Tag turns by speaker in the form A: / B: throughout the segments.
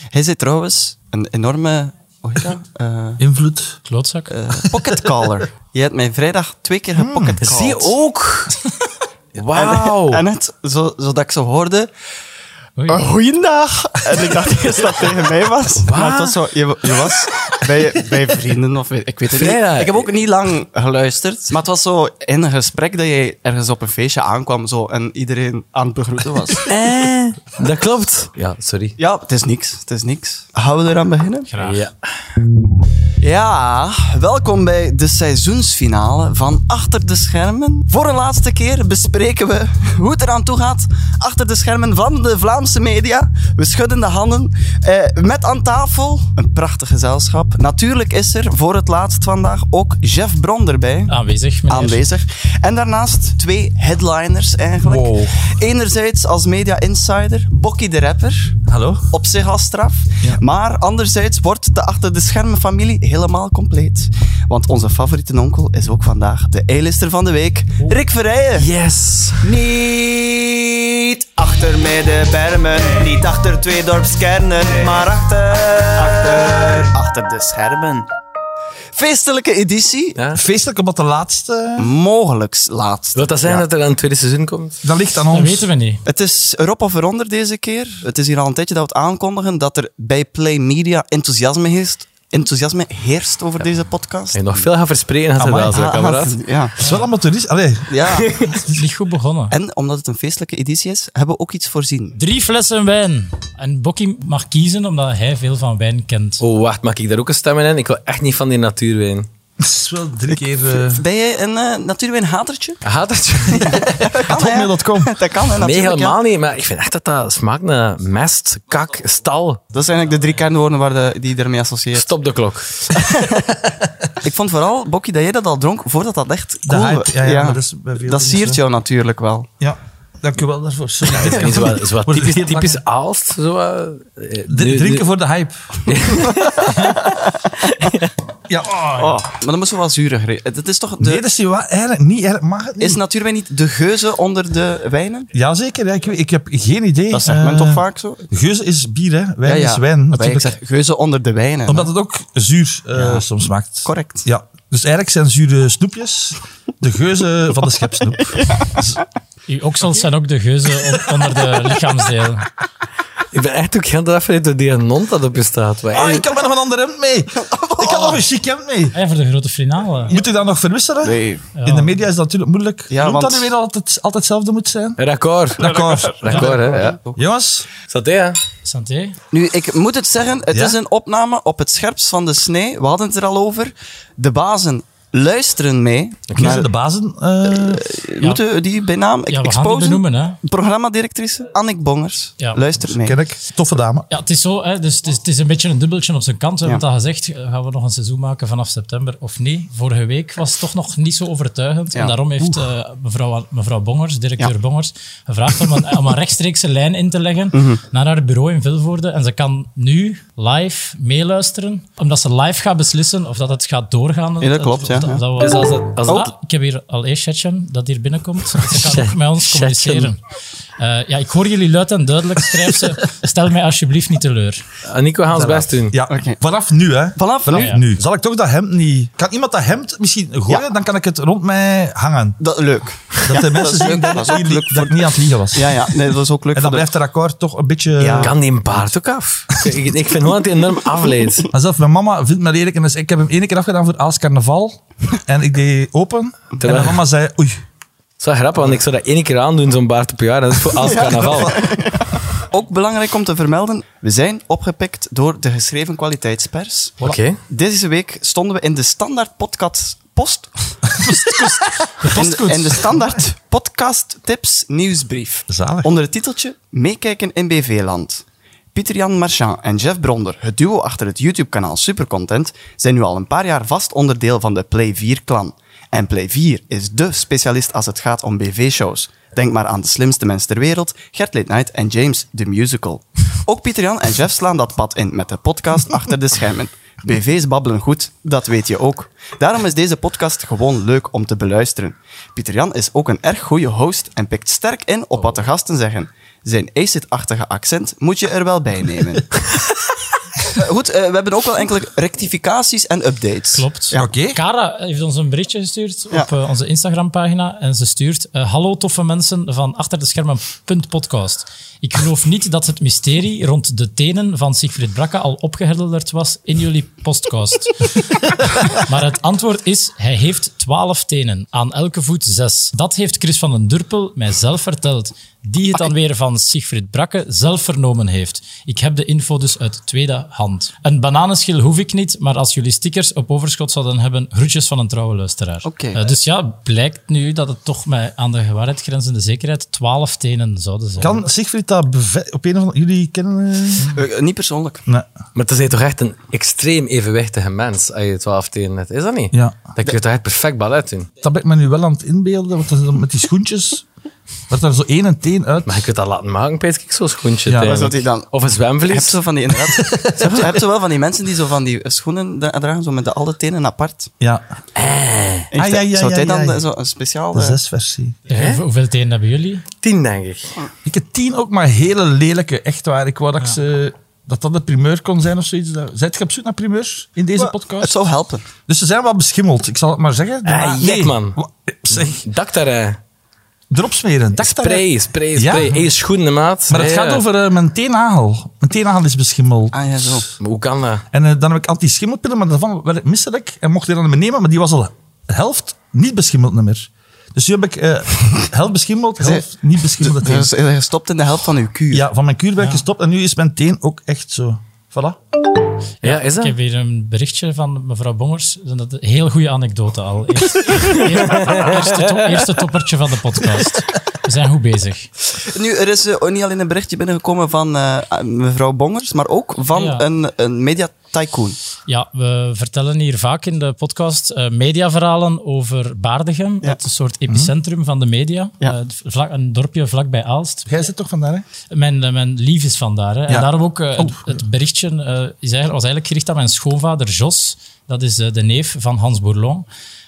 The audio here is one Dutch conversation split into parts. A: Hij zit trouwens een enorme... Hoe heet dat? Eh,
B: Invloed.
C: Klootzak.
A: eh, pocketcaller. Je hebt mij vrijdag twee keer gepocketcalled.
B: Zie
D: Oh,
B: ook!
A: En,
B: Wauw!
A: en het, zo, zodat ik zo hoorde...
C: Oei.
A: "Eh, Goeiedag! En ik dacht eerst dat het tegen mij was. Maar het was zo, je, je was bij, bij vrienden of weet- ik weet het
B: Vrijdag.
A: niet. Ik heb ook niet lang geluisterd. Maar het was zo in een gesprek dat jij ergens op een feestje aankwam zo, en iedereen aan het begroeten was.
D: Eh,
B: Dat klopt. Ja, sorry.
A: Ja, het is niks. Het is niks. Gaan we eraan beginnen?
C: Graag.
B: Ja.
A: Ja, welkom bij de seizoensfinale van Achter de Schermen. Voor de laatste keer bespreken we hoe het eraan toe gaat achter de schermen van de Vlaamse media. We schudden de handen eh, met aan tafel een prachtig gezelschap. Natuurlijk is er voor het laatst vandaag ook Jeff Bronder bij
C: Aanwezig, meneer.
A: aanwezig. En daarnaast twee headliners eigenlijk.
B: Wow.
A: Enerzijds als media insider, Bokkie de Rapper.
B: Hallo?
A: Op zich al straf. Maar anderzijds wordt de achter de schermen familie helemaal compleet. Want onze favoriete onkel is ook vandaag de A-lister van de week,
B: Oh.
A: Rick Verrijen.
B: Yes!
A: Niet achter middenbermen, niet achter twee dorpskernen, maar achter, achter, achter de schermen. Feestelijke editie,
B: Ja.
D: Feestelijk, omdat de laatste...
A: mogelijks laatst.
B: Wil dat zijn dat er aan het tweede seizoen komt?
D: Dat ligt aan
C: Dat
D: ons.
C: weten we niet.
A: Het is erop of eronder deze keer. Het is hier al een tijdje dat we het aankondigen dat er bij Play Media enthousiasme heerst, enthousiasme heerst over deze podcast.
B: En nog veel gaan verspreken gaat er
D: Amai.
B: wel zo,
A: Ah,
B: kameraad.
A: Ja.
D: Het is wel amateuristisch. Allee,
A: ja.
C: Het is niet goed begonnen.
A: En omdat het een feestelijke editie is, hebben we ook iets voorzien.
C: Drie flessen wijn. En Bokkie mag kiezen omdat hij veel van wijn kent.
B: Oh, wacht, maak ik daar ook een stem in? Ik wil echt niet van die natuurwijn.
D: het is wel drie keer... eh,
A: Ben jij een, eh natuurlijk een hatertje?
B: Gaat dat?
A: Dat kan, hè?
D: Hotmail.com.
A: Dat kan, hè,
B: Nee,
A: natuurlijk, ja.
B: helemaal niet. Maar ik vind echt dat dat smaakt naar mest, kak, stal.
A: Dat zijn eigenlijk de drie kernwoorden waar de, die je ermee associeert.
B: Stop de klok.
A: Ik vond vooral, Bokkie, dat jij dat al dronk voordat dat echt
D: De
A: cool
D: hype,
A: werd.
D: ja, ja, maar dat is bij veel
A: dat
D: mensen,
A: siert
D: hè.
A: jou natuurlijk wel.
D: Ja, dank u wel daarvoor. Sorry.
B: Dat is wel, is wel
D: Wordt
B: typisch,
D: heel
B: typisch Aalst. Zo, eh, eh,
D: D-
B: nu-
D: drinken
B: nu-
D: voor de hype. ja, oh.
A: Maar dan moeten we wel zuurig regelen. Het is toch de,
D: Nee, dat is niet waar. Eigenlijk niet. Eigenlijk mag het niet.
A: Is natuurlijk niet de geuze onder de wijnen?
D: Jazeker, ja, ik, ik heb geen idee.
A: Dat zegt men
D: Eh,
A: toch vaak zo?
D: Geus is bier, hè. Wijn is wijn.
A: Maar ik
D: Natuurlijk.
A: zeg geuze onder de wijnen.
D: Omdat het ook zuur eh, soms maakt.
A: Correct.
D: Ja. Dus eigenlijk zijn zure snoepjes de geuzen van de schepsnoep.
C: Uw oksels zijn ook de geuzen on- onder de lichaamsdeel.
B: Ik ben echt ook heel afgeleid door die non dat op je staat. Maar
D: Ah,
B: eigenlijk-
D: ik kan met nog een ander hemd mee. Ik kan nog een chic hemd mee.
C: Hey, voor de grote finale.
D: Moet ik dat nog verwisselen?
A: Nee.
D: In de media is dat natuurlijk moeilijk.
A: Ja,
D: Ja, Noemt
A: want-
D: dat nu weer dat het altijd hetzelfde moet zijn?
B: Record.
D: D'accord.
B: Record, hè. Ja.
D: Jongens,
B: Zat hij, hè?
C: Santé.
A: Nu, ik moet het zeggen, het
D: Ja?
A: is een opname op het scherpst van de snee. We hadden het er al over. De bazen luisteren mee.
D: hier zijn de bazen. eh,
A: Moeten we die bij naam
C: Ja, we gaan het
A: exposen?
C: benoemen, hè.
A: Programmadirectrice Annick Bongers.
C: Ja.
A: Luistert mee.
D: ken ik. Toffe dame.
C: Ja, het is zo, hè, dus het is, het is een beetje een dubbeltje op zijn kant. We hebben
A: Ja.
C: het al gezegd, eh, gaan we nog een seizoen maken vanaf september of niet? Vorige week was het toch nog niet zo overtuigend.
A: Ja.
C: En daarom heeft eh, mevrouw, mevrouw Bongers, directeur
A: Ja.
C: Bongers, gevraagd om een, om een rechtstreekse lijn in te leggen
A: Mhm.
C: naar haar bureau in Vilvoorde. En ze kan nu live meeluisteren, omdat ze live gaat beslissen of dat het gaat doorgaan.
A: Ja, dat klopt,
C: Of-
A: ja,
C: of- of
A: ja.
C: dat we-
B: Dus als het- als het-
C: Ah, ik heb hier al één chatje dat hier binnenkomt. Ze kan ook met ons
B: Chatje.
C: communiceren. Eh, ja, ik hoor jullie luid en duidelijk. Schrijf ze. Stel mij alsjeblieft niet teleur.
B: Ah, Nico gaat ons best doen.
D: Ja,
A: Oké.
D: vanaf nu, hè.
A: Vanaf nu?
D: nu. Zal ik toch dat hemd niet... Kan iemand dat hemd misschien gooien?
A: Ja.
D: Dan kan ik het rond mij hangen.
A: Dat, leuk.
D: Dat de mensen
A: leuk.
D: zien dat,
A: Dat is ook
D: ik niet-
A: leuk
D: dat ik niet aan het liegen was.
A: Ja, ja. Nee, dat was ook leuk.
D: En dan
A: voor de-
D: blijft het akkoord toch een beetje...
A: Ja.
B: Kan die een baard ook af? ik, ik vind gewoon dat hij enorm afleidt.
D: Maar zelf, mijn mama vindt me lelijk. En dus ik heb hem één keer afgedaan voor Aals Carnaval. En ik deed open. En mijn mama zei, oei.
B: Dat is wel grappig, want ik zou dat één keer aandoen, zo'n baard op een jaar. Dat is voor als carnaval.
A: Ook belangrijk om te vermelden, we zijn opgepikt door de geschreven kwaliteitspers.
B: Oké.
A: Deze week stonden we in de standaard podcast... Post? in, in de standaard podcast tips nieuwsbrief.
D: Zalig.
A: Onder het titeltje Meekijken in BV-land. Pieter-Jan Marchand en Jeff Bronder, het duo achter het YouTube-kanaal Supercontent, zijn nu al een paar jaar vast onderdeel van de Play 4-klan. En Play 4 is dé specialist als het gaat om BV-shows. Denk maar aan de slimste mens ter wereld, Gert Late Night en James the Musical. Ook Pieter-Jan en Jeff slaan dat pad in met de podcast achter de schermen. BV's babbelen goed, dat weet je ook. Daarom is deze podcast gewoon leuk om te beluisteren. Pieter Jan is ook een erg goede host en pikt sterk in op wat de gasten zeggen. Zijn acid-achtige accent moet je er wel bij nemen. goed, eh, we hebben ook wel enkele rectificaties en updates.
C: Klopt.
A: Ja.
D: Oké.
C: Kara heeft ons een berichtje gestuurd
A: Ja.
C: op eh, onze Instagram-pagina. En ze stuurt: eh, Hallo toffe mensen van achter de schermen. punt podcast. Ik geloof niet dat het mysterie rond de tenen van Siegfried Brakke al opgehelderd was in jullie podcast. maar het antwoord is: hij heeft 12 tenen, aan elke voet zes. Dat heeft Chris van den Durpel mij zelf verteld, die het dan weer van Siegfried Brakke zelf vernomen heeft. Ik heb de info dus uit tweede hand. Een bananenschil hoef ik niet, maar als jullie stickers op overschot zouden hebben, groetjes van een trouwe luisteraar.
A: Oké.
C: Eh, dus ja, blijkt nu dat het toch met aan de gewaarheid grenzende zekerheid 12 tenen zouden zijn.
D: Kan Siegfried dat beve- op een of andere... Jullie kennen... eh,
A: Eh, niet persoonlijk.
D: Nee.
B: Maar dat is toch echt een extreem evenwichtige mens als je 12 tenen hebt. Is dat niet?
D: Ja.
B: Dat kun je toch echt perfect ballet doen.
D: Dat ben ik me nu wel aan het inbeelden, want dat is dan met die schoentjes... Dat er zo één en teen uit...
B: Maar je kunt dat laten maken, pees ik, zo'n schoentje.
D: Ja,
B: eigenlijk.
A: wat is dat hij dan-
B: Of een
A: Je hebt
B: zwemvlies.
A: zo van die, inderdaad, je hebt, je hebt zo wel van die mensen die zo van die schoenen dra- dragen, zo met de alle tenen apart.
D: Ja,
A: Heeft
D: Ah,
A: hij-
D: ja, ja,
A: zou
D: ja,
A: hij
D: ja,
A: dan
D: ja.
A: de- zo een speciaal...
D: de
A: eh,
D: zesversie.
C: Eh, hoe- hoeveel tenen hebben jullie?
B: 10, denk ik.
D: Ik heb tien ook, maar hele lelijke, echt waar. Ik wou dat ik ze... Dat dat de primeur kon zijn of zoiets. Dat- Zijt je op zoek naar primeurs in deze podcast?
A: Het zou helpen.
D: Dus ze zijn wel beschimmeld, ik zal het maar zeggen.
B: Ah,
D: Nee.
B: jek, man.
D: Wa- Zeg,
B: Dakterrein.
D: erop smeren. Dacht daar-
B: eh. Spray, spray,
D: eh. Ja.
B: spray. Eén schoen, de maat.
D: Maar het
B: Ja,
D: gaat
B: ja.
D: over eh, mijn teennagel. Mijn teennagel is beschimmeld.
A: Ah ja, zo.
B: Maar hoe kan dat?
D: En eh, dan heb ik anti-schimmelpillen, maar daarvan werd ik misselijk en mocht ik dan niet meer nemen, maar die was al de helft niet beschimmeld meer. Dus nu heb ik eh, helft beschimmeld, helft niet beschimmelde teen.
A: Dus je stopt in de helft van uw kuur.
D: Ja, van mijn kuur ben ik gestopt en nu is mijn teen ook echt zo. Voilà.
B: Ja, is dat?
C: Ik heb hier een berichtje van mevrouw Bongers. En Dat een heel goede anekdote al. Eerst, eerste, to- eerste toppertje van de podcast. We zijn goed bezig.
A: Nu, er is eh, ook niet alleen een berichtje binnengekomen van eh, mevrouw Bongers, maar ook van
C: Ja.
A: een, een media tycoon.
C: Ja, we vertellen hier vaak in de podcast eh, mediaverhalen over Baardigem. Dat is een soort epicentrum van de media.
A: Ja.
C: Eh, vlak, een dorpje vlakbij Aalst.
D: Jij zit toch vandaar, hè?
C: Mijn, eh, mijn lief is vandaar. Hè.
D: Ja.
C: En daarom ook eh, het,
D: Oeh.
C: het berichtje eh, is eigenlijk, was eigenlijk gericht aan mijn schoonvader Jos. Dat is eh, de neef van Hans Bourlon.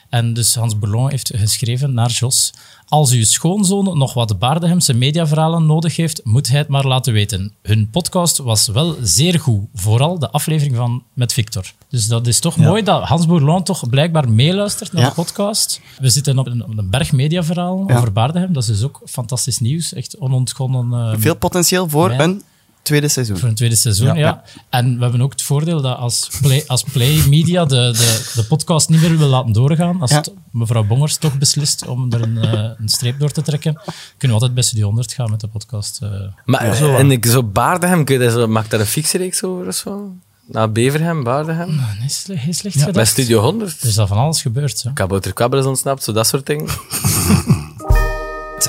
C: En dus Hans Bourlon heeft geschreven naar Jos. Als uw schoonzoon nog wat Baardehemse mediaverhalen nodig heeft, moet hij het maar laten weten. Hun podcast was wel zeer goed. Vooral de aflevering van Met Victor. Dus dat is toch mooi dat Hans Bourlon toch blijkbaar meeluistert naar
A: Ja.
C: de podcast. We zitten op een, op een berg mediaverhaal
A: Ja.
C: over Baardegem. Dat is dus ook fantastisch nieuws. Echt onontgonnen eh,
A: Veel potentieel voor
C: Ja.
A: een tweede seizoen.
C: voor een tweede seizoen, ja. En we hebben ook het voordeel dat als Play, als play Media de, de, de podcast niet meer wil laten doorgaan, als
A: Ja.
C: het- mevrouw Bongers toch beslist om er een, eh, een streep door te trekken, kunnen we altijd bij Studio 100 gaan met de podcast. eh.
B: Maar en ik, zo Baardegem, kun je daar zo, maak daar een fikse reeks over of zo? Na Beverhem, Baardegem.
C: Ah, nee, sle- heel slecht
B: Bij
C: gedacht.
B: Studio 100.
C: Er is al van alles gebeurd. Hè.
B: Kabouter Kwabber is ontsnapt, zo dat soort dingen.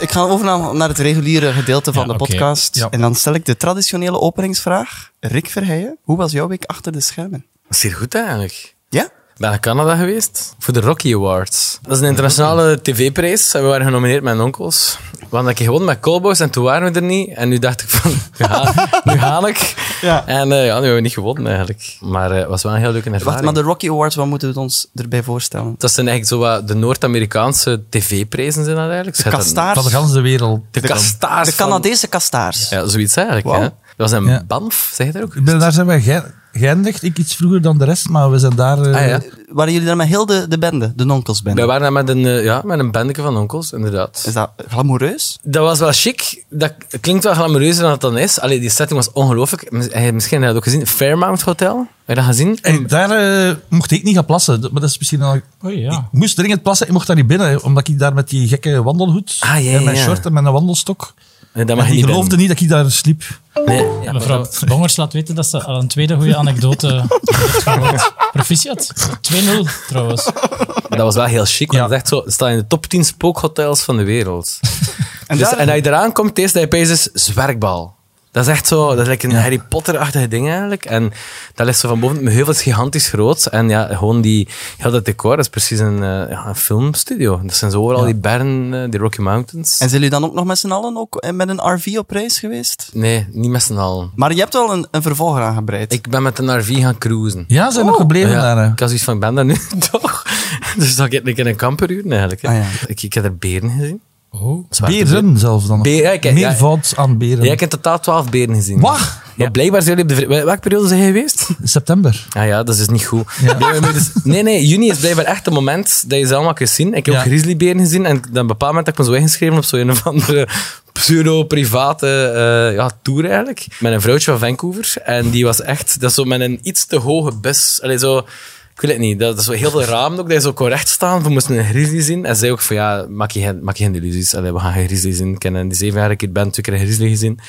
A: Ik ga over naar, naar het reguliere gedeelte van
C: Ja,
A: de
C: oké.
A: podcast.
D: Ja.
A: En dan stel ik de traditionele openingsvraag. Rick Verheijen, hoe was jouw week achter de schermen?
B: Zeer goed eigenlijk.
A: Ja?
B: Ik ben naar Canada geweest voor de Rocky Awards. Dat is een internationale tv-prijs. En we waren genomineerd met mijn onkels. Want ik gewoon met Colboys en toen waren we er niet. En nu dacht ik van, nu ga, nu ga ik.
A: Ja.
B: En eh, ja, nu hebben we niet gewonnen eigenlijk. Maar eh, het was wel een heel leuke
A: Wacht,
B: ervaring.
A: maar de Rocky Awards, wat moeten we ons erbij voorstellen?
B: Dat zijn eigenlijk zo wat de Noord-Amerikaanse tv-prijzen zijn dat eigenlijk. Ze
A: De
B: hadden-
A: kastaars?
D: Van de ganse wereld.
B: De kastaars.
A: De
B: van-
A: Canadese kastaars.
B: Ja, zoiets eigenlijk.
A: Wauw.
B: hè. Dat was een
D: Ja.
B: Banff, zeg je daar ook?
D: Ik ben, daar zijn wij ge- geëindigd. Ik iets vroeger dan de rest, maar we zijn daar... eh,
B: Ah, ja.
A: Waren jullie daar met heel de, de bende, de nonkelsbende?
B: We waren daar met een, eh, ja, met een bandje van onkels, inderdaad.
A: Is dat glamoureus?
B: Dat was wel chic. Dat klinkt wel glamoureuzer dan het dan is. Allee, die setting was ongelooflijk. Mis- eh, Misschien heb je dat ook gezien. Fairmount Hotel. Heb je dat gezien?
D: En daar eh, mocht ik niet gaan plassen. Dat- Maar dat is misschien al...
C: Oei,
B: Ah.
C: ja.
D: Ik moest dringend plassen, ik mocht daar niet binnen. hè, Omdat ik daar met die gekke wandelhoed
B: Ah, ja, ja,
D: en mijn
B: ja.
D: short en mijn wandelstok...
B: Nee, dat
D: En
B: mag je
D: die
B: niet
D: geloofde niet dat ik daar sliep.
B: binnen. Nee. Ja,
C: Mevrouw Bongers laat weten dat ze al een tweede goede anekdote heeft gehoord. Proficiat. 2-0 trouwens.
B: Dat was wel heel chic. Want
D: Ja.
B: dat is echt zo, het staat in de top 10 spookhotels van de wereld.
A: En
B: En, dus,
A: daar-
B: en als je eraan komt, het eerste dat je pees is zwerkbal. Dat is echt zo, dat is like een Harry Potter-achtige ding eigenlijk. En dat ligt zo van boven, mijn heuvel is gigantisch groot. En ja, gewoon die, heel dat decor, dat is precies een, eh, ja, een filmstudio. Dat zijn zo overal die bergen, eh, die Rocky Mountains.
A: En zijn jullie dan ook nog met z'n allen ook eh, met een RV op reis geweest?
B: Nee, niet met z'n allen.
A: Maar je hebt wel een, een vervolger aangebreid.
B: Ik ben met een RV gaan cruisen.
D: Ja, ze zijn nog gebleven daar. hè.
B: ik had zoiets van, ik ben daar nu toch? Dus dat ik in een camper uren eigenlijk. hè.
A: Ah, ja.
B: ik, ik heb er beren gezien.
C: Oh.
B: Zwarte
D: Beren zelf dan. nog.
B: Be- ja, ik- ja.
D: Meervoud aan beren.
B: Jij hebt in totaal twaalf beren gezien.
D: Wat?
B: Ja, blijkbaar zijn jullie op de... vri- Welke periode zijn jij geweest?
D: September.
B: Ah ja, dat is niet goed. Nee, we moeten- nee, nee, juni is blijkbaar echt het moment dat je ze allemaal kunt zien. Ik heb
D: Ja.
B: ook grizzlyberen gezien en op een bepaald moment heb ik me zo ingeschreven op zo'n of andere pseudo-private eh, ja, tour eigenlijk. Met een vrouwtje van Vancouver. En die was echt, dat is zo met een iets te hoge bus. Allee, zo, ik weet het niet, dat is zo heel veel ramen ook, dat je zo kon staan. We moesten een grizzly zien. En zij ook van, ja, maak je geen, maak je geen illusies. Allee, we gaan geen grizzly zien. Ik heb in die zeven jaar dat ik hier ben, twee keer een grizzly gezien.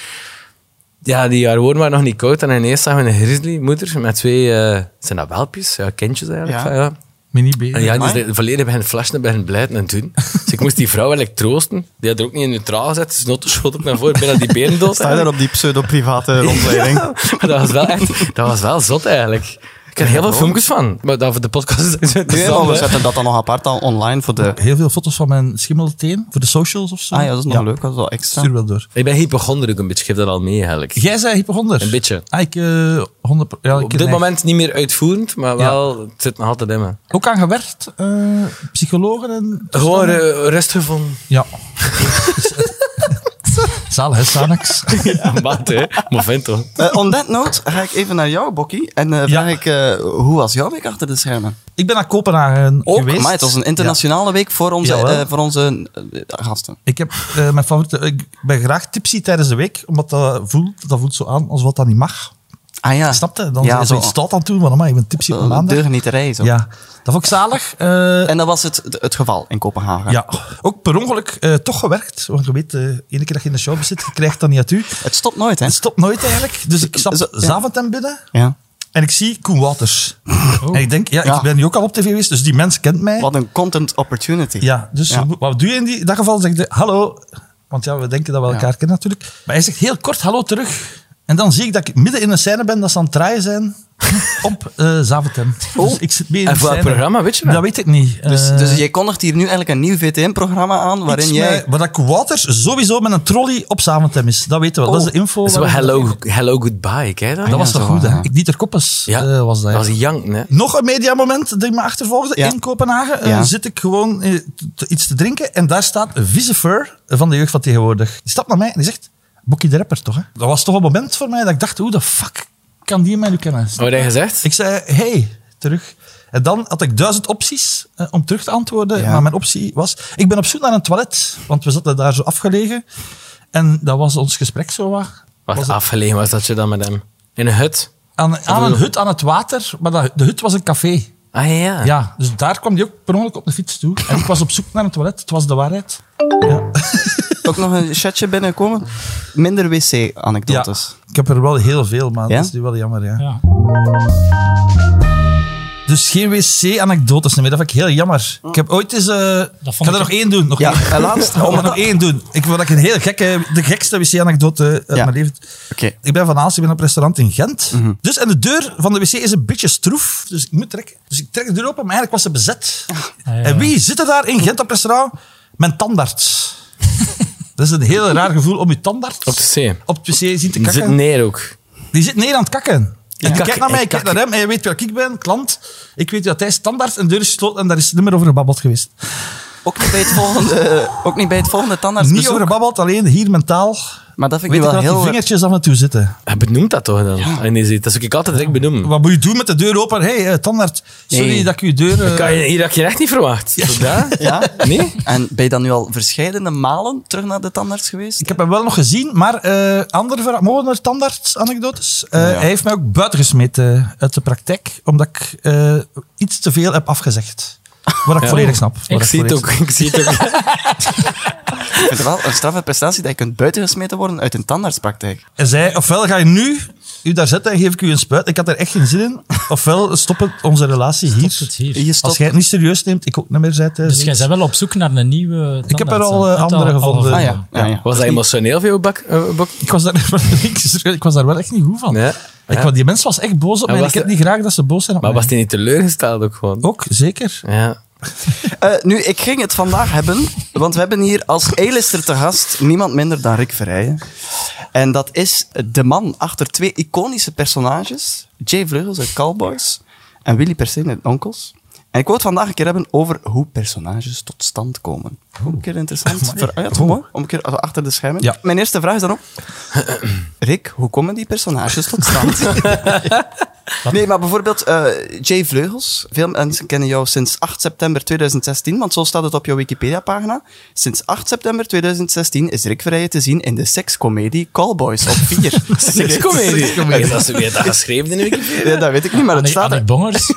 B: Ja, die haar woorden waren nog niet koud. En ineens zagen we een grizzlymoeder met twee... eh, zijn dat welpjes? Ja, kindjes eigenlijk.
A: Ja.
B: Ja. Ja.
D: Mini beren.
B: En ja, die
A: Amai.
B: zijn volledig bij hun flashen, bij hun blijten en doen. Dus ik moest die vrouw eigenlijk troosten. Die had er ook niet in neutraal gezet. Dus noten schoot ook naar voren, bijna die benen dood.
A: Sta je daar op die pseudo-private rondleiding?
B: Maar dat was wel echt... Dat was wel zot, eigenlijk. Ik heb er heel veel filmpjes van. Maar dat voor de podcast is het
A: Nee,
B: interessant,
A: maar Dus we
B: hè.
A: zetten dat dan nog apart al online voor de...
D: Heel veel foto's van mijn schimmelteen voor de socials of zo.
A: Ah ja, dat is nog leuk, dat is wel extra.
D: Stuur wel door.
B: Ik ben hypochonder ook een beetje. Ik geef dat al mee, eigenlijk.
D: Jij zei hypochonder.
B: Een beetje.
D: Ah, ik, eh 100 pro- ja, ik
B: Op dit
D: neig-
B: moment niet meer uitvoerend, maar wel... Het zit nog altijd in me.
D: Ook aan gewerkt. eh, psychologen en...
B: Gewoon eh, rust gevonden.
D: Ja. Zalig, hè, Sanax?
B: Maat, hè. Maar vind toch.
A: Eh, on that note ga ik even naar jou, Bokkie. En eh, vraag
D: Ja.
A: ik, eh, hoe was jouw week achter de schermen?
D: Ik ben naar Kopenhagen geweest.
A: maar het was een internationale week voor onze,
D: Jawel.
A: eh, voor onze eh, gasten.
D: Ik heb eh, mijn favoriete... Ik ben graag tipsy tijdens de week, omdat dat voelt, dat voelt zo aan als wat dat niet mag.
A: Ah ja.
D: Snap je? Dan
A: Ja,
D: is
A: zo- Eh,
D: zoiets stout aan toe, maar amai, ik ben tipsy op een maandag.
A: Deugnieterij. Zo.
D: Ja, dat vond ik zalig. Eh,
A: En dat was het, het geval in Kopenhagen.
D: ja, ook per ongeluk eh, toch gewerkt. Want je weet, eh, de ene keer dat je in de show zit, je krijgt dat niet uit u.
A: Het stopt nooit, hè?
D: Het stopt nooit eigenlijk. Dus ik stap
A: Zo- ja.
D: Zaventem binnen
A: Ja.
D: en ik zie Koen Waters. En ik denk, ja,
A: Oh. Ja.
D: ik ben nu ook al op tv geweest, dus die mens kent mij.
A: Wat een content opportunity.
D: Ja, dus
A: Ja.
D: wat doe je in, die, in dat geval? Zeg je, hallo. Want ja, we denken dat we elkaar kennen natuurlijk. Maar hij zegt heel kort hallo terug. En dan zie ik dat ik midden in een scène ben dat ze aan het draaien zijn op eh Zaventem. Dus ik zit mee in
B: Oh. En
D: de
B: voor welk
D: scène.
B: programma, weet je dat?
D: Dat weet ik niet.
A: Dus,
D: Eh,
A: dus jij kondigt hier nu eigenlijk een nieuw VTM-programma aan waarin
D: iets
A: jij...
D: met- Waar dat Waters sowieso met een trolley op Zaventem is. Dat weten we. dat is de info.
B: Oh. Dat is wel
D: waar we-
B: hello, hello Goodbye, kijk dat?
D: Dat was
A: Ja,
D: toch
A: zo,
D: goed, hè?
A: ja.
D: Ik, Dieter Koppes
B: ja,
D: eh, was dat. Ah, ja.
B: was janken, hè?
D: Nog een mediamoment dat me achtervolgde
A: Ja.
D: in Kopenhagen. eh,
A: Ja.
D: zit ik gewoon eh, t- t- iets te drinken en daar staat Visefur van de jeugd van tegenwoordig. Die stapt naar mij en die zegt, Bokkie de Rapper toch? Hè? Dat was toch een moment voor mij dat ik dacht, hoe de fuck kan die mij nu kennen?
B: Wat heb je gezegd?
D: Ik zei, hey, terug. En dan had ik duizend opties eh, om terug te antwoorden.
A: Ja.
D: Maar mijn optie was, ik ben op zoek naar een toilet. Want we zaten daar zo afgelegen. En dat was ons gesprek zo wat.
B: Wat
D: Was het-
B: afgelegen was dat je dan met hem? In een hut?
D: Aan, aan een hut aan het water, maar dat- de hut was een café.
B: Ah ja, ja.
D: Ja, dus daar kwam die ook per ongeluk op de fiets toe. En ik was op zoek naar een toilet. Het was de waarheid.
A: Ook nog een chatje binnenkomen. Minder wc-anekdotes.
D: Ik heb er wel heel veel, maar
A: Ja?
D: dat is nu wel jammer. Ja.
C: Ja.
D: Dus geen wc-anekdotes meer. Dat vind ik heel jammer. Ik heb ooit eens... eh, ik ga
C: ik-
D: er nog één doen. Nog
A: Ja,
D: één.
A: en laatst.
D: Om er nog één doen. Ik wil dat ik een heel gekke, de gekste wc-anekdote uit
A: Ja.
D: mijn leven...
A: Oké.
D: Ik ben van Aals, ik ben op restaurant in Gent.
B: Mhm.
D: Dus, en de deur van de wc is een beetje stroef, dus ik moet trekken. Dus ik trek de deur open, maar eigenlijk was ze bezet.
C: Ah, ja.
D: En wie zit er daar in Gent op restaurant? Mijn tandarts. dat is een heel raar gevoel om je tandarts
B: Op de C.
D: op het wc zien te
B: Die zit
D: kakken.
B: neer ook.
D: Die zit neer aan het kakken.
B: Ja.
D: En
B: Kakken,
D: kijk naar mij,
B: ik
D: ik kijk
B: kakken.
D: naar hem. Hij weet wie ik ben, klant. Ik weet dat hij standaard een deur is gesloten en daar is niet meer over gebabbeld geweest.
A: Ook niet bij het volgende, ook niet bij het volgende tandartsbezoek.
D: Niet over gebabbeld, alleen hier mentaal.
A: Maar dat vind
D: Weet
A: ik
D: ik
A: nu
D: dat
A: wel
D: die
A: heel...
D: vingertjes af en toe zitten.
B: Hij benoemt dat toch dan? In die zin. Dat is ook ik altijd direct benoemen.
D: Wat moet je doen met de deur open? Hé, hey, eh, tandarts, sorry
B: Nee.
D: dat ik je deur... eh,
B: Dat kan je, hier had je echt niet verwacht. Tot daar?
A: Ja?
B: Nee?
A: En ben je dan nu al verschillende malen terug naar de tandarts geweest?
D: Ik heb hem wel nog gezien, maar eh andere verha- mogen er tandarts-anekdotes? Eh,
A: Ja.
D: Hij heeft mij ook buitengesmeten eh, uit de praktijk, omdat ik eh, iets te veel heb afgezegd. Wat ik
B: Ja.
D: volledig snap. Wat
B: Ik zie het
D: volledig
B: ook. Ik zie het ook.
A: Ik vind het wel een straffe prestatie dat je kunt buitengesmeten worden uit een tandartspraktijk.
D: snap. Hij zei, ofwel ga je nu u daar zetten en geef ik u een spuit. Ik had er echt geen zin in. Ofwel stoppen onze relatie hier.
C: Tot het hier.
A: Je
D: Als
A: stopt...
D: jij het niet serieus neemt, ik ook niet meer, zei hij.
C: Dus jij bent wel op zoek naar een nieuwe tandarts.
D: Ik heb er al,
C: hè?
D: eh,
C: Je hebt
D: andere
C: al- al
D: gevonden.
A: Ah ja. ja, ja.
B: Was dat emotioneel voor jou, Bak? eh, Bok?
D: Ik was, daar, ik was daar wel echt niet goed van.
B: Ja.
D: Ik,
B: Ja.
D: wou- die mens was echt boos op
B: En
D: mij.
B: was
D: Ik heb
B: de-
D: niet graag dat ze boos zijn op
B: Maar
D: mij.
B: was hij niet teleurgesteld ook gewoon?
D: Ook, zeker.
B: Ja.
A: Eh, nu, ik ging het vandaag hebben, want we hebben hier als A-lister te gast niemand minder dan Rick Verrijen. En dat is de man achter twee iconische personages, Jay Vleugels uit Cowboys en Willy Perseen uit Onkels. En ik wil het vandaag een keer hebben over hoe personages tot stand komen. Ook een keer interessant. Voor, ah ja, toch mooi? Om een keer achter de schermen.
D: Ja.
A: Mijn eerste vraag is dan ook... Rick, hoe komen die personages tot stand? nee, maar bijvoorbeeld eh, Jay Vleugels. Veel mensen kennen jou sinds 8 september 2016, want zo staat het op jouw Wikipedia-pagina. Sinds 8 september 2016 is Rick Verheijen te zien in de sekscomedie Callboys op 4.
B: Sekscomedie. Is dat, wie heeft dat geschreven in de Wikipedia?
A: Ja, dat weet ik niet, maar het
C: Annie,
A: staat er.
C: Annie Bongers.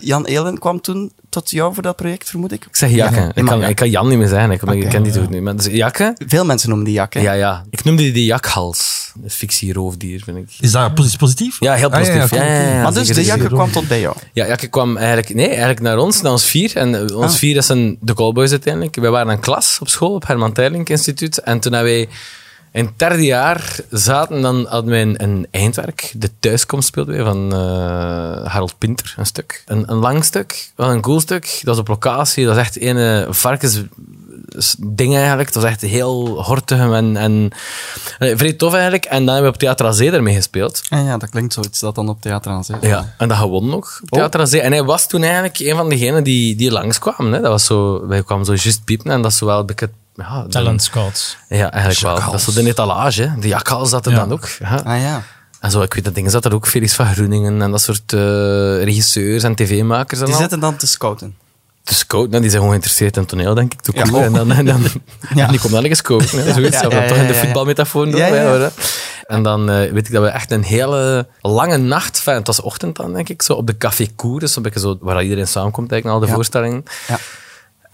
A: Jan Elen kwam toen tot jou voor dat project, vermoed ik.
B: Ik zeg Jakke.
A: Ja,
B: ik,
A: maar
B: kan,
A: ja.
B: ik kan Jan niet meer zeggen. Ik, ik ken die toch niet. Maar dus Jakke?
A: Veel mensen noemen die jakken.
B: Ja, ja. Ik noemde die de jakhals. Een fictie roofdier, vind ik.
D: Is dat posi- positief?
B: Ja, heel
D: Ah, ja,
B: positief.
D: ja,
B: ja,
D: oké,
B: ja, ja,
A: maar dus
B: zeker,
A: de
B: zeker.
A: jakken kwam tot bij jou.
B: Ja, Jakke kwam eigenlijk, nee, eigenlijk naar ons, naar ons vier. En eh, ons
A: Ah.
B: vier, dat zijn de Cowboys uiteindelijk. Wij waren een klas op school, op Herman Terlink Instituut. En toen dat wij in het derde jaar zaten, dan hadden wij een, een eindwerk. De thuiskomst speelden wij van eh, Harold Pinter, een stuk. Een, een lang stuk, wel een cool stuk. Dat was op locatie, dat is echt een eh, varkens s- ding eigenlijk. Het was echt heel hortig en, en eh, vrij tof eigenlijk. En dan hebben we op Theater Azee daarmee gespeeld.
A: En Ah ja, dat klinkt zoiets dat dan op theater aan zit.
B: Ja, en dat gewon nog. op Theater aan Zee. En hij was toen eigenlijk een van degenen die, die langskwamen. Hè. Dat was zo, wij kwamen zo juist piepen en dat is zo wel een beetje... Ja, de-
C: Talent Scouts.
B: Ja, eigenlijk wel. Dat is zo de etalage. hè. De jakhals dat er
C: Ja.
B: dan ook. hè.
A: Ah ja.
B: En zo, ik weet dat ding zat er ook Felix van Groeningen en dat soort eh, regisseurs en tv-makers en
A: Die
B: al.
A: zitten dan te scouten.
B: De scout, nou, die zijn gewoon geïnteresseerd in toneel, denk ik. Te
A: Ja.
B: koer. En dan, en dan,
A: Ja.
B: Die komt dan eens scouten. Hè. Zoiets,
A: Ja,
B: dat
A: ja,
B: we
A: ja,
B: toch in
A: ja,
B: de
A: ja.
B: voetbalmetafoor doen.
A: Ja, ja,
B: hè,
A: ja.
B: hoor, hè. En dan eh, weet ik dat we echt een hele lange nacht, enfin, het was ochtend dan, denk ik, zo op de Café Cour, dus een beetje zo, waar iedereen samenkomt eigenlijk, na al de
A: Ja.
B: voorstellingen.
A: Ja.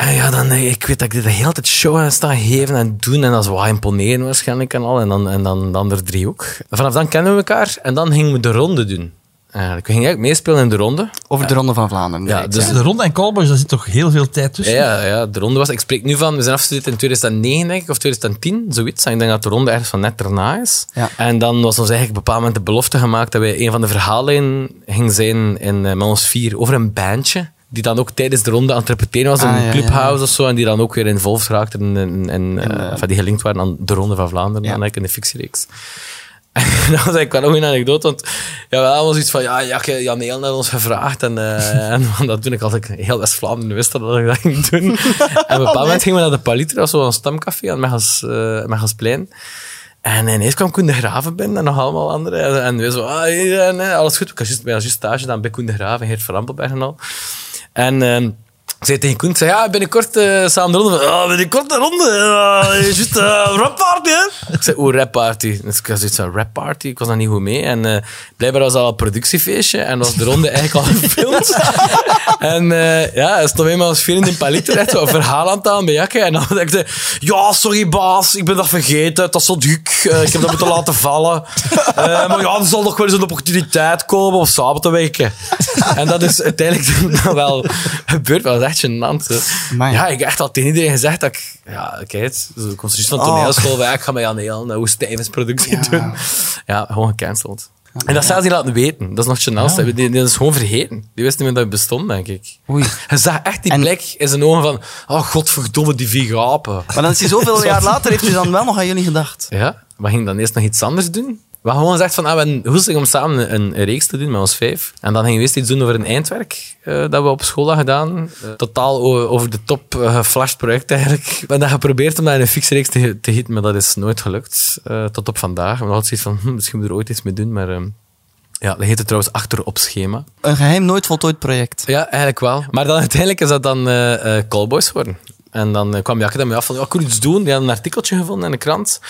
B: En ja, dan, eh, ik weet dat ik dit de hele tijd show aan staan geven en doen. En dat is wel imponeren waarschijnlijk en al. En dan, en dan de andere drie ook. Vanaf dan kennen we elkaar. En dan gingen we de ronde doen. Eigenlijk. We gingen eigenlijk meespelen in de ronde.
A: Over de Ronde van Vlaanderen.
B: Ja,
A: direct,
B: dus-
D: De Ronde en Cowboys, daar zit toch heel veel tijd tussen?
B: Ja, ja, de ronde was. Ik spreek nu van, we zijn afgestudeerd in 2009, denk ik, of 2010, zoiets. En ik denk dat de ronde ergens van net daarna is.
A: Ja.
B: En dan was ons eigenlijk op een bepaald moment de belofte gemaakt dat wij een van de verhalen ging zijn in, eh, met ons vier over een bandje. Die dan ook tijdens de ronde aan het repeteren was in
A: Ah, ja,
B: een
A: ja,
B: clubhouse of zo. En die dan ook weer involved raakten en, en, en, eh, enfin, die gelinkt waren aan de Ronde van Vlaanderen,
A: Ja.
B: dan eigenlijk in de fictiereeks. En dat was eigenlijk wel ook een anekdote, want ja, we hadden ons iets van, ja, Jakke, Jan Heel naar ons gevraagd. En, eh, en dat toen ik altijd heel West-Vlaanderen wist dat ik dat ging doen. en op
A: Oh,
B: een bepaald moment gingen we naar de Palitra, zo'n stamcafé aan Mechels, eh, Mechelsplein. En ineens kwam Koen de Graven binnen en nog allemaal anderen. En, en we zo, ah, hier, eh, nee, alles goed. Ik was juist bij juist stage dan bij Koen de Graven, Geert van Rampelberg en al. En ehm, ik zei tegen Koen, ik zei, ja, binnenkort eh, samen de ronde. Ja, binnenkort de ronde. Ja, juist, eh, rap party, hè? Ik zei, oeh, rap party. Dus ik had zoiets van, rap party? Ik was daar niet goed mee. En eh, blijkbaar was dat al een productiefeestje en was de ronde eigenlijk al gefilmd. en eh ja, stond eenmaal als vier in de paliter, echt zo'n verhaal aan het halen bij Jakke. En dan dacht ik, ja, sorry baas, ik ben dat vergeten. Het was zo druk. Eh, ik heb dat moeten laten vallen. Eh, maar ja, er zal nog wel eens een opportuniteit komen of samen te werken. En dat is uiteindelijk dan wel gebeurd. Maar dat is echt gênant. hè.
A: Amai.
B: Ja, ik heb echt al tegen iedereen gezegd dat ik... Ja, kijk, zo komt juist van
A: Oh.
B: toneelschool weg. Ik ga met Jan Heel een hoe Stevens productie doen. Ja, gewoon gecanceld. En dat zelfs niet laten weten. Dat is nog gênant. Die, die, die is gewoon vergeten. Die wist niet meer dat het bestond, denk ik.
A: Oei.
B: Hij zag echt die
A: En-
B: blik in zijn ogen van... Oh, godverdomme, die vier apen.
A: Maar dan is hij zoveel jaar later, heeft hij dan wel nog aan jullie gedacht.
B: Ja, we gingen dan eerst nog iets anders doen. We hadden gewoon gezegd van, ah, we hebben hoestig om samen een, een reeks te doen met ons vijf. En dan gingen we eerst iets doen over een eindwerk eh, dat we op school hadden gedaan. Eh, totaal o- over de top eh, geflasht project eigenlijk. We hebben dat geprobeerd om dat in een fixe reeks te, te gieten, maar dat is nooit gelukt. eh, tot op vandaag. We hadden zoiets van, hm, misschien moeten we er ooit iets mee doen, maar... ehm, ja, dat heette trouwens Achter op Schema.
A: Een geheim nooit voltooid project.
B: Ja, eigenlijk wel. Maar dan uiteindelijk is dat dan eh, eh, Callboys geworden. En dan eh, kwam Jakke daarmee af van, ja, ik wil iets doen. Die had een artikeltje gevonden in de krant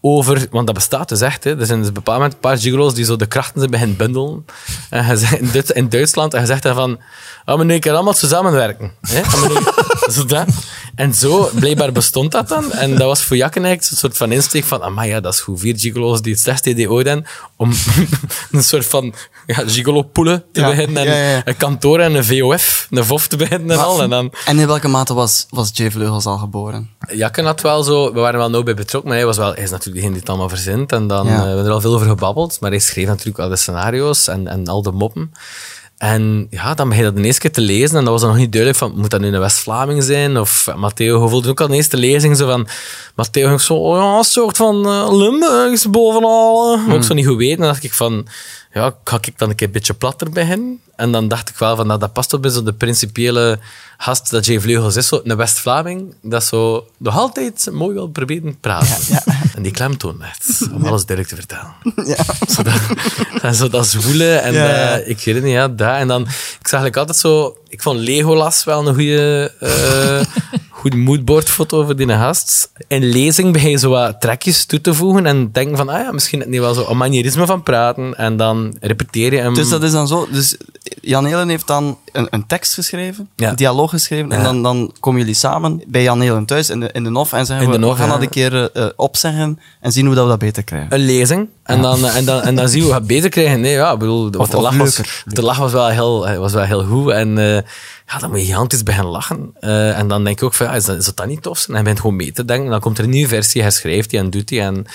B: over... Want dat bestaat dus echt, hè. Er zijn dus op een bepaald moment een paar gigolo's die zo de krachten zijn beginnen bundelen. En hij zei- in, Duits- in Duitsland. En hij zegt dan van, ah, maar nu kan allemaal samenwerken. Hè? Ah, maar nu- zo dat. En zo, blijkbaar bestond dat dan. En dat was voor Jakken eigenlijk een soort van insteek van, ah, maar ja, dat is goed. Vier gigolo's die het slechtste idee ooit hebben. Om een soort van ja, gigolo-poelen te
A: Ja,
B: beginnen. En
A: ja, ja, ja.
B: een kantoor en een VOF, een VOF te beginnen en al. En dan,
A: En in welke mate was, was Jay Vleugels al geboren?
B: Jakken had wel zo, we waren wel nauw bij betrokken, maar hij, was wel, hij is natuurlijk degene die het allemaal verzint. En dan
A: Ja.
B: eh, we hebben er al veel over gebabbeld, maar hij schreef natuurlijk al de scenario's en, en al de moppen. En ja, dan begin je dat de eerste keer te lezen en dat was dan nog niet duidelijk van, moet dat nu een West-Vlaming zijn? Of eh, Matteo, je voelde ook al de eerste lezing zo van, Matteo, ik zo, oh ja, een soort van eh Limburgs bovenal. eh. Maar ook zo niet goed weten, dan dacht ik van, ja, ga ik dan een keer een beetje platter beginnen? En dan dacht ik wel van, nou, dat past op bij zo de principiële gast dat Jay Vleugels is, zo, een West-Vlaming, dat zo nog altijd mooi wil proberen te praten. En die klemtoon net, om alles duidelijk te vertellen. Zo dat, en zo dat zwoele en
A: Ja, ja.
B: eh, ik herinner ja, dat. En dan, ik zag eigenlijk altijd zo, ik vond Legolas wel een goede, eh goed moodboardfoto over die gast. In lezing begin je zo wat trekjes toe te voegen en denken van, ah ja, misschien net niet wel zo een manierisme van praten. En dan repeteer je hem.
A: Dus dat is dan zo. Dus Jan Helen heeft dan een, een tekst geschreven,
B: Ja.
A: een dialoog geschreven. En
B: Ja.
A: dan, dan komen jullie samen bij Jan Helen thuis in de, in de NOF en zeggen
B: In de
A: we,
B: NOF,
A: we gaan
B: ja.
A: dat een keer eh, opzeggen en zien hoe dat we dat beter krijgen.
B: een lezing. En dan, eh, en, dan, en dan zien we wat beter krijgen. Nee, ja, ik bedoel, want de,
A: of
B: lach was,
A: leuker.
B: de lach was wel heel, was wel heel goed. En eh, ja, dan moet je gigantisch beginnen lachen. Eh, en dan denk ik ook van, ja, is dat, is dat niet tof? En hij bent gewoon mee te denken. Dan komt er een nieuwe versie, hij schrijft die en doet die. En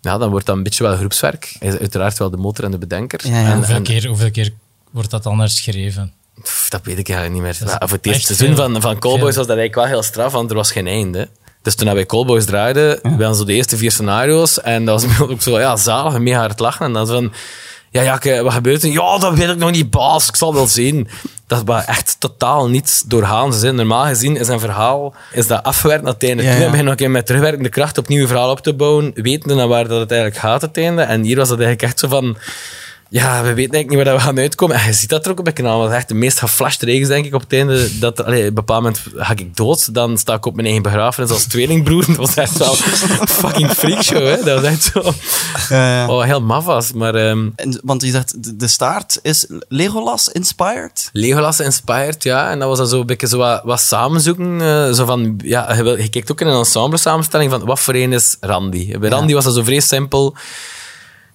B: ja, dan wordt dat een beetje wel groepswerk. Hij is uiteraard wel de motor en de bedenker.
A: Ja, ja.
B: En,
C: Hoeveel,
B: en-
C: keer, hoeveel keer wordt dat dan herschreven?
B: Pff, dat weet ik eigenlijk niet meer.
C: is
B: Maar voor het eerste
C: echt
B: seizoen
C: veel.
B: van, van Cowboys
C: Veel.
B: was dat eigenlijk wel heel straf, want er was geen einde. Dus toen wij Cowboys draaiden, we hadden zo de eerste vier scenario's. En dat was ook zo, ja, zalig, en mega hard lachen. En dan zo van, ja, Jakke, wat gebeurt er? Ja, dat weet ik nog niet, baas. Ik zal wel zien. Dat was echt totaal niet doorgaans. hè. Normaal gezien is een verhaal is dat afgewerkt naar het einde.
A: Ja,
B: toe.
A: ja.
B: En begin nog een keer met terugwerkende kracht opnieuw een verhaal op te bouwen. Wetende naar waar dat het eigenlijk gaat, het einde. En hier was dat eigenlijk echt zo van... Ja, we weten eigenlijk niet waar dat we gaan uitkomen. En je ziet dat er ook op mijn kanaal. Dat is echt de meest geflasht reeks, denk ik, op het einde. Dat, allee, op een bepaald moment ga ik dood. Dan sta ik op mijn eigen begrafenis als tweelingbroer. Dat was echt wel een fucking freakshow, hè. Dat was echt zo...
A: Ja, ja.
B: Oh, heel maf was. Maar ehm,
A: En, want je zegt, de, de staart is Legolas inspired.
B: Legolas inspired, ja. En dat was dan zo een beetje zo wat, wat samenzoeken. eh, zo van, ja, je, wil- je kijkt ook in een ensemble samenstelling van wat voor een is Randy. Bij Randy was dat zo vrij simpel.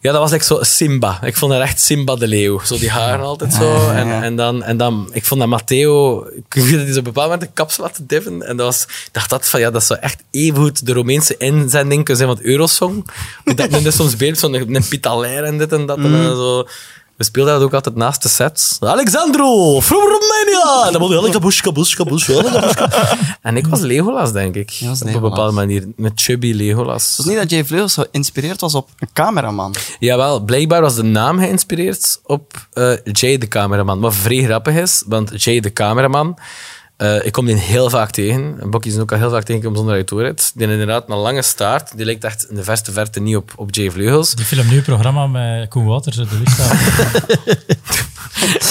B: Ja, dat was like zo Simba. Ik vond dat echt Simba de leeuw. Zo die haren altijd zo.
A: Ja, ja, ja.
B: En, en, dan, en dan, ik vond dat Matteo... Ik weet dat hij zo op een bepaald moment een kapsel had te diffen. En dat was, ik dacht dat van, ja, dat zou echt evengoed de Romeinse inzending kunnen zijn van Eurosong. Want Dat men dus soms beeld zo'n een pitalair en dit en dat.
A: Mm.
B: En dan zo. We speelden dat ook altijd naast de sets. Alexandro, from Romania! En dan moet je Alexandro
D: Kabushka, bushka, bushka.
B: en ik was Legolas, denk ik.
A: was
B: op een
A: Legolas.
B: bepaalde manier. Met chubby
A: Het
B: Legolas.
A: was niet dat Jay Vleugels geïnspireerd was op een cameraman.
B: Jawel, blijkbaar was de naam geïnspireerd op eh, Jay de cameraman. Wat vrij grappig is, want Jay de cameraman... eh, ik kom die heel vaak tegen. Bokkie is ook al heel vaak tegengekomen zonder dat je het door hebt. Die heeft inderdaad een lange staart. Die lijkt echt in de verste verte niet op, op Jay Vleugels.
C: Die film nu programma met Koen Wouters, de luchthaven.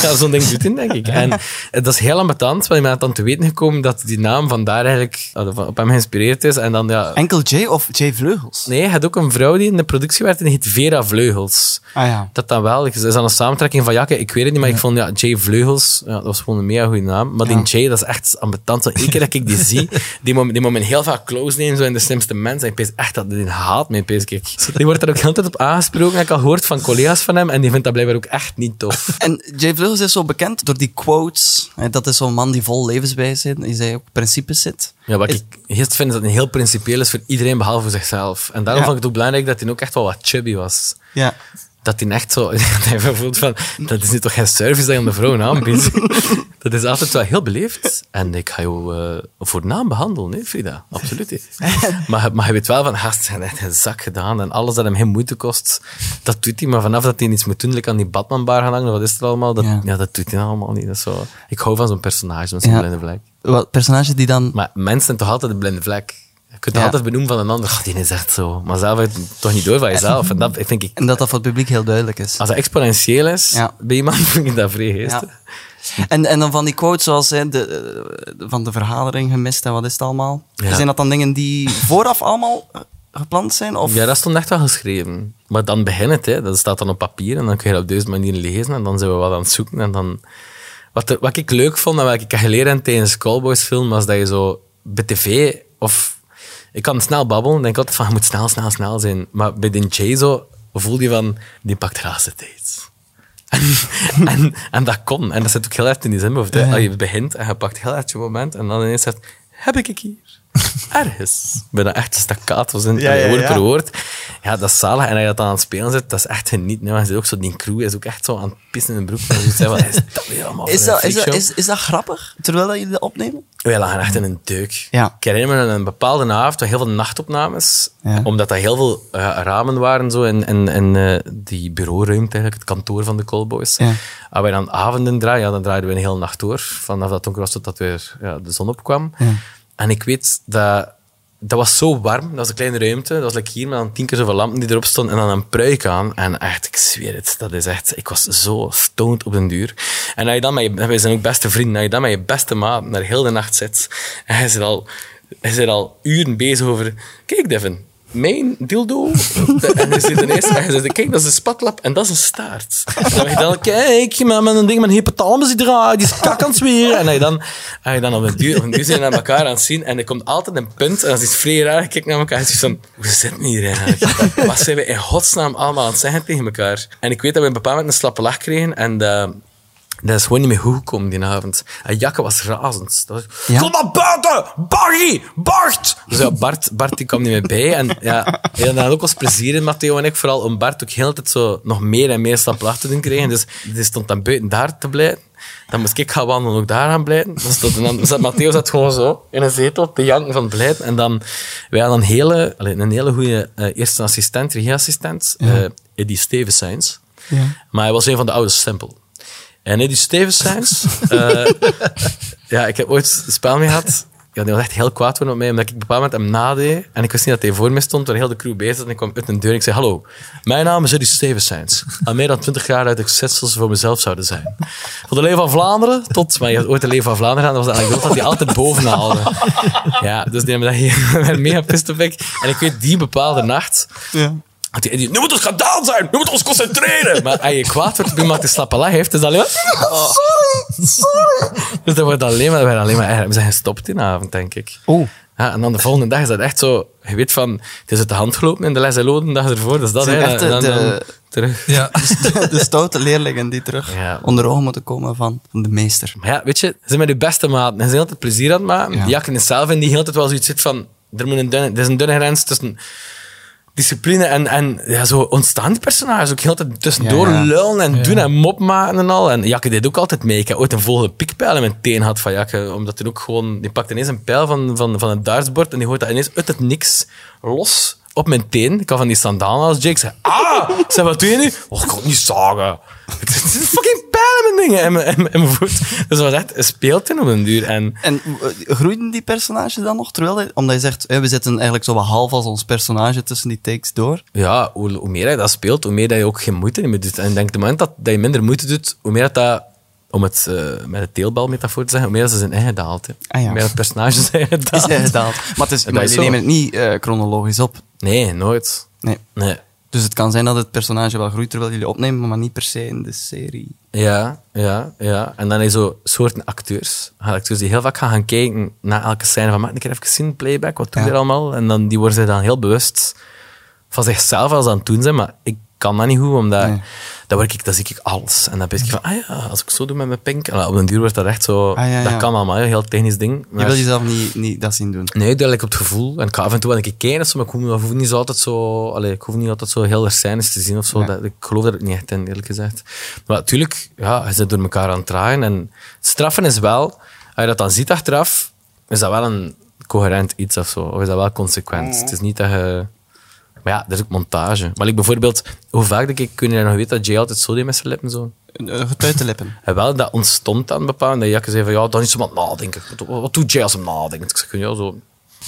B: Ja, zo'n ding doet hij, denk ik. En eh, dat is heel ambetant, want je bent dan te weten gekomen dat die naam vandaar eigenlijk eh, van- op hem geïnspireerd is. En dan, ja,
A: Enkel Jay of Jay Vleugels?
B: Nee, hij had ook een vrouw die in de productie werkte en die heet Vera Vleugels.
A: Ah ja.
B: Dat dan wel. Is dat een samentrekking van Jakke? Ik weet het niet, maar ik vond ja, Jay Vleugels, ja, dat was gewoon een mega goede naam. Maar die Jay, dat is echt ambetant. Zo, Eén keer dat ik die zie, die moet die moet men heel vaak close nemen, zo in de slimste mens. En ik pees echt dat die haat mee, pees ik. Die wordt er ook altijd op aangesproken. Heb ik al gehoord van collega's van hem en die vindt dat blijkbaar ook echt niet tof.
A: En Jay Vleugels is zo bekend door die quotes. Hè, Dat is zo'n man die vol levenswijs is, die zei ook principes zit.
B: Ja, wat
A: Is-
B: ik eerst vind is dat hij heel principieel is voor iedereen behalve voor zichzelf. En daarom
A: Ja.
B: vond ik het ook belangrijk dat hij ook echt wel wat chubby was.
A: Ja.
B: dat hij echt zo dat hij voelt van dat is nu toch geen service dat je aan de vrouwen aanbiedt. dat is altijd wel heel beleefd. En ik ga jou eh, voornaam behandelen, hè, Frida. Absoluut. hè. maar, maar je weet wel van gast zijn echt een zak gedaan en alles dat hem geen moeite kost, dat doet hij. Maar vanaf dat hij iets moet doen, like aan die Batmanbar gaan hangen, wat is er allemaal? Dat,
A: Ja.
B: ja. dat doet hij allemaal niet. Dat is zo, ik hou van zo'n personage met zo'n
A: Ja.
B: blinde vlek.
A: Wat personage die dan...
B: Maar mensen zijn toch altijd een blinde vlek. Je kunt
A: Ja.
B: het altijd benoemen van een ander. "Ah, die is echt zo. Maar zelf heb je het toch niet door van jezelf. En dat vind ik
A: En dat dat voor het publiek heel duidelijk is.
B: als dat exponentieel is
A: Ja.
B: bij iemand, vind ik dat vrij geestig.
A: Ja. En, en dan van die quotes zoals hè, de, eh, van de vergadering gemist en wat is het allemaal.
B: Ja.
A: Zijn dat dan dingen die vooraf allemaal eh, gepland zijn? Of...
B: Ja, dat stond echt wel geschreven. Maar dan begint het, hè. dat staat dan op papier en dan kun je dat op deze manier lezen en dan zijn we wat aan het zoeken. En dan... wat, er- wat ik leuk vond en wat ik heb geleerd tijdens Callboys film was dat je zo bij tv of... Ik kan snel babbelen, dan denk ik altijd van je moet snel, snel, snel zijn. Maar bij de Jay zo voel je van, die pakt de laatste tijd. En, en, en dat kon. En dat zit ook heel erg in die zin. Of de, als je begint en je pakt heel erg je moment en dan ineens zegt, heb ik ik hier? Ergens. Bijna echt staccato's in
A: Ja, ja,
B: woord
A: ja.
B: per woord. Ja, dat is zalig. En als je dat dan aan het spelen zit, dat is echt geniet. Nee, maar je ziet ook zo, die crew is ook echt zo aan het pissen in de broek. En zoiets, hè, wat is dat weer allemaal
A: Is
B: voor een
A: dat, is, dat,
B: freakshow?
A: is, is dat grappig, terwijl dat jullie dat opnemen?
B: Wij lagen echt in een deuk.
A: Ja.
B: Ik herinner me een bepaalde avond, heel veel nachtopnames,
A: Ja.
B: omdat dat heel veel eh, ramen waren zo in, in, in eh, die bureauruimte, eigenlijk, het kantoor van de Callboys.
A: Ja.
B: Als wij dan avonden draaien, ja, dan draaiden we een hele nacht door, vanaf dat donker was tot dat weer ja, de zon opkwam. En ik weet dat... Dat was zo warm, dat was een kleine ruimte. Dat was like hier met dan tien keer zoveel lampen die erop stonden en dan een pruik aan. En echt, ik zweer het, dat is echt... Ik was zo stoned op den duur. En als je dan met je... Wij zijn ook beste vrienden. Als je dan met je beste maat naar heel de nacht zit en hij zit al, hij zit al uren bezig over... Kijk, Devin, mijn dildo... en je zit ineens... En je zegt, kijk, dat is een spatlap en dat is een staart. En dan denk je dan, kijk, met, met een ding met een hypothalamus die draait, die is kak aan het zweren. En dan, je dan, en je dan op een duur, op een duur zijn we naar elkaar aan het zien. En er komt altijd een punt, en dat is iets vrij raar. Ik kijk naar elkaar en het is van, hoe zitten we hier eigenlijk? Wat zijn we in godsnaam allemaal aan het zeggen tegen elkaar? En ik weet dat we op een bepaald moment een slappe lach kregen. En eh, dat is gewoon niet meer goed gekomen die avond. En Jakke was razend. Dat was,
A: Ja?
B: Kom maar buiten! Barry! Bart! Dus ja, Bart, Bart die kwam niet meer bij. En ja, we hadden daar ook als plezier in, Matteo en ik, vooral om Bart ook heel de tijd zo nog meer en meer slaplach te doen krijgen. Dus die stond dan buiten daar te blijven. Dan moest ik gaan wandelen, ook daar gaan blijven. Dus dat, en dan zat Matteo zat gewoon zo in een zetel te janken van blijven. En dan, wij hadden een hele, allee, een hele goede eh, eerste assistent, regieassistent, eh Eddie Stevensijns. Maar hij was een van de oude stempel. En Eddie Stevensijns, eh, ja, ik heb ooit een spel mee gehad. Ja, die was echt heel kwaad worden op mij, omdat ik op een bepaald moment hem nadeed. En ik wist niet dat hij voor me stond, waar heel de crew bezig was. En ik kwam uit een deur en ik zei, hallo, mijn naam is Eddie Stevensijns. Al meer dan twintig jaar uit succesvol voor mezelf zouden zijn. Van de Leeuw van Vlaanderen tot, maar je had ooit de Leeuw van Vlaanderen aan, dat was de anekdote dat hij altijd bovenaan haalde. Ja, dus die hebben dat hier mega pist op ik. En ik weet, die bepaalde nacht,
A: Ja.
B: had die, die, nu moet het gedaan zijn, nu moeten we ons concentreren. maar als je kwaad wordt op iemand die slappe lach heeft, is dat alleen maar... Dus dat wordt alleen maar, dat wordt alleen maar erger. We zijn gestopt in de avond, denk ik.
A: Oh.
B: Ja, en dan de volgende dag is dat echt zo... Je weet van, het is uit de hand gelopen in de les en loden, de dag ervoor. Dus dat
A: Het zijn
B: hè, dan,
A: echt de-
B: dan, dan
A: de-
B: terug.
D: Ja.
A: Dus de stoute leerlingen die terug
B: Ja.
A: onder ogen moeten komen van de meester.
B: Maar ja, weet je, ze zijn met je beste maten. En ze zijn altijd plezier aan het maken.
A: Ja.
B: Die jakken is zelf in die heel tijd wel zoiets zit van... Er, moet een dunne, er is een dunne grens tussen discipline en, en ja, zo ontstaand personage. Ook heel de tijd tussendoor
A: Ja, ja.
B: lullen en doen en mop maken en al. En Jakke deed ook altijd mee. Ik heb ooit een volgende pikpijl in mijn teen gehad van Jakke. Omdat hij ook gewoon... Die pakt ineens een pijl van, van, van het dartsbord en die hoort dat ineens uit het niks los op mijn teen. Ik had van die sandalen als Jake. Ik zei, ah! Ik zei, wat doe je nu? Oh, ik kan het niet zagen. Het is een fucking pijl in mijn dingen, in mijn, in mijn- in mijn voet. Dus dat was echt een speeltuin op een duur. En
A: En eh, groeiden die personages dan nog? Terwijl hij- omdat je zegt, eh, we zitten eigenlijk zo wat half als ons personage tussen die takes door.
B: ja, hoe, hoe meer je dat speelt, hoe meer dat je ook geen moeite meer doet. En ik denk, op het moment dat, dat je minder moeite doet, hoe meer dat, dat om het eh, met de teelbalmetafoor te zeggen, hoe meer dat ze zijn eigen daalt. hè.
A: Ah, ja.
B: Hoe meer dat personage zijn eigen
A: Is
B: daalt.
A: hij gedaald? Maar, het is,
B: Dat
A: maar
B: is
A: die
B: zo.
A: nemen het niet eh, chronologisch op.
B: Nee, nooit.
A: Nee.
B: Nee.
A: Dus het kan zijn dat het personage wel groeit terwijl jullie opnemen, maar niet per se in de serie.
B: Ja, ja, ja. En dan heb je zo soorten acteurs. Acteurs die heel vaak gaan, gaan kijken naar elke scène van, maak een keer even zien, playback, wat doe je
A: Ja.
B: er allemaal? En dan, die worden zich dan heel bewust van zichzelf als aan het doen zijn, maar ik kan dat niet goed, omdat
A: Nee.
B: dan, word ik, dan zie ik alles. En dan ben ik van, ah ja, als ik zo doe met mijn pink, en op een duur wordt dat echt zo,
A: Ah, ja,
B: dat
A: ja.
B: kan allemaal, hè, een heel technisch ding.
A: Je
B: Maar-
A: wil jezelf niet, niet dat zien doen.
B: Nee, dat lijkt op het gevoel. En ik ga af en toe wel een keer kijken, of zo, maar ik hoef, ik hoef niet zo altijd zo... Allee, ik hoef niet altijd zo heel erg scènes te zien of zo.
A: Nee.
B: Dat, ik geloof daar niet echt in, eerlijk gezegd. Maar natuurlijk, ja, je zit door elkaar aan het draaien. En straffen is wel... Als je dat dan ziet achteraf, is dat wel een coherent iets of zo. Of is dat wel consequent. Het is niet dat je... Maar ja, dat is ook montage. Maar ik bijvoorbeeld, hoe vaak denk ik, kun je nog weten dat Jay altijd zo deed met zijn lippen zo?
A: Eh, Buitenlippen.
B: En wel, dat ontstond dan bepaald. Dat Jakke zei van, ja, dan is ze aan het nadenken. Wat, wat doet jij als hem nadenkt? Ik zeg, ja, zo.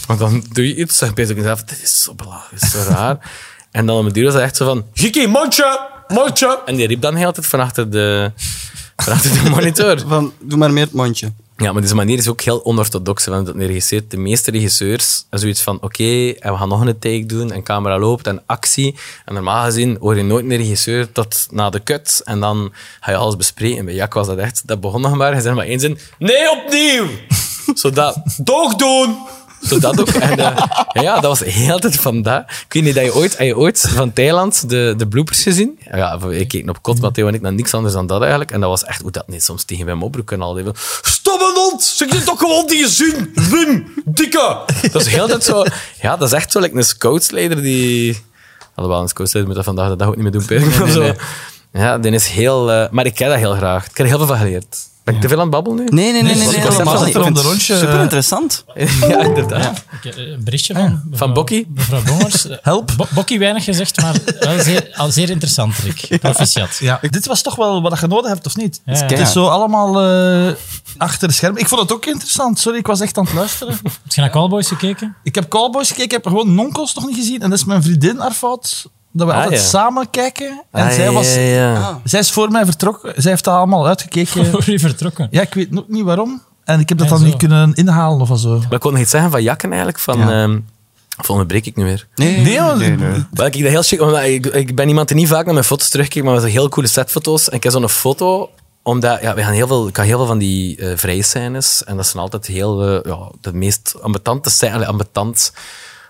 B: Want dan doe je iets en bezig jezelf, dit is zo belangrijk, dit is zo raar. en dan op een duur was hij echt zo van, Giki, mondje, mondje. En die riep dan heel altijd van achter de, van achter de monitor.
A: Van, doe maar meer het mondje.
B: Ja, maar deze manier is ook heel onorthodox. Want dat regisseur, de meeste regisseurs hebben zoiets van: oké, en we gaan nog een take doen, en camera loopt en actie. En normaal gezien hoor je nooit een regisseur tot na de cut en dan ga je alles bespreken. Bij Jack was dat echt, dat begon nog maar. Hij zei maar één zin: nee, opnieuw! Zodat, doog doen! Zodat ook. En, eh, ja, dat was heel tijd van dat. Ik weet niet, dat je ooit, heb je ooit van Thailand de, de bloopers gezien? Ja, ik keek op kot, Matteo en ik, naar niks anders dan dat eigenlijk. En dat was echt hoe dat niet soms tegen mijn oproep en al. Die van, Stomme hond! Zeg dit toch gewoon die je zin! Wim! Dikke! Dat is heel tijd zo... Ja, dat is echt zo like, een scoutsleider die... Alhoewel, een scoreslider moet dat vandaag de dag ook niet meer doen, Peter. of zo. Ja, die is heel... eh, maar ik ken dat heel graag. Ik heb er heel veel van geleerd. Ben ik te veel aan het babbelen nu?
A: Nee, nee, nee, nee.
D: het
A: nee,
D: concept
A: helemaal
D: was
A: niet.
D: er
A: Ik vind
D: om de
A: het
D: lunch, eh,
A: Super interessant.
B: ja, inderdaad.
C: Ik, eh, een berichtje van, mevrouw-
B: Ah, Van Bokkie?
C: Mevrouw Bongers.
D: Help.
C: Bo- Bokkie weinig gezegd, maar wel zeer, al zeer interessant, Rick. Proficiat.
D: Ja. Dit was toch wel wat je nodig hebt, of niet?
C: Ja, ja.
D: Het is zo allemaal eh, achter de schermen. Ik vond het ook interessant. Sorry, ik was echt aan het luisteren.
C: Heb je naar Cowboys gekeken?
D: ik heb Cowboys gekeken, ik heb gewoon Nonkels nog niet gezien. En dat is mijn vriendin haar fout. Dat we
B: Ah,
D: altijd
B: ja.
D: samen kijken. En
B: Ah,
D: zij,
B: ja,
D: was,
B: ja, ja.
D: zij is voor mij vertrokken. Zij heeft dat allemaal uitgekeken.
C: eh, Voor je vertrokken.
D: ja, ik weet ook niet waarom. En ik heb dat dan
C: Nee, zo.
D: niet kunnen inhalen of zo.
B: Maar ik kon nog iets zeggen van Jakken eigenlijk. Van,
A: Ja.
B: ehm, of onderbreek ik nu weer?
A: Nee,
D: Nee, want-
B: Wel, ik, vind dat heel chic, omdat ik, ik ben iemand die niet vaak naar mijn foto's terugkijkt, maar we hebben heel coole setfoto's. En ik heb zo'n foto, omdat ja, we gaan heel veel, ik ga heel veel van die eh vrije scènes. En dat zijn altijd heel, eh, ja, de meest ambetante scènes. allee, Ambetant,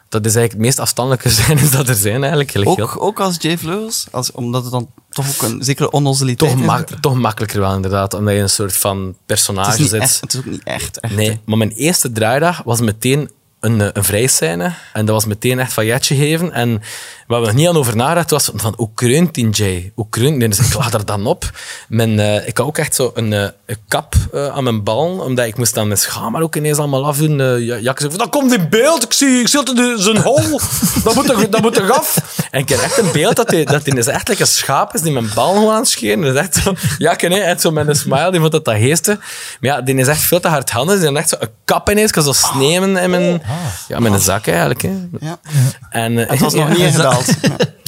B: dat is eigenlijk het meest afstandelijke scènes dat er zijn eigenlijk. Heel heel-
A: Ook, ook als Jay Vleugels, als, omdat het dan toch ook een zekere onnozeliteit
B: toch,
A: is.
B: mak- toch makkelijker wel inderdaad, omdat je een soort van
A: Het is,
B: personage
A: niet
B: zit.
A: echt, het is ook niet echt. echt hè.
B: Nee, maar mijn eerste draaidag was meteen een, eh, een vrijscène. En dat was meteen echt van jetje geven. En waar we nog niet aan over nadachten was van hoe kreunt die Jay? Hoe kreunt die? Dus ik laat er dan op. Mijn, eh, ik had ook echt zo een, eh, een kap eh, aan mijn bal, omdat ik moest dan mijn schaam maar ook ineens allemaal afdoen. Eh, ja, Jakke zei van, dat komt in beeld. Ik zie, ik zie altijd de- zijn hol. Dat moet er, dat moet er af. En ik heb echt een beeld dat hij dat die dus echt like een schaap is die mijn bal gewoon aan het scheren. Dat is echt zo, Jakke, nee, echt zo met een smile. Die vond dat dat heeste. Maar ja, die is echt veel te hardhandig. Die heeft echt zo een kap ineens. Ik kan zo snemen in mijn, ja, in mijn zak eigenlijk. Hè.
A: Ah. Ja.
B: En, eh,
A: Het was nog niet
B: ja,
A: ingedaald.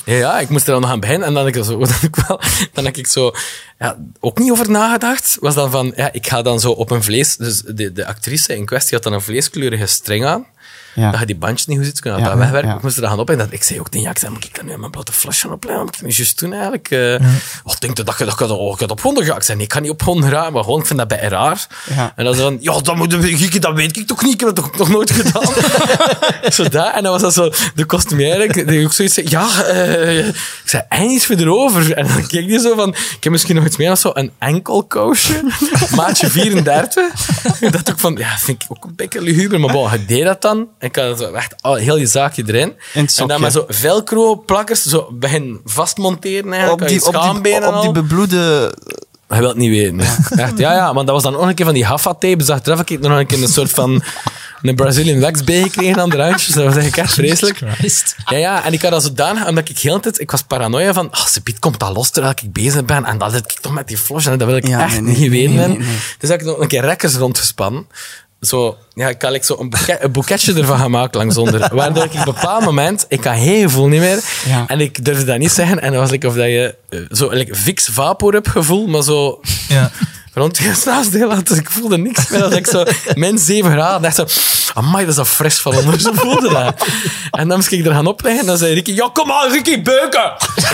B: ja, ja, ik moest er dan nog aan beginnen. En dan heb ik, er zo, dan heb ik, wel, dan heb ik zo ja, ook niet over nagedacht. Was dan van, ja, ik ga dan zo op een vlees... Dus de, de actrice in kwestie had dan een vleeskleurige streng aan.
A: Ja.
B: Dat je die bandjes niet goed ziet, kun je
A: Ja,
B: dat wegwerken.
A: ja.
B: Ik moest er dan gaan op en dat, ik zei ook tegen ja, ik zei, moet ik dan nu mijn blote flesje opleggen? Moet ik dat juist doen eigenlijk? Eh, Wat denk je dat je dat, dat, dat, dat op 100 gaat? Ik zei, nee, ik kan niet op 100 gaan, maar gewoon, ik vind dat bij raar.
A: Ja.
B: En dan zo van, ja, dat, moet, ik- dat weet ik toch niet, ik heb dat toch nog nooit gedaan. zo dat, en dan was dat zo, de costumier, die ook zoiets zei, ja, eh, ik zei, en iets voor erover. En dan keek die zo van, ik heb misschien nog iets meer dan zo een enkelkousje, maatje 34. Ik dacht ook van, ja, vind ik ook een beetje luguber, maar bon, ik deed dat dan. Ik had zo echt al, heel je zaakje erin.
A: In het
B: en
A: sokje.
B: dan met zo velcro plakkers, zo begin vastmonteren eigenlijk,
A: Op die,
B: aan je
A: op die,
B: schaambenen
A: op die
B: al.
A: bebloede...
B: Hij wil het niet weten. Echt, ja, ja, want dat was dan nog een keer van die Haffa-tape. Dus achteraf heb ik nog een keer een soort van een Brazilian wax bijgekregen aan de randjes. Dat was eigenlijk echt vreselijk.
C: Christ.
B: Ja, ja, en ik had dat zodanig, omdat ik heel de tijd, ik was paranoia van, ah, Sebiet komt dat los terwijl ik bezig ben. En dat zit ik toch met die flos en dat wil ik
A: Ja,
B: echt
A: nee, nee,
B: niet weten.
A: nee, nee,
B: hebben.
A: nee.
B: Dus heb ik nog een keer rekkers rondgespannen. Zo, ja, ik had like, zo een, boeket- een boeketje ervan gemaakt langs onder. Waardoor ik op een bepaald moment, ik had geen gevoel niet meer.
A: Ja.
B: En ik durfde dat niet zeggen. En dat was like, of dat je eh, zo like, fix vapor hebt gevoel, maar zo
D: Ja.
B: rond je snaasdeel had. Dus ik voelde niks meer. Als ik zo min 7 graden dacht zo, amai, dat is al fris van onder. Zo voelde dat. En dan moest ik er gaan opleggen en dan zei Ricky, ja, kom aan, Ricky, beuken!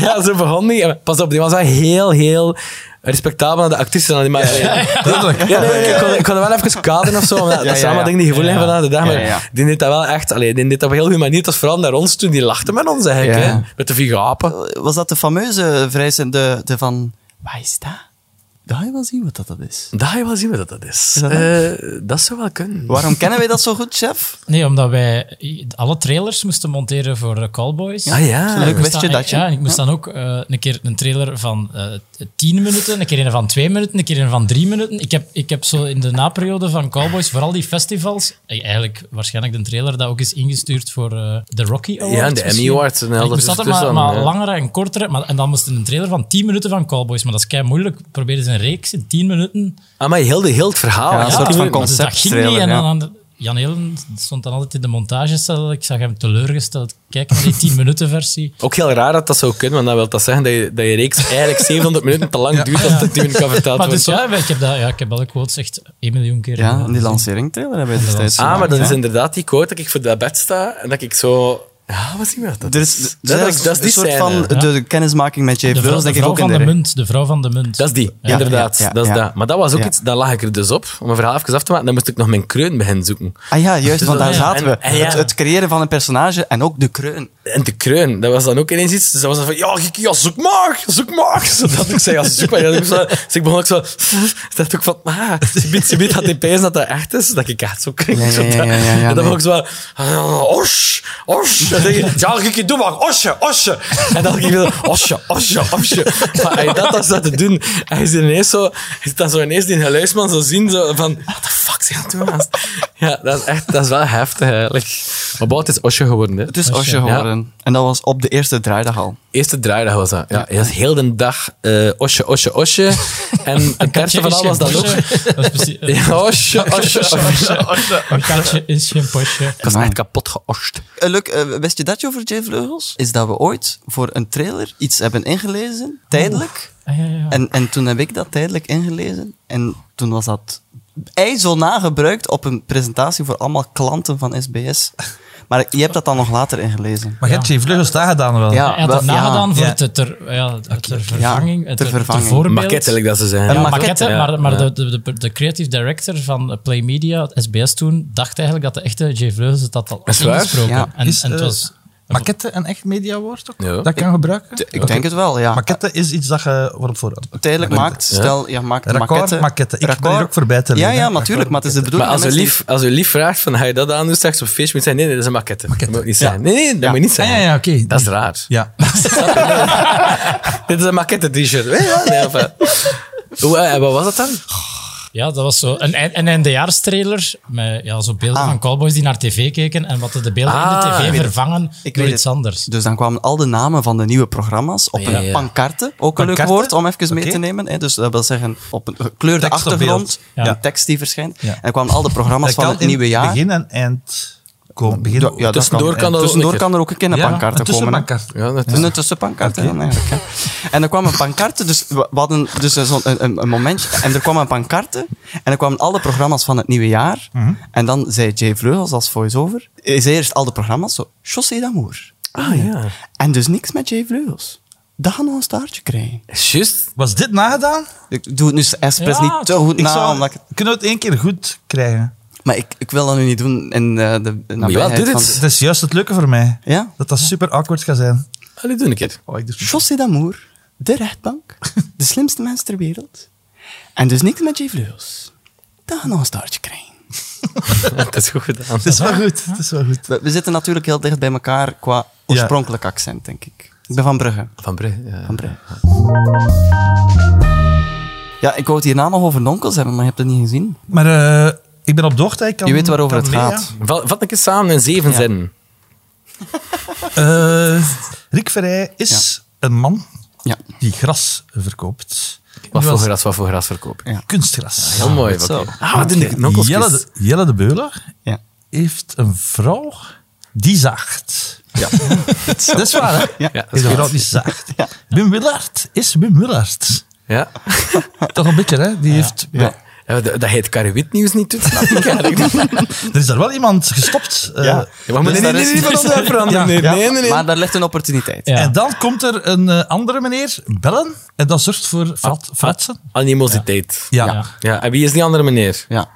B: ja, zo begon die. En Pas op, die was wel heel, heel respectabel aan de actrice. Maar, ja, nee, nee, nee, ik, kon, ik kon er wel even kaderen of zo. Maar dat
A: Ja,
B: is
A: ja,
B: allemaal
A: ja.
B: dingen die gevoel hebben van de dag. Maar
A: Ja, ja.
B: die deed dat wel echt. Allee, die deed dat op een heel goede manier. Het was vooral naar ons toen. Die lachte met ons eigenlijk.
A: Ja.
B: Hè? Met de vier apen.
A: Was dat de fameuze vrijzin, de, de van... Waar is dat? Daar je wel zien wat dat, dat is.
B: Daar wil je wel zien wat dat is.
A: dat
B: Eh, dat zou wel kunnen.
A: Waarom kennen wij dat zo goed, chef?
C: Nee, omdat wij alle trailers moesten monteren voor eh, Cowboys.
B: Ah ja,
A: Leuk,
C: Ik moest
A: wist je
C: dan-
A: dat je?
C: Ja, en ik moest dan ook eh, een keer een trailer van eh, tien minuten, een keer een van twee minuten, een keer een van drie minuten. Ik heb, ik heb zo in de naperiode van Cowboys, vooral die festivals, eh, eigenlijk waarschijnlijk de trailer dat ook is ingestuurd voor eh, de Rocky Awards.
B: Ja, de Emmy
C: misschien.
B: Awards en al
C: En Ik
B: dat
C: moest altijd maar,
B: ertussen,
C: maar
B: ja.
C: langere en kortere. Maar, en dan moest een trailer van tien minuten van Cowboys. Maar dat is kei moeilijk. Probeer eens een reeks in tien minuten.
B: Ah, maar heel, de- heel het verhaal.
A: Ja,
B: Ja,
A: een soort
B: die
A: van
B: wil-
A: concept.
C: Dus dat ging niet.
A: trailer,
C: En dan
A: ja.
C: aan de- Jan Helen stond dan altijd in de montagecel. Ik zag hem teleurgesteld kijken naar die 10 minuten versie.
B: Ook heel raar dat dat zou kunnen, want dat wil dat zeggen dat je, dat je reeks eigenlijk 700 minuten te lang duurt dat het niet kan verteld
C: Maar
B: worden.
C: dus ja, ik heb, dat, ja, ik heb alle quotes echt 1 miljoen keer.
A: Ja,
C: gedaan.
A: die lanceringtrailer hebben we destijds
B: Ah, maar
A: gemaakt,
B: dat is
A: hè.
B: inderdaad die quote dat ik voor dat bed sta en dat ik zo... Ja, wat zien we dat?
A: Er is,
B: dat,
A: zelfs
B: is, dat is die
A: een soort
B: scène.
A: van
C: ja.
A: de kennismaking met Jay
C: De vrouw,
A: Vleugels,
C: de
A: denk ik
C: vrouw
A: ook in
C: van
A: de
C: de
A: ring.
C: munt. De vrouw van de munt.
B: Dat is die,
A: Ja,
B: inderdaad.
A: ja, ja,
B: dat is
A: ja.
B: dat. Maar dat was ook
A: Ja.
B: iets, daar lag ik er dus op, om een verhaal even af te maken. Dan moest ik nog mijn kreun beginnen zoeken.
A: Ah ja, juist, want daar
B: Ja,
A: zaten
B: Dus en-
A: we.
B: en ja.
A: Het, het creëren van een personage en ook de kreun.
B: En te kreun, dat was dan ook ineens iets. Dus dat was dan van, ja, ik, ja zoek maar, zoek maar. Zodat ik zei, ja, zoek maar. Ja, dat ik zo, dus ik begon ook zo, dat ook van, ah, ze biedt, ze biedt dat in pees dat dat echt is, dat ik echt zo kreeg.
A: Ja, ja,
B: Zo dat-
A: ja, ja, ja, nee.
B: en dan begon ik zo, ah, os, os. Dan denk je, ja, ik doe maar, osje, osje. En dan ging ik zo, osje, osje, osje. Maar hij dat was dat te doen. Hij is ineens zo, hij zit dan zo ineens die geluidsman zo zien, zo van, what the fuck is hij aan het doen? gast? Ja, dat is echt, dat is wel heftig eigenlijk. Maar Bout is osje geworden, hè.
A: Het is
C: Osje.
A: Osje geworden. En dat was op de eerste draaidag al.
B: Eerste draaidag was dat. Ja, dat is heel de dag eh osje, osje, osje. En het beste van alles was dat ook.
C: Dat is precies, eh,
B: Ja, osje, osje, osje.
C: Een katje is geen potje.
B: Ik was echt kapot geoscht.
A: Eh, Luc, eh, wist je dat je over Jay Vleugels? Is dat we ooit voor een trailer iets hebben ingelezen, tijdelijk.
C: Ah, ja, ja.
A: En, en toen heb ik dat tijdelijk ingelezen. En toen was dat ijzelna gebruikt op een presentatie voor allemaal klanten van SBS. Maar je hebt dat dan nog later ingelezen.
D: Maar je hebt je vleugels daar gedaan wel.
A: Ja.
C: Hij had
A: wel,
C: het nagedaan voor
D: ja.
C: het ter, ja, ter vervanging.
A: Ja,
C: het
A: ter vervanging.
C: voorbeeld.
B: Maquette, like dat ze zijn.
C: Ja,
A: Een
C: maquette,
A: maquette,
B: ja.
C: maar, maar
B: Ja.
C: De, de, de, de creative director van Play Media, SBS toen, dacht eigenlijk dat de echte Jay Vleugels het had al
B: Is het waar?
C: ingesproken.
A: Ja.
C: En,
D: Is,
C: en het
D: eh,
C: was...
D: Maquette een echt mediawoord ook?
B: Ja.
D: Dat kan gebruiken?
A: T- Ik denk het wel, ja.
D: Maquette is iets dat je wordt voor.
A: Tijdelijk maakt,
B: Ja.
A: stel, ja, maakt een
D: Record,
A: maquette.
D: maquette. Ik ben
A: Record.
D: hier ook voorbij te
A: Ja,
D: leren,
A: ja,
D: hè.
A: natuurlijk, maar het is de
B: Maar
A: bedoeling.
B: als u,
A: dat mensen
B: lief, als u lief vraagt van, ga je dat aan doen straks op feest? Moet je zeggen, nee, nee, dat is een maquette. Dat moet niet zijn. Nee, nee, dat moet niet zijn.
D: Ah, oké.
B: Dat is raar.
D: Ja.
B: Dit is een maquette t-shirt. Nee, ja, nee, of, eh. Hoe, eh, wat was dat dan?
C: Ja, dat was zo. Een, eind- een eindejaarstrailer met ja, zo beelden van cowboys die naar tv keken en wat de beelden in
B: Ah,
C: de
B: ik weet
C: tv
B: het.
C: vervangen
A: Ah. Ik
C: door
A: weet
C: iets
A: het.
C: anders.
A: Dus dan kwamen al de namen van de nieuwe programma's op
B: Ja,
A: een
B: ja.
A: pancarte. Ook een leuk
D: Pancarte?
A: woord om even mee
D: Oké.
A: te nemen. Hè. Dus dat wil zeggen op een gekleurde
D: Tekst op
A: achtergrond,
C: beeld. Ja.
A: een tekst die verschijnt.
D: Ja.
A: En dan kwamen al de programma's
D: Dat
A: van
D: kan
A: het
D: in
A: nieuwe jaar.
D: Begin en eind. Kom, begin.
A: Ja, dat
B: Tussendoor kan dat ook
A: Tussendoor
B: een
A: kan er ook een kinderpancarte komen. hè.
D: tussenbankkaart.
B: Ja, dat
A: Een tussenpancarte dan eigenlijk. hè. En er kwam een pancarte, dus we we hadden dus een, zo'n- een, een- een momentje. En er kwam een pancarte en er kwamen al de programma's van het nieuwe jaar. En dan zei Jay Vleugels als voice-over, eh, zei eerst al de programma's zo, Chaussée d'amour.
B: Ah, ja.
A: En dus niks met Jay Vleugels. Dat gaan we een staartje krijgen.
B: Juist.
D: Was dit nagedaan?
A: Ik doe het nu expres
C: Ja,
A: niet te goed
D: Ik
A: na,
D: zou,
A: Nou, omdat ik,
D: Kunnen we het één keer goed krijgen?
A: maar ik, ik wil dat nu niet doen in eh, de de nabijheid
B: doe dit.
D: Dat is juist het leuke voor mij.
A: Ja?
D: Dat dat super awkward gaat zijn.
B: Allee, doe een keer.
D: Oh, ik doe
A: José d'Amour, de rechtbank, de slimste mens ter wereld. En dus niks met Jay Vleugels. Dan gaan we een staartje krijgen.
B: Dat is goed gedaan.
D: Het is wel goed. Het is wel goed.
A: We, we zitten natuurlijk heel dicht bij elkaar qua oorspronkelijk accent, denk ik. Ik ben van Brugge.
B: Van Brugge. Ja.
A: Van Brugge. Ja, ik wou het hierna nog over nonkels hebben, maar je hebt het niet gezien.
D: Maar eh, ik ben op de hoogte. Ik kan,
A: Je weet waarover
D: kan
A: het
D: mee,
A: gaat.
B: Vat vat een keer samen in zeven zinnen.
D: ja. Eh, Rick Verrij is een man
A: Ja.
D: die gras verkoopt.
B: Wat
D: Nu
B: voor
D: als
B: gras, wat voor gras verkopen.
A: Ja.
D: Kunstgras.
B: Heel mooi.
A: goed zo.
B: oké. Ah, wat doen de knokkeltjes?
D: Jelle de, Jelle de Beuler
A: Ja.
D: heeft een vrouw die zaagt.
B: Ja.
D: Dat is waar, hè?
A: Ja,
B: dat
D: Heeft
B: is
D: een vrouw
B: waar.
D: die zaagt. Wim Willard is Wim Willard.
B: Ja.
D: Toch een beetje, hè? Die heeft...
A: Ja.
B: Ja, dat, dat heet Caribiet nieuws niet doet, snap ik eigenlijk niet.
D: Er is daar wel iemand gestopt. eh,
A: Ja.
B: Ja, maar nee, nee, nee, nee, nee, nee, veranderen. Nee,
A: Ja,
B: nee, nee, nee.
A: Maar daar ligt een opportuniteit.
C: Ja.
D: En dan komt er een eh, andere meneer bellen. En dat zorgt voor frat, fratsen.
B: Animositeit.
D: Ja.
C: Ja.
B: Ja, en wie is die andere meneer?
A: Ja.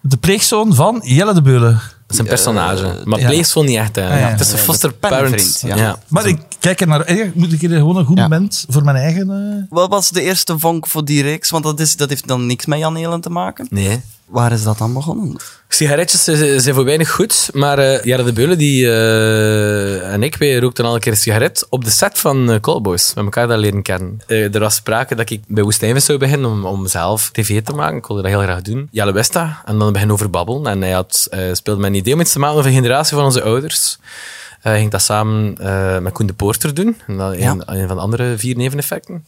D: De pleegzoon van Jelle de Beulen.
B: Dat is een personage. Maar
D: ja.
B: pleegzoon niet echt. Hè.
D: ja, ja.
B: Het Eh, is een
A: Ja,
B: foster
A: dat is een
B: parent. Ja.
A: pennenvriend, ja.
D: Maar ik kijk er naar uit. Moet ik hier gewoon een goed
A: Ja.
D: moment voor mijn eigen... eh,
A: Wat was de eerste vonk voor die reeks? Want dat, is, dat heeft dan niks met Jan Helen te maken.
B: Nee.
A: Waar is dat dan begonnen?
B: Sigaretjes eh, zijn voor weinig goed, maar eh Jaren de Beulen die, eh, en ik wij rookten al een keer een sigaret op de set van eh, Callboys. Met elkaar dat leren kennen. Eh, er was sprake dat ik bij Woestijnvis zou beginnen om, om zelf tv te maken. Ik wilde dat heel graag doen. Jelle wist dat. En dan beginnen over babbelen. En hij had, eh, speelde mij een idee om iets te maken over een generatie van onze ouders. Eh, ging dat samen eh, met Koen de Poorter doen. En dan
A: Ja.
B: een, een van de andere vier neveneffecten.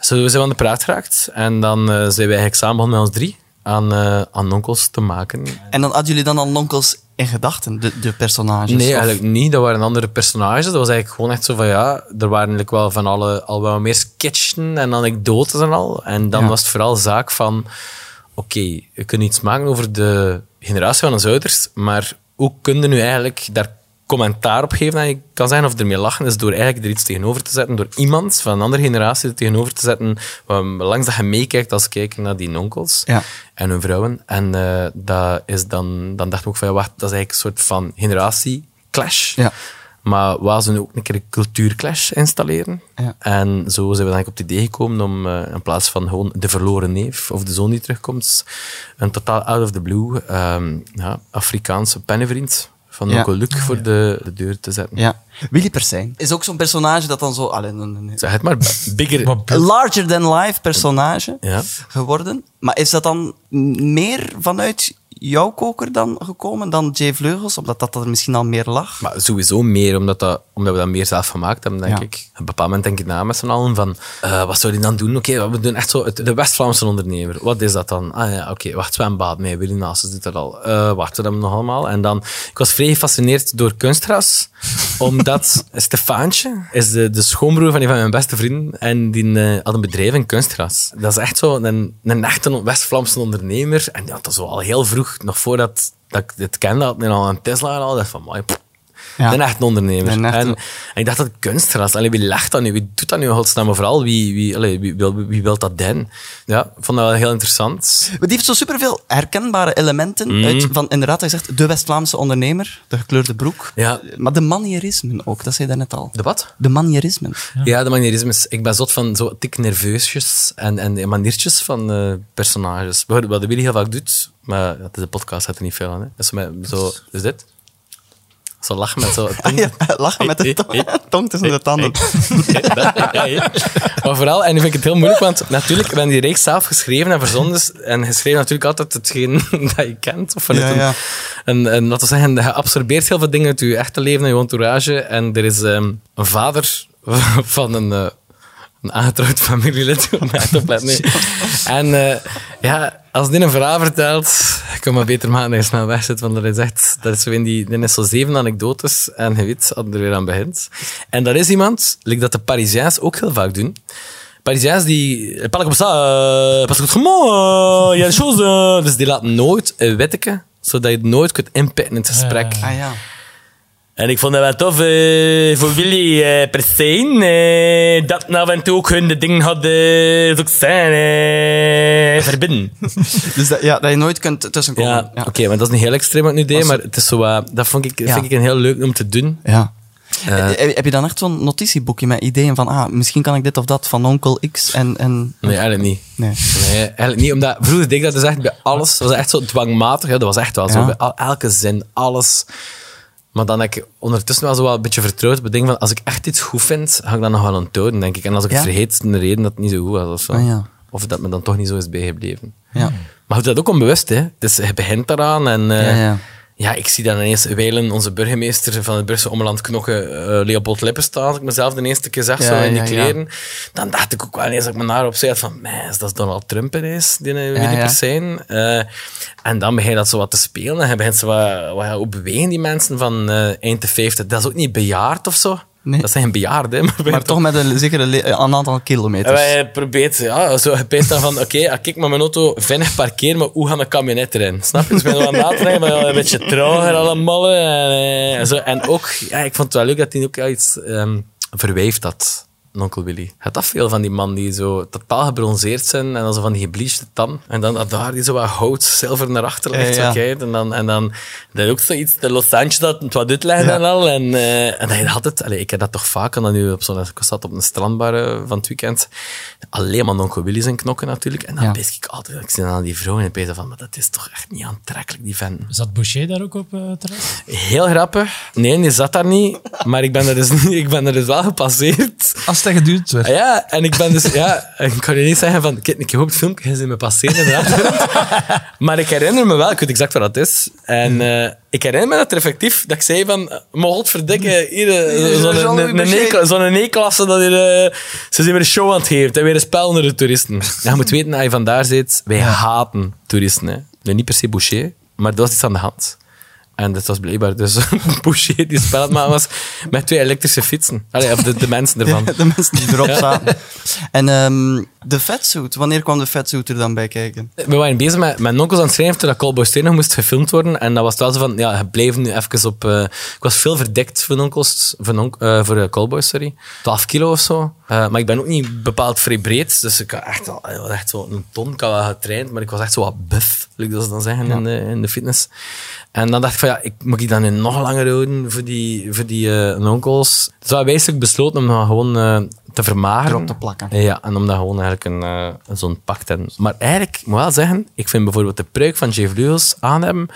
B: Zo zijn we aan de praat geraakt. En dan eh, zijn wij eigenlijk samen begonnen met ons drie aan, eh aan onkels te maken.
A: En dan hadden jullie dan al nonkels in gedachten, de, de personages?
B: Nee,
A: Of-
B: eigenlijk niet. Dat waren andere personages. Dat was eigenlijk gewoon echt zo van ja. Er waren eigenlijk wel van alle al wel meer sketchen en anekdotes en al. En dan
A: Ja.
B: was het vooral zaak van: oké, we kunnen iets maken over de generatie van ons ouders, maar hoe kun je nu eigenlijk daar commentaar op geven? En je kan zeggen of ermee lachen is door eigenlijk er iets tegenover te zetten, door iemand van een andere generatie er tegenover te zetten, waar- langs dat je meekijkt als kijken naar die onkels
A: Ja.
B: en hun vrouwen. En eh, dat is dan, dan dacht ik ook van, ja, wacht, dat is eigenlijk een soort van generatieclash.
A: Ja.
B: Maar waar ze nu ook een keer een cultuurclash installeren.
A: Ja.
B: En zo zijn we dan eigenlijk op het idee gekomen om eh, in plaats van gewoon de verloren neef of de zoon die terugkomt, een totaal out of the blue ehm, ja, Afrikaanse pennenvriend van
A: Ja.
B: onkel Luc voor de, de deur te zetten.
A: Ja. Willy Persijn is ook zo'n personage dat dan zo... Allee, een, een-
B: Zeg het maar, bigger.
A: een larger than life personage
B: Ja.
A: geworden. Maar is dat dan meer vanuit jouw koker dan gekomen dan Jay Vleugels? Omdat dat er misschien al meer lag.
B: Maar sowieso meer, omdat, dat, omdat we dat meer zelf gemaakt hebben, denk
A: Ja.
B: ik. Op een bepaald moment denk ik na met z'n allen van, eh, wat zou die dan doen? Oké, we doen echt zo het, de West-Vlaamse ondernemer. Wat is dat dan? Ah ja, oké, wacht, zwembad. Nee, Willy Nasus doet dat al. Eh wacht, we hebben nog allemaal. En dan, ik was vrij gefascineerd door kunstgras, omdat Stefaantje is de, de schoonbroer van een van mijn beste vrienden en die eh, had een bedrijf in kunstgras. Dat is echt zo een, een echte West-Vlaamse ondernemer. En ja, dat is al heel vroeg, nog voordat dat ik dit kende, had men al een Tesla en al. Dat van, mooi,
A: Ja.
B: een echt ondernemer.
A: Een echte-
B: En, en ik dacht dat kunstgras. Allee, wie lacht dat nu? Wie doet dat nu in godsnaam? Maar vooral, wie, wie, allee, wie, wil, wie wil dat den? Ja, ik vond dat wel heel interessant.
A: Maar die heeft zo superveel herkenbare elementen uit van, inderdaad, hij zegt, de West-Vlaamse ondernemer, de gekleurde broek.
B: Ja.
A: Maar de manierismen ook, dat zei je daarnet al.
B: De wat?
A: De manierismen.
B: Ja, de manierismes. Ik ben zot van zo tik nerveusjes en, en maniertjes van eh, personages. Wat wat de Willy heel vaak doet, maar ja, het is een podcast, had er niet veel aan. Hè. Dat is met, zo, is dit? Zo lachen met zo...
A: Ah, ja, lachen met de
B: Hey,
A: tong,
B: hey, hey.
A: tong tussen de tanden.
B: Maar vooral, en nu vind ik het heel moeilijk, want natuurlijk, ben die reeks zelf geschreven en verzonden is, en geschreven natuurlijk altijd hetgeen dat je kent. Of vanuit
A: Ja, ja.
B: Een, een, een, laten we zeggen, je absorbeert heel veel dingen uit je echte leven en je entourage. En er is ehm, een vader van een, eh, een aangetrouwd familielid. om na te opletten, nee. En eh, ja, als die een verhaal vertelt, ik kan maar beter maken dat je snel weg zit, want dat is echt, dat is zo in die, die is zo zeven anekdotes en je weet dat er weer aan begint. En dat is iemand, like dat de Parisiens ook heel vaak doen, Parisiens die... eh, Parle comme ça, euh, parce que autrement, il y a des choses... euh. Dus die laat nooit een witteke, zodat je het nooit kunt inpikken in het gesprek.
A: Ah ja.
B: En ik vond dat wel tof eh, voor Willy eh per se. eh, dat af en toe ook hun de dingen hadden... Zo zijn, eh, verbinden.
A: Dus dat, ja, dat je nooit kunt tussenkomen.
B: Ja,
A: ja. Altså-
B: oké, maar dat is niet heel extreem wat ik nu deed, maar het is zo, eh, dat vond ik,
A: Ja.
B: vind ik een heel leuk om te doen.
A: Ja.
B: Eh.
A: Heb heb je dan echt zo'n notitieboekje met ideeën van, ah, misschien kan ik dit of dat van onkel X en... en...
B: Nee, eigenlijk niet.
A: Nee.
B: Nee, eigenlijk niet. Omdat vroeger deed ik dat dus echt bij alles. Dat was echt zo dwangmatig. Hè. Dat was echt wel zo.
A: Ja.
B: Bij al- elke zin, alles. Maar dan heb ik ondertussen wel zo wel een beetje vertrouwd op het ding van als ik echt iets goed vind, ga ik dat nog wel onthouden, denk ik. En als ik het
A: Ja?
B: vergeet, is het een reden dat het niet zo goed was of zo.
A: Ah, ja.
B: Of dat me dan toch niet zo is bijgebleven.
A: Ja.
B: Maar goed, dat is ook onbewust, hè. Dus je begint daaraan en... eh,
A: Ja, ja.
B: ja, ik zie dan ineens Weilen, onze burgemeester van het Brugse Ommeland Knokken, eh, Leopold Lippen staan. Als ik mezelf de eerste keer zag,
A: Ja,
B: zo in die
A: ja, ja.
B: kleren. Dan dacht ik ook wel ineens dat ik mijn haar opzij had van, meis, dat is Donald Trump ineens, die eh, weet ik
A: ja.
B: per zijn. Eh, en dan begint dat zo wat te spelen. En je begint zo wat, wat, hoe bewegen die mensen van eh eind de 50? Dat is ook niet bejaard of zo.
A: Nee.
B: Dat zijn geen bejaarden, hè, maar,
A: Maar toch met een zekere le- een aantal
B: en
A: kilometers.
B: wij eh, probeert, ja, zo gepeest dan van, oké, ja, kijk maar mijn auto vinnig parkeer, maar hoe gaat mijn kabinet erin? Snap je? Dus ik ben wel aan het nadenken, maar een beetje trager allemaal. En, eh, en zo. en ook, ja, ik vond het wel leuk dat hij ook ja, iets ehm verwijfd had, onkel Willy. Het af veel van die man die zo totaal gebronzeerd zijn en dan zo van die gebleached tan. En dan dat daar die zo wat hout, zilver naar achter ligt,
A: Eh, Ja, ja.
B: zo kijkt. En dan, en dan dat ook zoiets, de Los Angeles dat het wat uitleggen en al. En, eh, en dat je altijd, allee, ik heb dat toch vaak, en dan nu op zo'n, ik zat op een strandbar eh, van het weekend, alleen maar onkel Willy zijn knokken natuurlijk. En dan
A: Ja.
B: pees ik altijd, ik zie dan aan die vrouw en ik pees van, maar dat is toch echt niet aantrekkelijk, die vent.
C: Zat Boucher daar ook op eh terecht?
B: Heel grappig. Nee, die zat daar niet, maar ik ben er dus, niet- ik ben er dus wel gepasseerd.
D: Als dat geduwd werd.
B: Ja, en ik ben dus, ja, ik kan je niet zeggen van, kijk, ik heb ook het filmpje gezien me passeren. inderdaad. maar ik herinner me wel, ik weet exact wat dat is. En eh, ik herinner me dat er effectief, dat ik zei van, eh, maar godverdikke, hier, eh,
A: Hier,
B: zo'n
A: Jean-Louis
B: een- een
A: Boucher.
B: E-kla- zo'n E-klasse, dat hier, eh, ze zijn weer een show aan het geven en weer een spel naar de toeristen. Ja, je moet weten, als je vandaar zit, wij haten toeristen. Hè. Nu, niet per se Boucher, maar er was iets aan de hand. En dat was blijkbaar dus Boucher die spel aan het maken was met twee elektrische fietsen. Allee, of de, de mensen ervan.
A: De mensen die erop zaten. En ehm, De vetsuit. Wanneer kwam de vetsuit er dan bij kijken?
B: We waren bezig met, met Nonkels aan het schrijven toen dat Callboy Steno moest gefilmd worden. En dat was wel zo van, ja, het bleef nu even op... eh, ik was veel verdikt voor Nonkels, voor, nonk, eh, voor eh, Callboy, sorry. 12 kilo of zo. Eh, maar ik ben ook niet bepaald vrij breed. Dus ik had echt, wel- ik was echt zo een ton. Ik had wel getraind, maar ik was echt zo wat buff, wil ik dat dan zeggen, in, de, in de fitness. En dan dacht ik van, ja, ik, moet ik dan nu nog langer houden voor die, voor die eh, Nonkels? Dus we hebben eigenlijk besloten om dat gewoon eh, te vermageren.
A: Erop te plakken.
B: Ja, en om dat gewoon eigenlijk een, eh, zo'n pak te hebben. Maar eigenlijk, ik moet wel zeggen, ik vind bijvoorbeeld de pruik van Jay Vleugels aan hem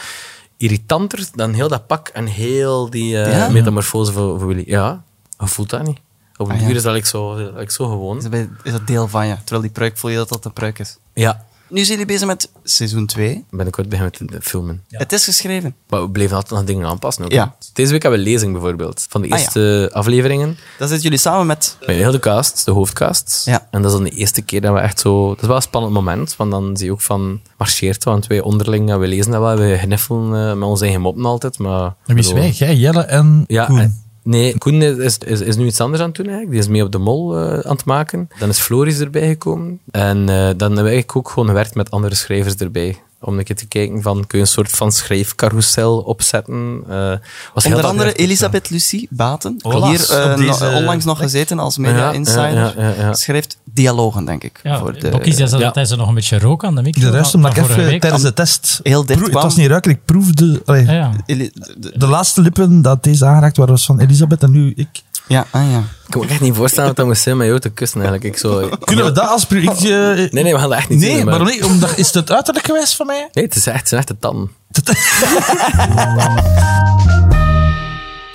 B: irritanter dan heel dat pak en heel die eh,
A: Ja?
B: metamorfose voor, voor Willy. Ja, je voelt dat niet. Op een
A: Ah, ja.
B: duur is dat ik zo, dat ik zo gewoon.
A: Is dat, bij- is dat deel van je? Terwijl die pruik voel je dat dat een pruik is.
B: Ja,
A: Nu zijn jullie bezig met seizoen 2.
B: binnenkort beginnen we met filmen.
A: Het is geschreven.
B: Maar we bleven altijd nog dingen aanpassen. Ook, hè.
A: Ja.
B: Deze week hebben we lezing bijvoorbeeld van de
A: Ah, ja.
B: eerste afleveringen.
A: Dan zitten jullie samen met...
B: Bij Eh, heel de cast, de hoofdcast.
A: Ja.
B: En dat is dan de eerste keer dat we echt zo... Dat is wel een spannend moment, want dan zie je ook van... Marcheert, want wij onderling, eh, we lezen dat wel, we gniffelen eh, met onze eigen moppen altijd, maar...
D: En wie is
B: bedoel-
D: wij? Jij, Jelle en
B: Ja,
D: Koen.
B: eh, nee, Koen is, is, is nu iets anders aan het doen eigenlijk. Die is mee op de mol eh, aan het maken. Dan is Floris erbij gekomen. En eh, dan hebben we eigenlijk ook gewoon gewerkt met andere schrijvers erbij. Om een keer te kijken van, kun je een soort van schrijfcarousel opzetten? Eh, was heel
A: Onder
B: dat
A: andere
B: gewerkt ook, ja.
A: Elisabeth Lucie Baten,
D: Helaas,
A: hier eh,
D: op deze-
A: no- onlangs nog gezeten als media
B: Ja,
A: insider,
B: ja, ja, ja, ja.
A: schrijft dialogen, denk ik.
C: Ja,
A: voor de,
C: Bokkie zei zelf
B: ja.
C: dat hij ze nog een beetje rook aan de micro.
D: De rest,
C: van-
D: omdat ik
C: van vorige
D: even
C: week.
D: tijdens de test...
A: Heel dicht
D: proef- Het
A: kwam.
D: was niet ruiken, ik proefde... allee,
C: Ja, ja.
A: Eli- de- de-
D: De laatste lippen dat deze aangeraakt waren, was van Elisabeth en nu ik.
A: ja, ah, ja.
B: Ik kan me echt niet voorstellen dat dat moest zijn met jou te kussen eigenlijk. Ik zo,
D: Kunnen we dat als... pri- Ik, eh,
B: Nee, nee, we gaan dat echt niet
D: Nee,
B: doen.
D: maar nee, omdat, is het uiterlijk geweest van mij?
B: Nee, het is echt, het zijn echt de tanden.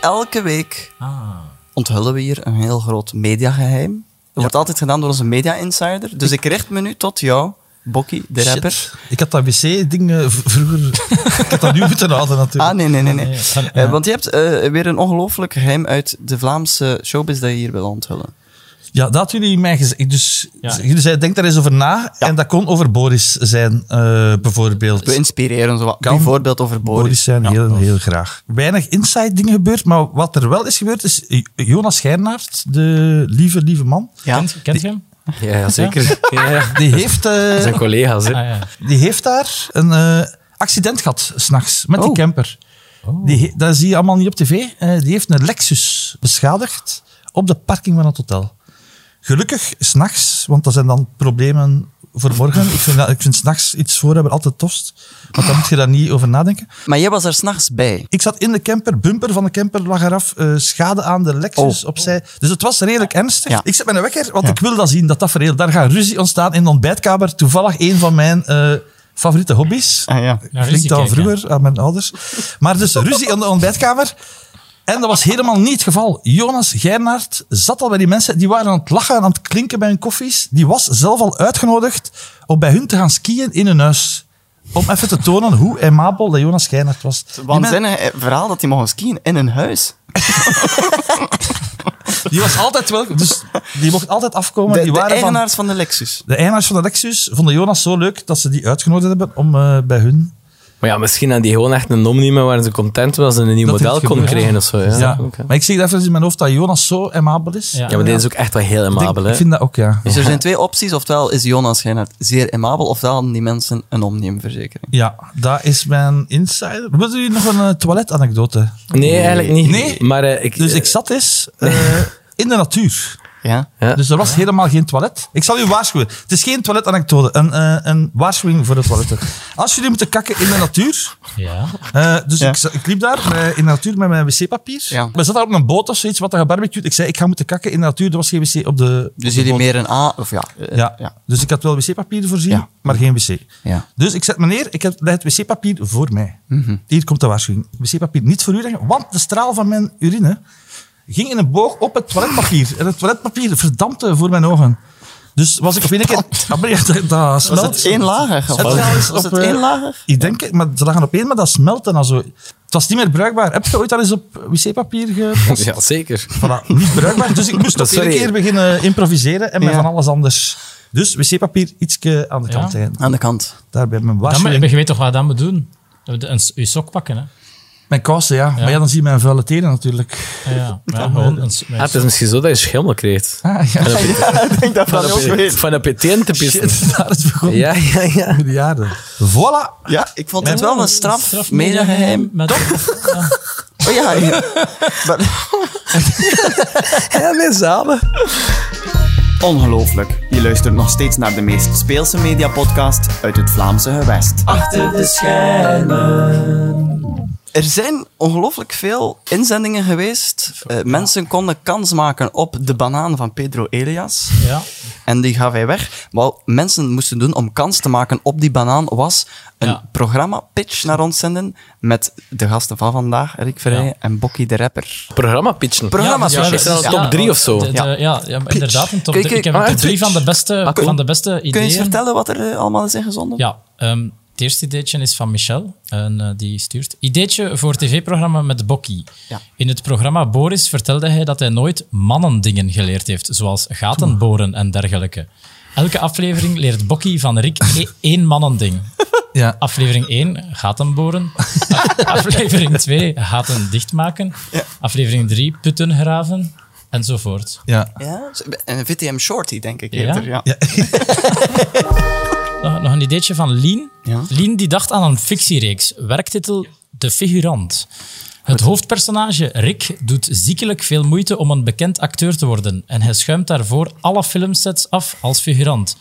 A: Elke week
C: Ah.
A: onthullen we hier een heel groot mediageheim. Dat wordt altijd gedaan door onze media insider. Dus ik richt me nu tot jou, Bokkie, de
D: Shit.
A: rapper.
D: Ik had dat wc-ding eh, v- vroeger... ik had dat nu moeten houden natuurlijk.
A: Ah, nee, nee, nee. nee.
C: Nee, van-
A: Eh, want je hebt eh, weer een ongelooflijk geheim uit de Vlaamse showbiz dat je hier wil onthullen.
D: Ja, dat hadden jullie mij gezegd. Dus
C: Ja.
D: jullie zeiden, denk daar eens over na. En dat kon over Boris zijn, eh, bijvoorbeeld.
B: Dus-
A: We inspireren zo wat.
D: Kan-
A: Bijvoorbeeld over Boris.
D: Boris zijn heel, heel graag. Weinig inside dingen gebeurd, maar wat er wel is gebeurd, is eh, Jonas Geirnaert, de lieve, lieve man,
A: Ja.
C: Kent, kent je hem?
D: Ah.
B: Ja, ja, zeker. Ja, ja.
D: die heeft, eh,
B: Dat zijn collega's, hè.
C: Ah, ja.
D: die heeft daar een eh, accident gehad, s'nachts, met die
A: Oh.
D: camper. Die, he- dat zie je allemaal niet op tv. Eh, die heeft een Lexus beschadigd op de parking van het hotel. Gelukkig, s'nachts, want dat zijn dan problemen voor morgen. Ik vind, dat- ik vind s'nachts iets voor hebben altijd tofst. Want dan moet je daar niet over nadenken.
A: Maar jij was er s'nachts bij.
D: Ik zat in de camper, bumper van de camper lag eraf, eh, schade aan de Lexus opzij. Dus het was redelijk ernstig.
A: Oh. Ja.
D: Ik zet mijn wekker, want ik wil dat zien, dat tafereel. Daar gaat ruzie ontstaan in de ontbijtkamer. Toevallig een van mijn eh, favoriete hobby's.
A: Ah, ja.
C: Naar
D: Ik
C: ruzie
D: linkte al
C: kijken.
D: vroeger aan mijn ouders. Maar dus ruzie aan de ontbijtkamer. En dat was helemaal niet het geval. Jonas Geirnaert zat al bij die mensen. Die waren aan het lachen, aan het klinken bij hun koffies. Die was zelf al uitgenodigd om bij hun te gaan skiën in hun huis. Om even te tonen hoe amabel dat Jonas Geirnaert was. Die men-
A: Waanzinnig eh, verhaal dat die mogen skiën in een huis.
D: Die was altijd welkom. Dus die mocht altijd afkomen.
A: De,
D: die
A: de
D: waren van,
A: eigenaars van... de Lexus.
D: de eigenaars van de Lexus vonden Jonas zo leuk dat ze die uitgenodigd hebben om eh, bij hun...
B: Maar ja, misschien hadden die gewoon echt een nom niet meer waar ze content was en een nieuw
D: Dat
B: model
D: heeft
B: konden
D: gebeurd.
B: krijgen of zo.
D: Ja.
B: Ja, ja.
D: Maar ik zie dat even in mijn hoofd dat Jonas zo amabel is.
C: Ja.
B: ja maar dit is ook echt wel heel
D: Ik denk-
B: amabel, hè.
D: ik vind dat ook, ja.
A: Dus er zijn twee opties. Oftewel is Jonas Geinert zeer amabel, ofwel hadden die mensen een omniumverzekering.
D: Ja, dat is mijn insider. Wilt u nog een eh, toiletanekdote?
B: Nee, eigenlijk niet.
D: Nee.
B: Maar eh, ik...
D: Dus ik zat eens eh, in de natuur.
A: Ja?
B: ja.
D: Dus er was helemaal geen toilet. Ik zal u waarschuwen. Het is geen toiletanekdote. Een, eh, een waarschuwing voor de toiletten. Als jullie moeten kakken in de natuur...
C: Ja.
D: eh, dus
A: Ja.
D: ik, za- ik liep daar eh, in de natuur met mijn wc-papier.
A: Ja.
D: We zaten op een boot of zoiets, wat er gebarbecued. Ik zei, ik ga moeten kakken in de natuur. Er was geen wc op de op
A: Dus
D: de
A: jullie
D: boot.
A: meer een A, of ja. eh,
D: Ja.
A: ja.
D: Dus ik had wel wc-papier voorzien,
A: Ja.
D: maar geen wc.
A: Ja.
D: Dus ik zet meneer, ik heb leg het wc-papier voor mij.
A: Mhm.
D: Hier komt de waarschuwing. Wc-papier niet voor u leggen, want de straal van mijn urine ging in een boog op het toiletpapier. En het toiletpapier verdampte voor mijn ogen. Dus was ik op een keer... Ah, maar ja, dat, dat
A: Was
D: smelt.
A: het één lager
D: Het
A: gevallen?
D: was
A: Was
D: op,
A: het één
D: eh,
A: lager?
D: Ik denk het, maar ze lagen op één, maar dat smelte dan zo. Het was niet meer bruikbaar. Heb je ooit al eens op wc-papier gepast?
B: Ja, zeker.
D: Voilà, niet bruikbaar. Dus ik moest
B: Dat
D: op één
B: sorry.
D: keer beginnen improviseren en met
A: Ja.
D: van alles anders. Dus wc-papier ietsje aan de
C: Ja.
D: kant zijn.
A: Aan de kant.
D: Daar bij mijn
C: Dan, moet-
D: waarschuwing.
C: je weet toch wat dat moet doen? Een, s- je sok pakken, hè? Ah,
D: Mijn kousen, ja. Maar ja, dan zie je mijn vuile tenen natuurlijk.
C: Ja, ja. Maar ja, gewoon een, s-
B: Ah, het is misschien zo dat je schimmel krijgt.
D: Ah, ja.
A: ik denk dat
B: Van
A: Franny
B: op
A: ook
B: je-
A: weet.
B: Van op je teen te pissen.
D: Shit, daar is begonnen.
B: Ja, ja, ja.
D: Goede jaren. Voilà.
A: Ja, ik vond het wel een straf, medegeheim.
C: Met, ja.
A: Oh ja, ja. Maar-
B: Ja, mijn zaden.
A: Ongelooflijk. Je luistert nog steeds naar de meest speelse mediapodcast uit het Vlaamse gewest.
B: Achter de schermen.
A: Er zijn ongelooflijk veel inzendingen geweest. Eh, mensen konden kans maken op de banaan van Pedro Elias.
C: ja.
A: En die gaf hij weg. Wat mensen moesten doen om kans te maken op die banaan was een
C: Ja.
A: programma-pitch naar ons zenden met de gasten van vandaag, Rick Verheyen
C: Ja.
A: en Bokkie de Rapper.
B: Programma pitchen.
A: Programma's
C: Ja,
A: pitchen.
C: dat
B: Is dat
C: ja,
B: top drie of zo?
C: de- de-
A: Ja.
C: Ja, ja, maar inderdaad. Een top
A: Kijk,
C: drie. Ik heb
B: ah,
C: een top drie
B: pitch.
C: van de beste,
B: cool.
C: van de beste ideeën.
A: Kun je eens vertellen wat er eh, allemaal is ingezonden?
C: Ja, ehm, het eerste ideetje is van Michel. En eh, die stuurt... Ideetje voor tv-programma met Bokkie.
A: Ja.
C: In het programma Boris vertelde hij dat hij nooit mannendingen geleerd heeft, zoals gaten boren en dergelijke. Elke aflevering leert Bokkie van Rick e- één mannending.
D: Ja.
C: Aflevering 1, gaten boren. A- Aflevering 2, gaten dichtmaken. Aflevering 3, putten graven. Enzovoort.
D: Ja.
A: Ja, een VTM Shorty, denk ik.
C: Ja?
A: eerder, ja.
D: Ja.
C: Nog, nog een ideetje van Lien.
A: Ja.
C: Lien die dacht aan een fictiereeks. Werktitel De Figurant. Het hoofdpersonage Rick doet ziekelijk veel moeite om een bekend acteur te worden. En hij schuimt daarvoor alle filmsets af als figurant.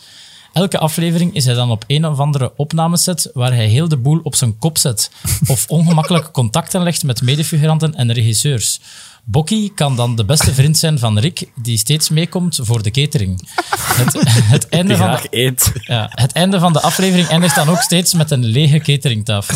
C: Elke aflevering is hij dan op een of andere opnameset waar hij heel de boel op zijn kop zet. Of ongemakkelijk contacten legt met medefiguranten en regisseurs. Bokkie kan dan de beste vriend zijn van Rick, die steeds meekomt voor de catering. Het, het einde
B: Die
C: van de
B: graag eet.
C: ja, het einde van de aflevering eindigt dan ook steeds met een lege cateringtafel.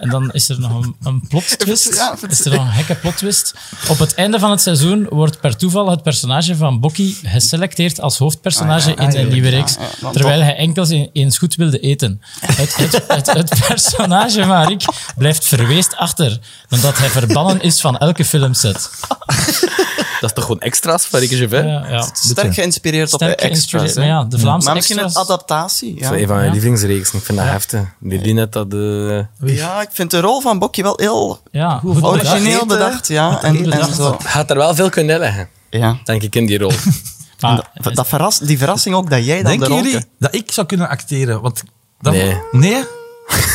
C: En dan is er nog een, een plot twist.
A: Ja, het is-
C: Is er nog een gekke plot twist. Op het einde van het seizoen wordt per toeval het personage van Bokkie geselecteerd als hoofdpersonage
A: Ah, ja,
C: in de
A: eigenlijk,
C: nieuwe
A: ja,
C: reeks.
A: ja, want
C: terwijl hij enkel zijn- eens goed wilde eten. Het, het, het, het personage van Rick blijft verweest achter, omdat hij verbannen is van elke filmset.
B: Dat is toch gewoon extra's van Ricky Gervais?
C: Ja, ja.
A: Sterk geïnspireerd
C: Sterk
A: op de extras.
C: geïnspireerd,
A: hè.
C: maar ja, de Vlaamse
A: maar misschien
C: extras.
A: een adaptatie.
B: Dat is
A: Ja.
B: een van mijn lievelingsreeksen. Ik vind dat heftig. Die Linet dat... eh,
A: ja, ik vind de rol van Bokkie wel heel
C: Ja, goed bedacht.
A: origineel bedacht. Ja, en, en
C: bedacht.
A: zo.
B: Gaat er wel veel kunnen leggen,
A: Ja.
B: denk ik, in die rol.
C: Maar-
A: Dat, dat verras, die verrassing ook dat jij dan de
D: Denken
A: rol...
D: jullie dat ik zou kunnen acteren? Want dat-
B: Nee.
D: nee?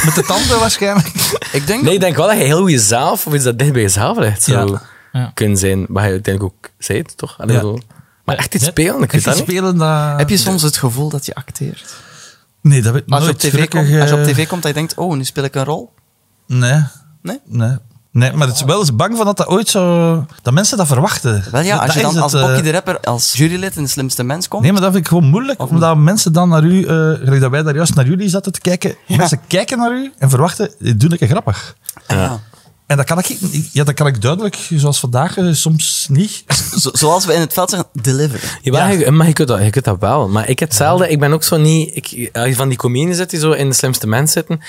D: Met de tanden waarschijnlijk.
A: Ik denk
B: Nee, ik denk wel dat je heel goed zelf, of is dat dicht bij jezelf ligt, zou
D: Ja.
C: Ja.
B: kunnen zijn. Wat je uiteindelijk ook zei, toch? Allee,
D: Ja.
B: zo. Maar echt iets
C: Net-
B: spelen, ik weet
D: Echt
B: dat
D: iets
B: niet.
D: spelen dat...
A: Heb je soms het gevoel dat je acteert?
D: Nee, dat heb ik
A: Als je, op
D: nooit.
A: tv
D: Gelukkig,
A: komt, als je op
D: eh,
A: tv komt dat je denkt, oh, nu speel ik een rol.
D: Nee.
A: Nee?
D: Nee. Nee, maar het is wel eens bang van dat dat ooit zo... Dat mensen dat verwachten.
A: Wel ja,
D: Dat-
A: als je
D: dat
A: dan
D: is
A: als
D: het, eh,
A: Bokkie de Rapper, als jurylid in de Slimste Mens komt...
D: Nee, maar dat vind ik gewoon moeilijk, omdat mensen dan naar u, eh, gelijk dat wij daar juist naar jullie zaten te kijken, mensen kijken naar u en verwachten, dit doe ik grappig.
A: Ja.
D: En dat kan ik, ik- ja, dat kan ik duidelijk, zoals vandaag, eh, soms niet.
A: Zo- zoals we in het veld zeggen, deliver.
B: Jawel, je- maar je kunt, dat, je kunt dat wel. Maar ik hetzelfde, ik ben ook zo niet... Ik, als je van die comedian zit die zo in de slimste mens zitten...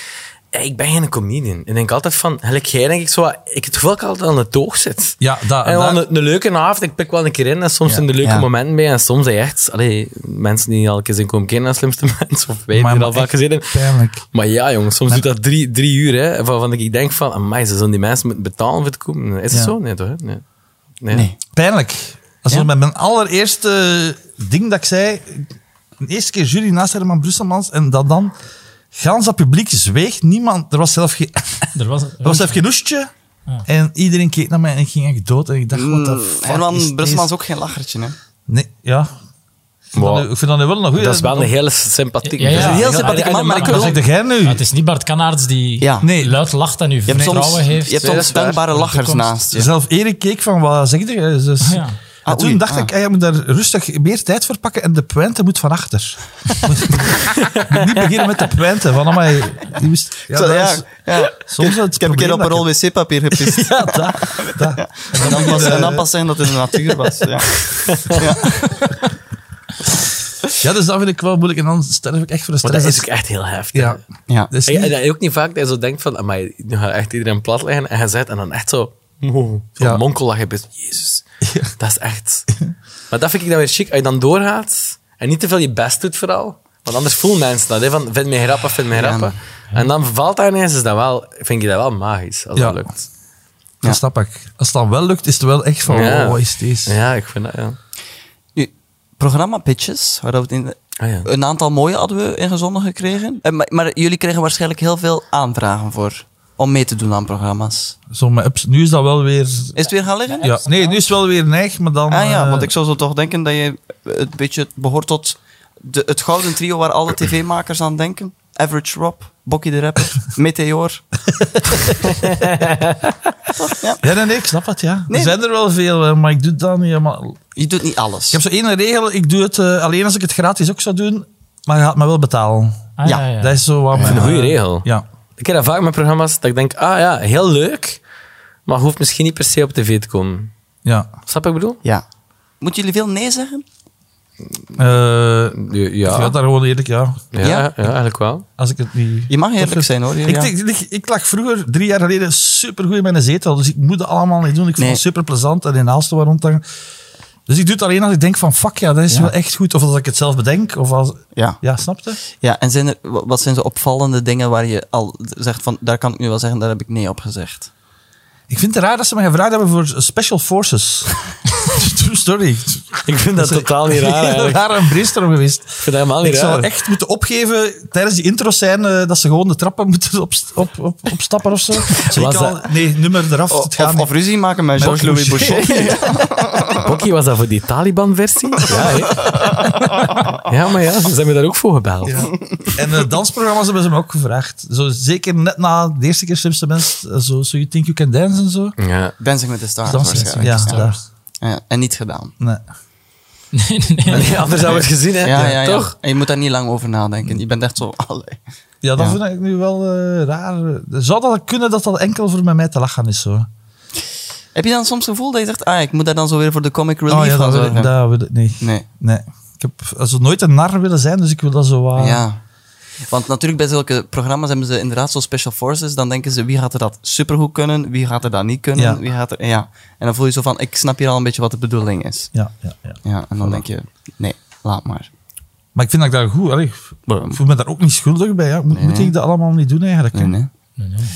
B: eh, Ik ben geen comedian. Ik denk altijd van, gelijk jij denk ik zo, ik het gevoel dat ik altijd aan de toog zit.
D: Ja, dat-
B: en dan
D: dat-
B: een, een leuke avond, ik pik wel een keer in en soms
D: Ja.
B: zijn de leuke
A: Ja.
B: momenten bij en soms zijn echt, allee, mensen die al een keer zijn komen kennen naar de slimste mens of wij die
D: Maar-
B: er
D: maar
B: al vaak
D: echt
B: gezeten hebben.
D: Pijnlijk.
B: Maar ja, jongens, soms doet dat drie, drie uur. Hè, waarvan ik denk van, amai, ze zullen die mensen moeten betalen voor te komen. Is
D: Ja.
B: het zo? Nee, toch? hè? Nee. Nee.
D: Pijnlijk. Als
A: Ja.
D: met mijn allereerste ding dat ik zei, de eerste keer jury naast Herman Brusselmans en dat dan, gans dat publiek zweeg, niemand, er was zelf geen,
C: Er was,
D: er was zelf geen oestje. En iedereen keek naar mij en ik ging echt dood. En ik dacht,
A: Mm,
D: wat de fuck is
A: Herman
D: deze-
A: Brusselman is ook geen lachertje, hè.
D: Nee, ja. Ik vind
B: Wow.
D: dat nu- Ik vind dat nu wel een goede.
B: Dat is wel een hele sympathieke...
C: Ja, ja,
B: dat is een
C: ja.
B: heel
C: Ja,
B: sympathieke
C: ja,
B: man, maar ik
C: ja,
D: Wat
B: wil...
D: zeg jij nu?
C: Maar het is niet Bart Kanaerts die
A: Ja.
D: Nee.
C: luid lacht en u
A: Je hebt
C: vertrouwen
A: soms,
C: heeft.
A: je hebt
D: eh,
B: Nee, dat
A: soms
B: is waar.
A: spelbare
C: de
A: lachers
C: toekomst.
A: naast je.
D: Zelf Erik keek van, wat zeg je? Dus,
C: Ah, ja.
D: En
A: Ah,
D: toen
A: oei,
D: dacht
A: ah.
D: ik, ah, je moet daar rustig meer tijd voor pakken en de puente moet van achter. Moet niet beginnen met de puente. Van, amai, die wist, ja,
A: Zo,
D: dat
A: ja,
D: is
A: ja.
D: soms het
A: Ik heb een keer op een rol
D: probleem
A: wc-papier gepist.
D: dat ik- Ja, dat. dat.
A: En dan, pas, en dan pas zeggen dat het in de natuur was. Ja.
D: Ja, dus dat vind ik wel moeilijk. En dan sterf ik echt voor de
B: Maar
D: stress.
B: dat is ook echt heel heftig.
D: ja.
A: Ja.
D: Dat is
B: En,
D: niet-
B: en ook niet vaak dat je zo denkt van, amai, nu gaat echt iedereen plat liggen. En je zet en dan echt zo... Wow, zo'n
D: Ja.
B: monkel lag je best. Jezus, dat is echt... Maar dat vind ik dan weer chic. Als je dan doorgaat en niet te veel je best doet vooral. Want anders voelen mensen dat. Hè, van, vind mij grappig, vind mij grappig. En dan valt daar ineens, is dat wel, vind je dat wel magisch als
D: Ja.
B: dat lukt.
D: Dan
A: Ja.
D: snap ik. Als het dan wel lukt, is het wel echt van,
B: Ja.
D: oh, wat is deze?
B: Ja, ik vind dat, ja.
A: Nu, programma pitches, waar we het in,
B: Ah, ja.
A: een aantal mooie hadden we ingezonden gekregen. Eh, Maar, maar jullie kregen waarschijnlijk heel veel aanvragen voor om mee te doen aan programma's.
D: Zo met ups- nu is dat wel weer...
A: Is het weer gaan liggen?
D: Ja. Nee, nu is het wel weer neig, maar dan...
A: Ah ja,
D: eh,
A: want ik zou zo toch denken dat je het beetje behoort tot de, het gouden trio waar alle tv-makers aan denken. Average Rob, Bokkie de Rapper, Meteor. Toch? Ja.
D: Ja, nee, nee, ik snap het, ja.
A: Nee.
D: Er zijn er wel veel, eh, maar ik doe het dan niet helemaal...
A: Je doet niet alles.
D: Ik heb zo één regel, ik doe het eh, alleen als ik het gratis ook zou doen, maar je gaat me wel betalen.
C: Ah,
A: Ja,
D: Dat is zo wat...
B: vind
D: mijn- eh,
B: een goede regel.
D: Ja.
B: Ik heb dat vaak met programma's dat ik denk, ah ja, heel leuk, maar hoeft misschien niet per se op tv te komen.
D: Ja.
B: Snap wat ik bedoel?
A: Ja. Moeten jullie veel nee zeggen?
D: Eh,
B: Ja.
D: Ik ga daar gewoon eerlijk, ja.
B: Ja,
A: Ja.
B: ja, eigenlijk wel.
D: Als ik het niet...
A: Je mag eerlijk
D: Of-
A: zijn hoor.
D: Ik,
A: Jurgen.
D: ik, ik, ik lag vroeger, drie jaar geleden, supergoed in mijn zetel. Dus ik moet dat allemaal niet doen. Ik
A: Nee.
D: vond het super plezant en in Aalsten waar rondhangen. Dus ik doe het alleen als ik denk van, fuck ja, dat is wel echt goed. Of als ik het zelf bedenk. Of als,
A: Ja.
D: ja, snap je?
A: ja, en zijn er, wa- wat zijn zo opvallende dingen waar je al zegt van, daar kan ik nu wel zeggen, daar heb ik nee op gezegd.
D: Ik vind het raar dat ze me gevraagd hebben voor Special Forces. True story.
B: Ik vind dat totaal niet raar eigenlijk.
D: Daar een brainstorm geweest.
B: Ik vind dat helemaal niet
D: Ik zou
B: raar.
D: echt moeten opgeven tijdens die intro zijn dat ze gewoon de trappen moeten op, op, op, opstappen of zo. Zie
B: Was Oh,
D: ik al, nee, nummer eraf. het gaat
A: Oh, of,
D: niet.
A: of ruzie maken met Jean-Louis
D: Boucher.
A: Boucher.
B: Bokkie, was dat voor die Taliban-versie? Ja, hè? ja, maar ja, ze zijn me daar ook voor gebeld.
D: Ja. En eh, dansprogramma's hebben ze me ook gevraagd. Zo, zeker net na de eerste keer Slimste Mens, eh, zo, so You Think You Can Dance en zo.
B: Ja.
A: Dancing with the Stars
D: Dansen, ja,
A: waarschijnlijk.
D: daar.
A: Ja, en niet gedaan.
D: Nee.
C: Nee, nee, nee.
B: Nee, anders hadden we het gezien, hè?
A: Ja, ja, ja.
B: Toch?
A: En je moet daar niet lang over nadenken. Je bent echt zo, allee.
D: ja, dat
A: Ja.
D: vind ik nu wel eh, raar. Zou dat kunnen dat dat enkel voor met mij te lachen is? Zo?
A: Heb je dan soms het gevoel dat je zegt, ah, ik moet daar dan zo weer voor de comic relief
D: oh ja,
A: gaan
D: dat wil, ik,
A: zorgen?
D: dat wil ik niet.
A: Nee,
D: Nee. Ik heb also, nooit een nar willen zijn, dus ik wil dat zo... wat-
A: ja. Want natuurlijk bij zulke programma's hebben ze inderdaad zo special forces. Dan denken ze, wie gaat er dat supergoed kunnen? Wie gaat er dat niet kunnen?
D: Ja.
A: Wie gaat er, ja. En dan voel je zo van, ik snap hier al een beetje wat de bedoeling is.
D: Ja, ja, ja.
A: Ja, en dan denk je, nee, laat maar.
D: Maar ik vind dat ik daar goed... allee, ik
A: Waarom?
D: voel me daar ook niet schuldig bij. Ja. Moet, moet
A: nee.
D: ik dat allemaal niet doen eigenlijk?
A: Nee, nee.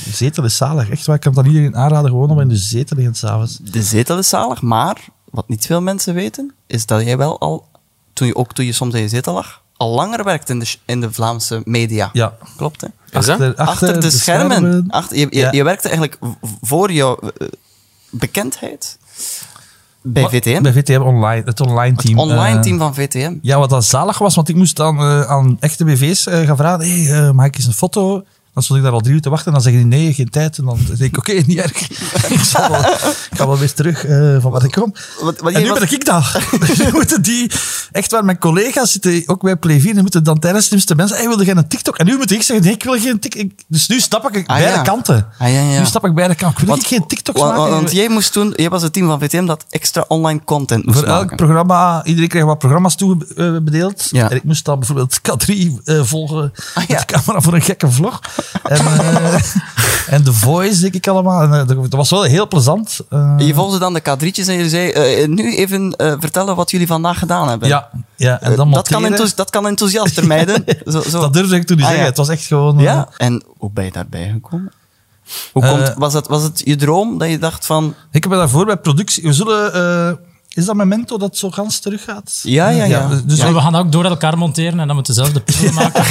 D: De zetel is zalig. Echt waar, ik kan dat iedereen aanraden gewoon om in de zetel te liggen s'avonds.
A: De zetel is zalig, maar wat niet veel mensen weten, is dat jij wel al, toen je, ook toen je soms in je zetel lag, al langer werkt in de, sh- in de Vlaamse media.
D: Ja.
A: Klopt, hè?
B: Is dat?
D: Achter,
A: achter, de, schermen. Ah, Achter, je, je,
D: Ja.
A: je werkte eigenlijk v- voor jouw eh, bekendheid bij
D: Wat?
A: VTM.
D: Bij VTM online, het online
A: het
D: team.
A: online
D: eh,
A: team van VTM.
D: ja, wat dan zalig was, want ik moest dan eh, aan echte BV's eh, gaan vragen: hé, hey, maak ik eens een foto? Dan stond ik daar al drie uur te wachten en dan zeggen die nee, geen tijd. En dan denk ik, oké, niet erg. ik, zal wel, ik ga wel weer terug eh, van waar ik kom.
A: Wat- wat
D: en
A: jij
D: nu
A: was-
D: ben ik daar. Nu moeten die, echt waar, mijn collega's zitten ook bij Plevier, die moeten dan tijdens slimste mensen, hey, wilde jij een TikTok? En nu moet ik zeggen, nee, ik wil geen TikTok. Dus nu stap ik
A: Ah,
D: beide
A: ja.
D: kanten.
A: Ah, ja, ja.
D: Nu stap ik beide kanten. Ik wil
A: Want-
D: niet geen TikToks
A: wa- wa-
D: maken.
A: Want, jij, moest toen, jij was het team van VTM dat extra online content moest
D: Voor elk
A: maken.
D: programma, iedereen kreeg wat programma's toebedeeld.
A: Ja.
D: En ik moest dan bijvoorbeeld K3 eh, volgen
A: Ah, ja.
D: met de camera voor een gekke vlog. en, eh, en The Voice, denk ik allemaal. En, eh, dat was wel heel plezant. Eh,
A: je volgde dan de kadrietjes en je zei, eh, nu even eh, vertellen wat jullie vandaag gedaan hebben.
D: ja, ja, en
A: Eh, dat,
D: dan
A: kan
D: monteren.
A: enthousi- dat kan enthousiaster, meiden. Zo, zo.
D: Dat durfde ik toen niet
A: Ah,
D: zeggen.
A: ja.
D: Het was echt gewoon... eh,
A: ja. En hoe ben je daarbij gekomen? Hoe
D: Eh,
A: komt, was, dat, was het je droom dat je dacht van,
D: Ik heb me daarvoor bij productie... We zullen... eh, is dat Memento dat zo gans teruggaat?
A: Ja, ja, ja.
D: dus
C: Dus we gaan dat ook door elkaar monteren en dan moeten we zelf de puzzel maken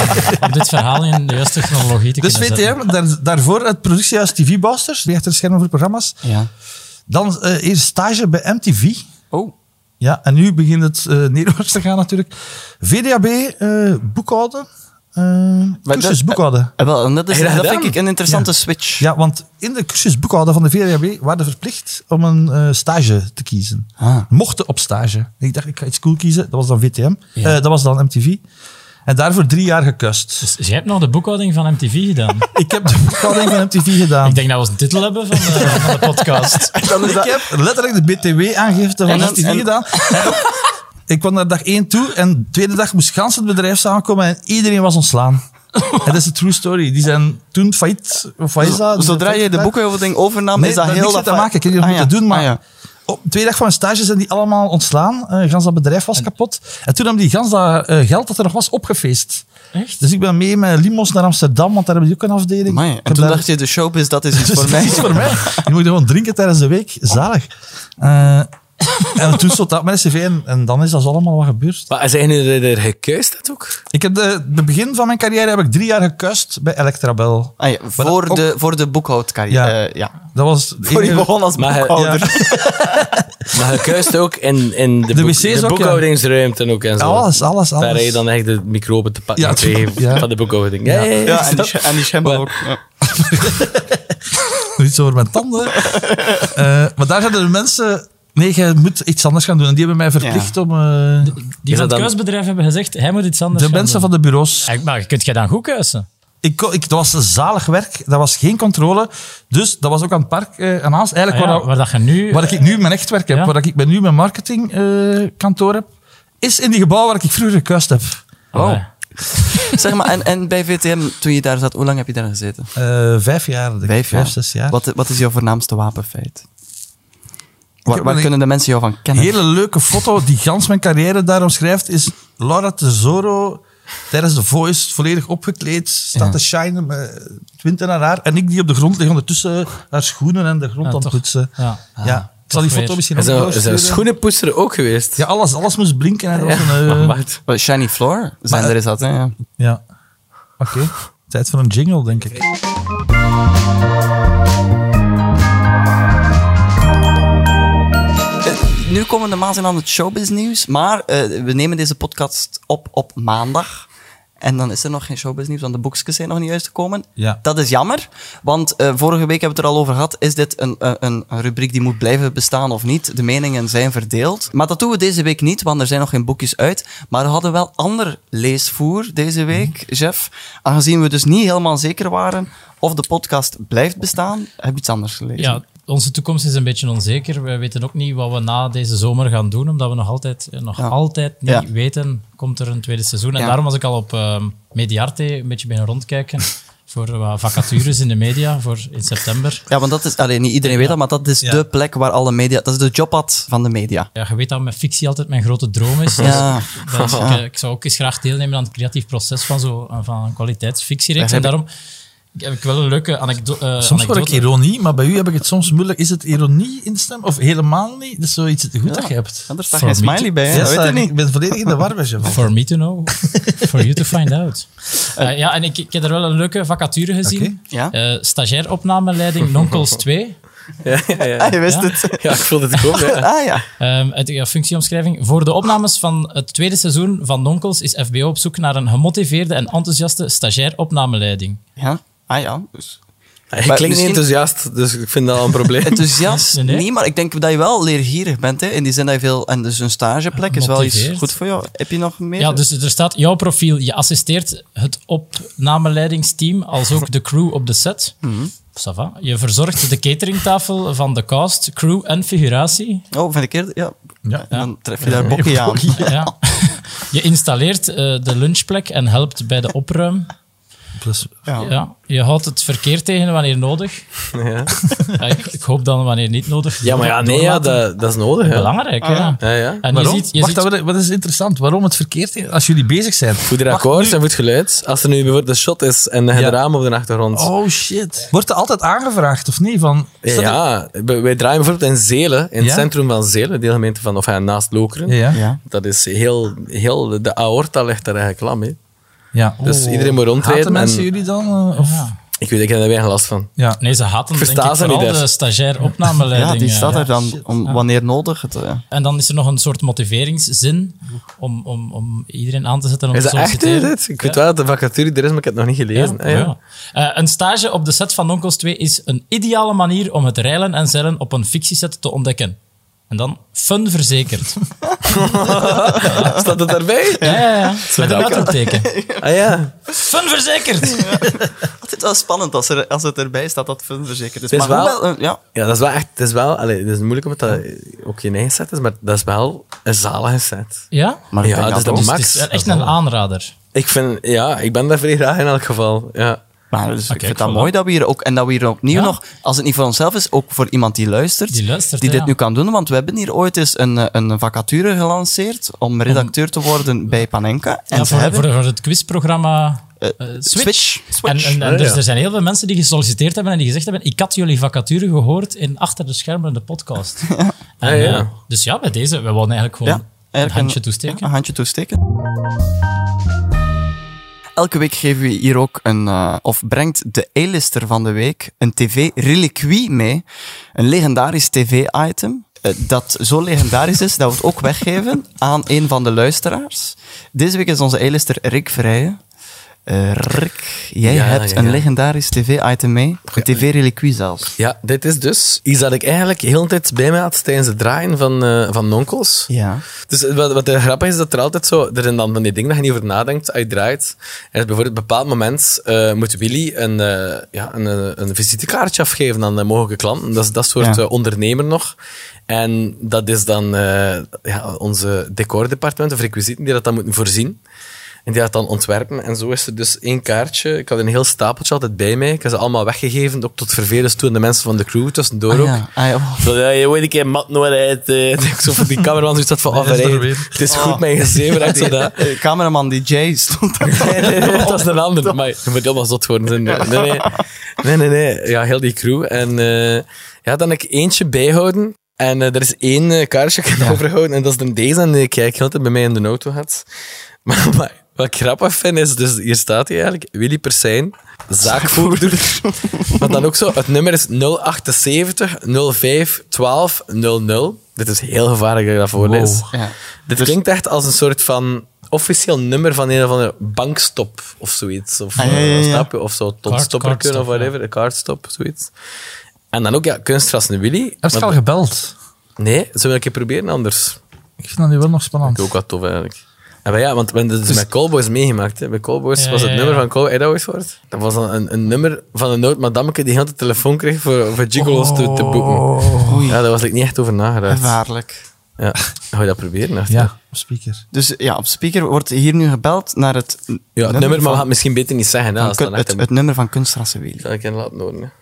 C: om dit verhaal in de juiste chronologie te
D: Dus
C: kunnen zetten.
D: VTM, daar, daarvoor het productiehuis TV Busters, die achter de schermen voor programma's.
A: ja.
D: Dan eh eerst stage bij MTV.
A: Oh,
D: Ja, en nu begint het eh neerwaarts te gaan natuurlijk. VDAB, eh, boekhouden. eh
A: Maar
D: cursus
A: dat-
D: boekhouden.
A: eh, wel, en dat, is,
B: Heb je dat
A: dat vind
B: gedaan?
A: ik een interessante switch.
D: Ja, want in de cursus boekhouden van de VDAB waren ze verplicht om een eh, stage te kiezen.
A: Ah.
D: Mochten op stage. Ik dacht, ik ga iets cool kiezen. Dat was dan VTM. Eh, dat was dan MTV. En daarvoor drie jaar gekust.
C: Dus jij hebt nog de boekhouding van MTV gedaan.
D: Ik heb de boekhouding van MTV gedaan.
C: Ik denk dat we een titel hebben van, eh, van de podcast.
B: dus
D: Ik heb letterlijk de BTW-aangifte
A: Dus En
D: van
A: dan-
D: STV
A: en-
D: gedaan. En ook- ik kwam naar dag één toe en de tweede dag moest gans het bedrijf samenkomen en iedereen was ontslaan. En dat is een true story. Die zijn toen failliet. of failliet
A: Zodra je de
D: failliet-
A: boekhouding overnam,
D: Nee,
A: is dat heel
D: niks mee te maken. Ik heb hier
A: Ah,
D: moeten
A: ja.
D: doen, maar
A: Ah, ja.
D: op twee dagen van mijn stage zijn die allemaal ontslaan. Eh gans dat bedrijf was kapot. En toen hebben die gans dat eh, geld dat er nog was opgefeest.
C: Echt?
D: Dus ik ben mee met Limos naar Amsterdam, want daar hebben die ook een afdeling.
A: Amai,
D: Ik
A: En
D: heb
A: toen
D: daar-
A: dacht je, de showbiz, dat is iets voor
D: dat
A: mij.
D: is voor mij. Je moet gewoon drinken tijdens de week. Zalig. Eh, en toen stond dat met cv en, en dan is dat allemaal wat gebeurd.
B: Maar zijn jullie er gekuist dat ook?
D: Ik heb de, de begin van mijn carrière heb ik drie jaar gekust bij Electrabel.
A: Ah, ja, voor,
D: dat ook-
A: de, voor de boekhoudcarrière.
D: Ja.
A: Ja. ja.
D: Dat was het
A: Voor je
D: enige-
A: begon als
B: Maar eh, hij-
A: boekhouder.
B: Maar gekuist ook in, in de, boek-
D: wc's ook, ja.
B: boekhoudingsruimte ook en zo.
D: Alles, alles, alles.
B: Daar heb je dan echt de microben te pakken
D: Ja,
B: gekregen
D: tuurlijk, ja.
B: van de boekhouding. Ja, ja, ja,
A: Ja, en die,
B: dat-
A: sch- en die schembel ook. Ja.
D: Iets over mijn tanden. Eh, maar daar zeiden de mensen... Nee, je moet iets anders gaan doen. En die hebben mij verplicht om... eh,
B: Is
C: Die
B: dat
C: van het
B: dan-
C: kuisbedrijf hebben gezegd, hij moet iets anders
D: de mensen van de bureaus...
C: van... Maar kunt jij dan goed kuisen?
D: Ik, ko- ik, dat was een zalig werk. Dat was geen controle. Dus dat was ook aan het park. eh aan Haas.
C: Ah
D: Eigenlijk
C: ja,
D: waar,
C: waar dat je nu...
D: waar ik nu mijn echt werk heb.
C: Ja.
D: Waar ik ben nu mijn marketingkantoor heb. Is in die gebouw waar ik vroeger gekuist heb.
C: Oh.
A: Zeg maar, en, en bij VTM, toen je daar zat, hoe lang heb je daar gezeten?
D: Eh, vijf jaar. denk ik.
A: Vijf jaar.
D: zes jaar.
A: Wat, wat is jouw voornaamste wapenfeit?
D: heb
A: Waar, waar
D: een-
A: kunnen de mensen jou van
D: Een
A: kennen?
D: hele leuke foto die gans mijn carrière daarom schrijft is Laura Tesoro tijdens de Voice volledig opgekleed, staat te shinen met twinten aan haar en ik die op de grond lig ondertussen haar schoenen en de grond
C: Ja,
D: aan het
C: toch.
D: poetsen.
C: Ja.
D: Ja. Ik zal die
C: Toch
D: foto
C: weer.
D: misschien
B: Is
D: nog
B: een, is een
D: doorsturen.
B: schoenenpoester ook geweest?
D: Ja, alles, alles moest blinken. Hè. Dat was een, eh,
B: Maar wacht.
A: Wel, Shiny Floor? Zijn
D: Maar-
A: er is dat, hè? Ja.
D: ja. Oké. Tijd voor een jingle, denk ik.
A: Eh, Nu komen de maas in aan het showbiz nieuws, maar eh, we nemen deze podcast op op maandag. En dan is er nog geen showbiz nieuws, want de boekjes zijn nog niet uitgekomen.
D: Ja.
A: Dat is jammer, want eh, vorige week hebben we het er al over gehad. Is dit een, een, een een rubriek die moet blijven bestaan of niet? De meningen zijn verdeeld. Maar dat doen we deze week niet, want er zijn nog geen boekjes uit. Maar we hadden wel ander leesvoer deze week, Jeff. Aangezien we dus niet helemaal zeker waren of de podcast blijft bestaan, heb je iets anders gelezen.
C: Ja, onze toekomst is een beetje onzeker. We weten ook niet wat we na deze zomer gaan doen, omdat we nog altijd, eh, nog
A: Ja.
C: altijd niet
A: Ja.
C: weten, komt er een tweede seizoen. En
A: Ja.
C: daarom was ik al op ehm, Mediarte een beetje beginnen rondkijken voor wat vacatures in de media voor in september.
A: Ja, want dat is, alleen niet iedereen weet dat, maar dat is
D: Ja.
A: de plek waar alle media, dat is de jobpad van de media.
C: Ja, je weet dat mijn fictie altijd mijn grote droom is. Dus
A: Ja.
C: dat is- ik, eh, ik zou ook eens graag deelnemen aan het creatief proces van, zo, van een kwaliteitsfictiereeks.
A: Daar
C: En
A: heb
C: daarom heb ik wel een leuke anekdo eh,
D: Soms hoor ik
C: anekdote.
D: ironie, maar bij u heb ik het soms moeilijk. Is het ironie in de stem of helemaal niet? Dat is zoiets goed dat je hebt.
A: Anders staat
C: For
A: geen
C: me
A: smiley bij, hè?
D: Ja,
A: dat weet je
D: sorry,
A: niet.
D: Ik ben volledig in de war, bij Jeff.
C: For me to know, for you to find out. Eh, ja, en ik, ik heb er wel een leuke vacature gezien.
D: Oké.
A: Ja.
C: Eh, stagiair opnameleiding Nonkels 2.
B: Ja, ja, ja.
A: Ah, je wist
C: Ja.
A: het.
B: Ja, ik voelde het ook. Ja.
A: Ah ja.
C: Ehm, uit de functieomschrijving. Voor de opnames van het tweede seizoen van Nonkels is FBO op zoek naar een gemotiveerde en enthousiaste stagiair opnameleiding.
A: ja. Ah ja. Dus
B: Hij klinkt
A: Maar
B: niet
A: misschien-
B: enthousiast, dus ik vind dat al een probleem.
A: enthousiast?
C: Nee,
A: Nee,
C: nee.
A: maar ik denk dat je wel leergierig bent, hè? In die zin dat je veel. En dus een stageplek is wel iets
C: Motiveert.
A: goed voor jou. Heb je nog meer?
C: Ja, dus er staat jouw profiel. Je assisteert het opnameleidingsteam als ook de crew op de set. Ça va. Je verzorgt de cateringtafel van de cast, crew en figuratie.
A: Oh, van de keer. Ja.
D: Ja.
A: En dan tref je daar bokkie aan.
C: Ja. Je installeert eh, de lunchplek en helpt bij de opruim.
D: Plus,
A: Ja.
C: Ja. Je houdt het verkeer tegen wanneer nodig.
B: Ja.
C: Ja, ik, ik hoop dan wanneer niet nodig.
B: ja, maar ja, nee, ja,
C: Doorlaten.
B: dat, dat is nodig. Ja.
C: Belangrijk, ja.
B: Ja, ja.
C: En
D: waarom?
C: je ziet... Je
D: Wacht,
C: ziet
D: dat wil- wat is interessant? Waarom het verkeerd is als jullie bezig zijn?
B: Voor de akkoord en voor het geluid. Als er nu bijvoorbeeld een shot is en je
D: Ja.
B: de raam op de achtergrond.
D: Oh shit. Wordt er altijd aangevraagd of niet? Van, is
B: Ja,
D: dat
B: ja. Wij- wij draaien bijvoorbeeld in Zelen, in
D: Ja?
B: het centrum van Zelen, deelgemeente van, of ja, naast Lokeren.
D: een- Ja, ja.
A: Ja.
B: Dat is heel, heel, de aorta ligt daar eigenlijk lam. Hè.
D: ja. Oh.
B: Dus iedereen moet rondrijden
D: Haten mensen
B: en-
D: jullie dan? eh, Of? Ja.
C: Ja.
B: Ik weet, ik heb daar weinig last van.
C: Nee, ze haten denk ik
B: Verstaan ze
C: vooral
B: niet, hè?
C: de stagiair opnameleiding.
A: Ja, die
C: eh,
A: staat
C: ja.
A: er dan om, wanneer nodig. Het, eh.
C: En dan is er nog een soort motiveringszin om, om, om iedereen aan te zetten om
B: Is
C: te
B: dat echt hè,
C: solliciteren.
B: dit? Ik weet wel dat de vacature er is, maar ik heb het nog niet gelezen. Ah, ja.
C: ja. Eh, een stage op de set van Onkels 2 is een ideale manier om het reilen en zeilen op een fictieset te ontdekken. En dan fun verzekerd.
B: Staat het daarbij?
C: Ja, ja, ja. Met een
B: raar.
C: uitroepteken.
B: Ah ja.
C: Fun verzekerd!
A: Het is wel spannend als, er, als het erbij staat dat het verzekerd is.
B: Het is
A: maar
B: wel-
A: hoewel, eh, ja.
B: Ja, dat is wel echt... Het is wel... Allee, het is moeilijk omdat dat ook je eigen set is, maar dat is wel een zalige set.
C: Ja? Dus
A: Maar ik
B: ja,
A: denk
B: dat is
A: dat
B: de
A: ook-
C: Het
B: max.
C: is echt een aanrader.
B: Ik vind... Ja, ik ben daar vrij graag in elk geval. Ja.
A: Maar dus ik
C: kijk,
A: vind dat
C: voilà.
A: mooi dat we hier ook, en dat we hier opnieuw
C: Ja.
A: nog, als het niet voor onszelf is, ook voor iemand die luistert,
C: Die luistert,
A: die
C: hè,
A: dit
C: ja.
A: nu kan doen. Want we hebben hier ooit eens een, eh, een vacature gelanceerd om redacteur te worden bij Panenka. En
C: Ja,
A: ze
C: voor,
A: hebben
C: voor, voor het quizprogramma eh,
A: eh,
C: Switch.
A: Switch.
C: En, en, en
B: Ja,
C: dus
B: ja.
C: er zijn heel veel mensen die gesolliciteerd hebben en die gezegd hebben: Ik had jullie vacature gehoord in Achter de Schermen, de podcast. En,
B: Ja, ja.
C: eh, dus ja, bij deze, we wouden eigenlijk gewoon een
A: eigenlijk
C: handje
A: een- ja,
C: toesteken.
A: een handje toesteken. Elke week geven we hier ook een, eh, of brengt de A-lister van de week een tv-reliquie mee. Een legendarisch tv-item. eh, Dat zo legendarisch is dat we het ook weggeven aan een van de luisteraars. Deze week is onze A-lister Rick Vrijen. Eh, Rick, jij
B: Ja,
A: hebt
B: ja,
A: een
B: ja.
A: legendarisch tv-item mee. Een tv-reliquie zelfs.
B: Ja, dit is dus iets dat ik eigenlijk heel de tijd bij me had tijdens het draaien van, eh van Nonkels.
A: Ja.
B: Dus wat, wat de grap is, is dat er altijd zo... Er zijn dan van die dingen dat je niet over nadenkt, uitdraait. En bijvoorbeeld op een bepaald moment eh, moet Willy een, eh, ja, een, eh, een visitekaartje afgeven aan de mogelijke klanten. Dat is dat soort
A: Ja.
B: eh, ondernemer nog. En dat is dan eh, ja, onze decordepartement, of requisieten, die dat dan moeten voorzien. En die had dan ontwerpen. En zo is er dus één kaartje. Ik had een heel stapeltje altijd bij mij. Ik heb ze allemaal weggegeven, ook tot vervelens toe aan de mensen van de crew tussendoor
A: Ah,
B: ook.
A: ja. Ah, ja.
B: Zo, ja, je weet een keer mat nooit uit. eh. Dat ik zo voor die cameraman zoiets had van, oh,
D: is er
B: verrij,
D: weer.
B: het is goed mijn gezeven, echt zo dat.
A: Eh, Cameraman DJ stond daar.
B: Nee, nee, nee, dat is een ander. Maar je moet helemaal zot worden. Nee, nee, nee. nee, nee, nee. Ja, heel die crew. En eh, ja, dan heb ik eentje bijhouden. En eh, er is één eh, kaarsje dat ik heb overhouden. En dat is dan deze. En die ik eigenlijk heel de tijd bij mij in de auto had. Maar, maar wat ik grappig vind is, dus hier staat hij eigenlijk, Willy Persijn, zaakvoerder. maar dan ook zo, het nummer is 078 05 12 00. Dit is heel gevaarlijk dat ik dat voorlees.
A: Ja.
B: Dit klinkt echt als een soort van officieel nummer van een of andere bankstop of zoiets. Of,
A: Ah, ja, ja,
B: eh,
A: ja.
B: snap je? Of zo, tot
C: Card-
B: stopper kunnen of
C: cardstop,
B: whatever, een cardstop, zoiets. En dan ook, ja, kunstgras en Willy.
D: Heb je
B: Maar-
D: al gebeld?
B: nee, zullen we een keer proberen anders?
D: Ik vind dat nu wel nog spannend.
B: Ook wat tof eigenlijk. En maar ja, want we hebben het dus met Callboys meegemaakt. Hè. Bij Callboys
C: Ja,
B: was het
C: ja,
B: nummer
C: ja.
B: van Callboy Edwards wordt. Dat was dan een, een nummer van een oud madameke die heel de telefoon kreeg voor, voor Gigolos te, te boeken.
A: Oei.
B: Ja, daar was ik niet echt over nagedacht.
A: Waarlijk.
B: Ja. Ga je dat proberen? echt?
D: Ja, op speaker.
A: Dus ja, op speaker wordt hier nu gebeld naar het,
B: Ja, het nummer, maar we gaan
A: van,
B: het misschien beter niet zeggen. Hè,
A: van
B: als
A: kun-
B: dan echt
A: het,
B: een-
A: het nummer van Kunstrasse Weli.
B: Dat ik in laat noorden.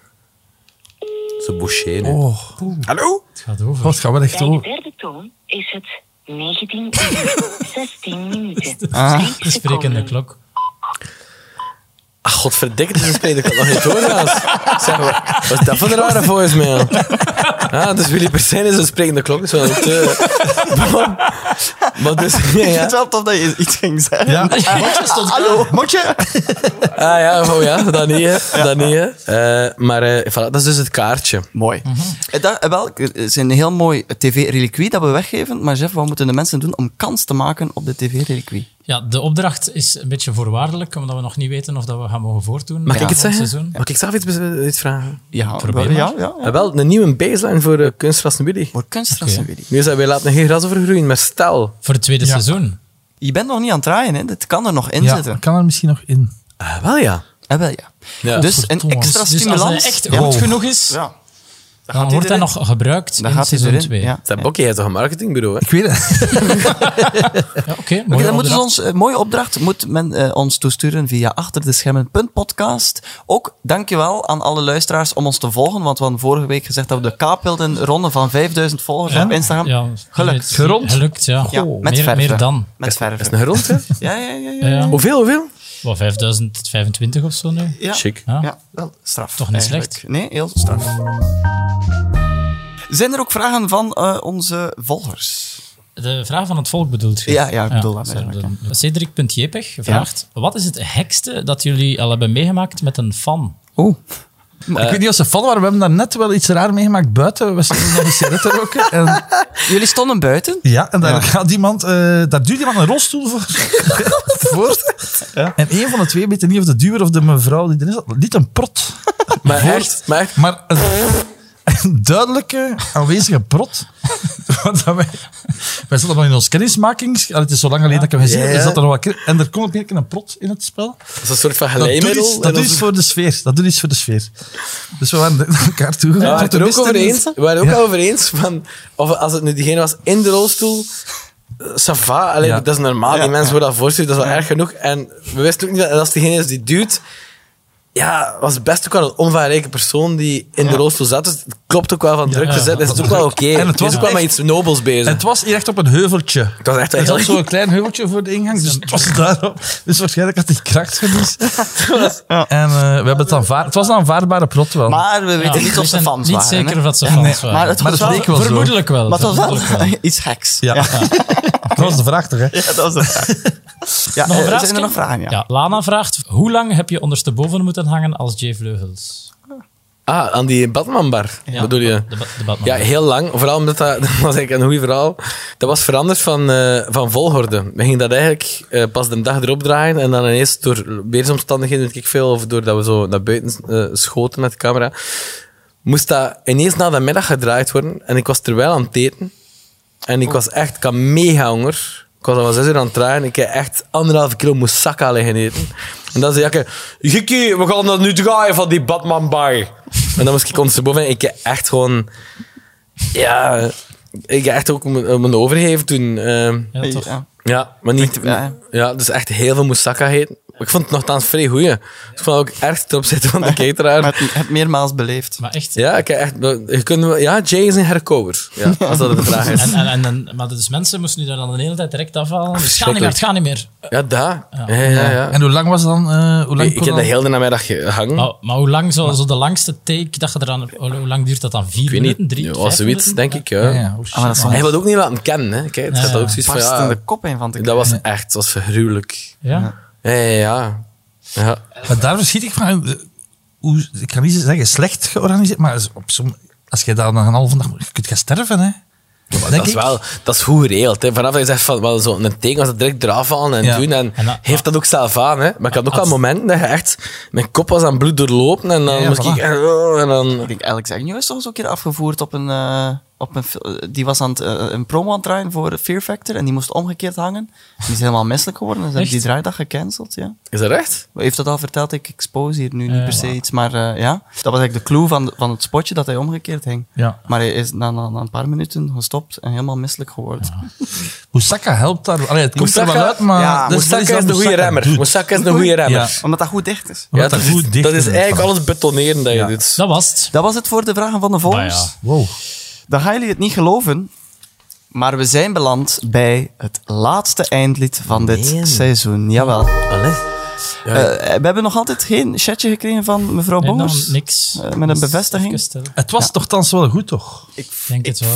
B: Ze boucher nu.
D: Oh,
B: Hallo?
C: Het gaat over.
D: God, gaan we echt
E: Bij de
D: over.
E: derde toon is het 19 uur, 16 minuten.
A: Ah.
E: drie
C: De sprekende
E: seconden.
C: klok.
B: Ach, godverdikke, dit is een spelen. Ik had nog niet doorgaans. Zeg, wat wat is dat voor een rare voicemail? Ah, dus Willy Persijn is een sprekende klok. Dus wel eh, een te... maar, maar dus... Ja,
A: Ik vind het
B: ja.
A: wel tof dat je iets ging zeggen.
D: Ja,
A: Motje stond Hallo, Motje.
B: Ah ja, oh ja, dat niet, hè. Dat niet, hè. Eh, maar eh, voilà, dat is dus het kaartje.
A: Mooi. Eh, Dat, eh, wel, het is een heel mooi tv-reliquie dat we weggeven. Maar Jeff, wat moeten de mensen doen om kans te maken op de tv-reliquie?
C: Ja, de opdracht is een beetje voorwaardelijk, omdat we nog niet weten of dat we gaan mogen voortdoen.
B: Mag
C: Ja,
B: ik het
C: volgend
B: zeggen?
C: seizoen.
B: Mag ik zelf iets, be- iets vragen?
A: Ja,
C: Probeer
A: wel, ja,
C: maar.
A: ja.
B: Ah, wel, een nieuwe baseline voor eh, Kunstras en Willy.
A: Voor Kunstrasse
C: Oké.
A: Weli.
B: Nu is dat, wij laten geen gras overgroeien, maar stel...
C: Voor het tweede seizoen.
A: Je bent nog niet aan het draaien, hè? Dit kan er nog in
D: ja,
A: zitten.
D: kan er misschien nog in.
B: Ah, wel ja.
A: Eh, wel, ja.
B: Ja.
A: Dus een
D: Godverdomme.
A: extra
C: Dus als hij
A: stimulans.
C: echt
A: Ja.
C: goed genoeg is,
A: Ja.
C: dan wordt hij nog gebruikt
A: Dan
C: in
A: gaat hij
C: seizoen
A: erin.
C: 2.
A: Ja.
B: Zeg, Bokkie, jij hebt toch een marketingbureau, hè?
D: Ik weet het.
C: Ja, Oké,
A: Oké, dan
C: mooie
A: moeten ze
C: opdracht.
A: ons, eh, mooie opdracht moet men eh, ons toesturen via achterdeschermen.podcast. Ook dankjewel aan alle luisteraars om ons te volgen, want we hadden vorige week gezegd dat we de kaap wilden ronden van 5000 volgers op Instagram.
C: Ja,
A: Gelukt.
C: het- Gelukt, ja.
A: Ja,
C: Goh,
A: met
C: meer,
A: verven.
C: meer dan.
A: Met
B: Dat is
A: verven.
B: een grond, hè?
A: Ja, ja, ja. ja.
C: Ja, ja.
B: Hoeveel, hoeveel?
C: Wat, 5025 of zo nu?
A: ja.
B: Chic.
C: Ja.
A: Ja, wel straf.
C: Toch niet
A: slecht? Nee, heel straf. Zijn er ook vragen van eh, onze volgers?
C: De vraag van het volk bedoelt je?
A: Ja, ja, ik bedoel dat
C: sorry,
A: eigenlijk,
C: dan- Cedric.jpeg vraagt, wat is het hekste dat jullie al hebben meegemaakt met een fan?
A: Oeh.
D: Maar ik weet niet of ze vallen, maar we hebben daar net wel iets raar meegemaakt buiten. We stonden nog een sigaret te roken. En,
A: Jullie stonden buiten?
D: ja, en daar gaat iemand, eh, daar duwt iemand een rolstoel voor. voor. En een van de twee, weet niet of de duwer of de mevrouw die erin zat, liet een prot.
B: Maar
D: Voor-
B: echt, maar echt.
D: Maar een, een duidelijke aanwezige prot. Want dan wij, wij zaten nog in ons kennismakings. Allee, Het is zo lang geleden dat ik hem gezien heb.
B: Ja, ja.
D: dus dat er nog wat ken- en er komt op een keer een prot in het spel.
B: Dat is een soort van
D: Dat doet, iets,
B: glijmiddel.
D: dat doet iets voor de sfeer. Dat doet iets voor de sfeer. Dus we waren naar elkaar toe.
B: We waren het er ook over eens. We waren ook
D: Ja.
B: al over eens van, of als het nu diegene was in de rolstoel, eh, ça va, allee,
D: Ja.
B: dat is normaal. Die
A: Ja.
B: mensen worden dat voorstellen, dat is wel erg genoeg. En we wisten ook niet dat als diegene is die duwt, ja, was best ook wel een onvaarrijke persoon die in de rolstoel zat. Dus het klopt ook wel van druk gezet. Het is ook wel oké.
D: En het
B: Het
D: was
B: is ook wel met
D: echt-
B: iets nobels bezig.
D: Dus Het was hier echt op een heuveltje.
B: Het was echt
D: Er
B: wel
D: zat
B: heel...
D: zo'n klein heuveltje voor de ingang, dus het was daarop. Dus waarschijnlijk had hij krachtverlies. En eh, we hebben het aanvaard. Het was een aanvaardbare prot wel.
A: Maar we weten
C: Ja,
A: niet
C: Nou, we
A: of ze
C: zijn
A: fans
C: niet
A: waren.
C: zeker
A: hè.
C: of dat ze
A: Ja,
C: fans
A: nee,
C: waren.
A: Maar het
D: Maar
A: was
D: dat
A: wel,
D: leek wel zo.
C: Vermoedelijk wel.
A: maar het was
C: vermoedelijk
A: wel
C: wel.
A: iets geks.
D: Ja. dat was de vraag toch, hè?
A: Ja, dat was de vraag. Ja,
C: Nog een
A: eh,
C: vraagje?
A: zijn er nog vragen? Ja.
C: Ja, Lana vraagt, hoe lang heb je ondersteboven moeten hangen als Jay Vleugels?
B: Ah, aan die Batman-bar,
C: Ja,
B: bedoel je?
C: De, ba- de Batman.
B: Ja, heel lang. Vooral omdat dat, dat was eigenlijk een goed verhaal. Dat was veranderd van, eh, van volgorde. We gingen dat eigenlijk eh, pas de dag erop draaien. En dan ineens door weersomstandigheden, weet ik veel, of doordat we zo naar buiten eh, schoten met de camera, moest dat ineens na de middag gedraaid worden. En ik was terwijl aan het eten. En ik was echt, ik had mega honger. Ik was al van zes uur aan het draaien. Ik heb echt anderhalve kilo moussaka liggen eten. En dan zei Jakke, Gikkie, we gaan dat nu draaien van die Batman bar. En dan moest ik ondersteboven. en Ik heb echt gewoon... Ja, ik heb echt ook eh, mijn mijn overgeven toen. eh,
C: Ja, toch?
A: Ja.
B: ja, maar niet...
A: Ja.
B: Ja. dus echt heel veel moussaka heet. Ik vond het nogthans vrij goeie. Dus ik vond het ook erg ten opzichte van de
A: Maar
B: cateraar.
A: het, het meermaals beleefd.
C: Maar echt.
B: Ja, ik heb echt... Je kunt, wel- ja, Jay is een herkover. Ja, als dat de vraag is.
C: En, en, en, en- maar dus mensen moesten nu daar dan de hele tijd direct afhalen. Dus het gaat niet meer,
B: Verschrikkelijk.
C: het gaat niet meer.
B: Ja, daar. Ja, ja, ja.
D: En hoe lang was dan? eh, hoe lang
B: Ik, ik
D: kon
B: heb
D: dan-
B: dat heel de namiddag gehangen.
C: Maar, maar hoe lang zo, zo de langste take dat je eraan... Hoe hoe lang duurt dat dan? Vier
B: ik weet
C: minuten?
B: niet.
C: Drie,
B: ja,
C: vijf
B: was zoiets,
C: minuten?
B: denk ik. Ja.
D: Ja, ja, oh shit,
A: Ah, maar dat is
D: man.
B: Hij wil het ook niet laten kennen. Hè. Kijk, het
C: Ja,
B: gaat ook
C: ja.
B: zoiets van...
A: Barst
B: Ja,
A: in de kop in van te
B: dat was
A: krijgen.
B: echt, het was verhuwelijk.
C: Ja.
B: Ja, ja, ja. ja.
D: Maar daar verschiet ik van. eh, Hoe, ik kan niet zeggen slecht georganiseerd, maar op som, als je daar nog een halve dag. Je kunt gaan sterven, hè? Denk
B: dat is
D: ik.
B: wel, dat is goed geregeld. Hè. Vanaf dat je zegt van wel zo een teken was dat direct eraf aan en
D: Ja.
B: doen. En,
C: En dat-
B: heeft dat ook zelf aan. Hè. Maar ik had ook wel
C: Als-
B: momenten dat je echt mijn kop was aan bloed doorlopen en dan
D: Ja, ja,
B: moest ik.
D: voilà.
B: En, oh, en dan,
A: Ik denk, Alex Agnew is toch eens een keer afgevoerd op een... eh, op een fil- eh, die was aan het, eh, een promo aan het draaien voor Fear Factor en die moest omgekeerd hangen. Die is helemaal misselijk geworden en ze hebben
C: Echt?
A: die draaidag gecanceld, ja.
B: is dat echt?
A: Hij heeft dat al verteld, ik expose hier nu niet
C: Eh,
A: per se iets, maar eh, ja. Dat was eigenlijk de clue van, van het spotje dat hij omgekeerd hing.
D: Ja.
A: Maar hij is na, na, na een paar minuten gestopt en helemaal misselijk geworden.
D: Moussaka helpt daar. Allee, het komt
B: Moussaka-
D: er wel uit, maar.
A: Ja,
D: dat
B: Moussaka
D: Ah, dus dat
B: Ah, is de goede
D: Moussaka
B: remmer.
D: doet.
B: Moussaka is de goede remmer.
D: Ja.
A: Omdat dat goed dicht is.
D: Wat
B: Ja, dat,
D: er
B: is,
D: goed dicht
B: dat is
D: in
B: eigenlijk
D: van.
B: alles betoneren dat je
D: Ja.
B: doet.
C: Dat was het.
A: Dat was het voor de vragen van de volgers.
C: Maar
D: Wow.
A: Dan gaan jullie het niet geloven, maar we zijn beland bij het laatste eindlied van dit
B: Nee.
A: seizoen. Jawel.
B: Allee. Ja,
A: Eh, we hebben nog altijd geen chatje gekregen van mevrouw
C: Nee, nou, nog
A: Bongers.
C: niks.
A: Eh, met een
C: Dus
A: bevestiging?
C: even stellen.
D: Het was toch thans wel goed, toch?
C: Ik denk het wel.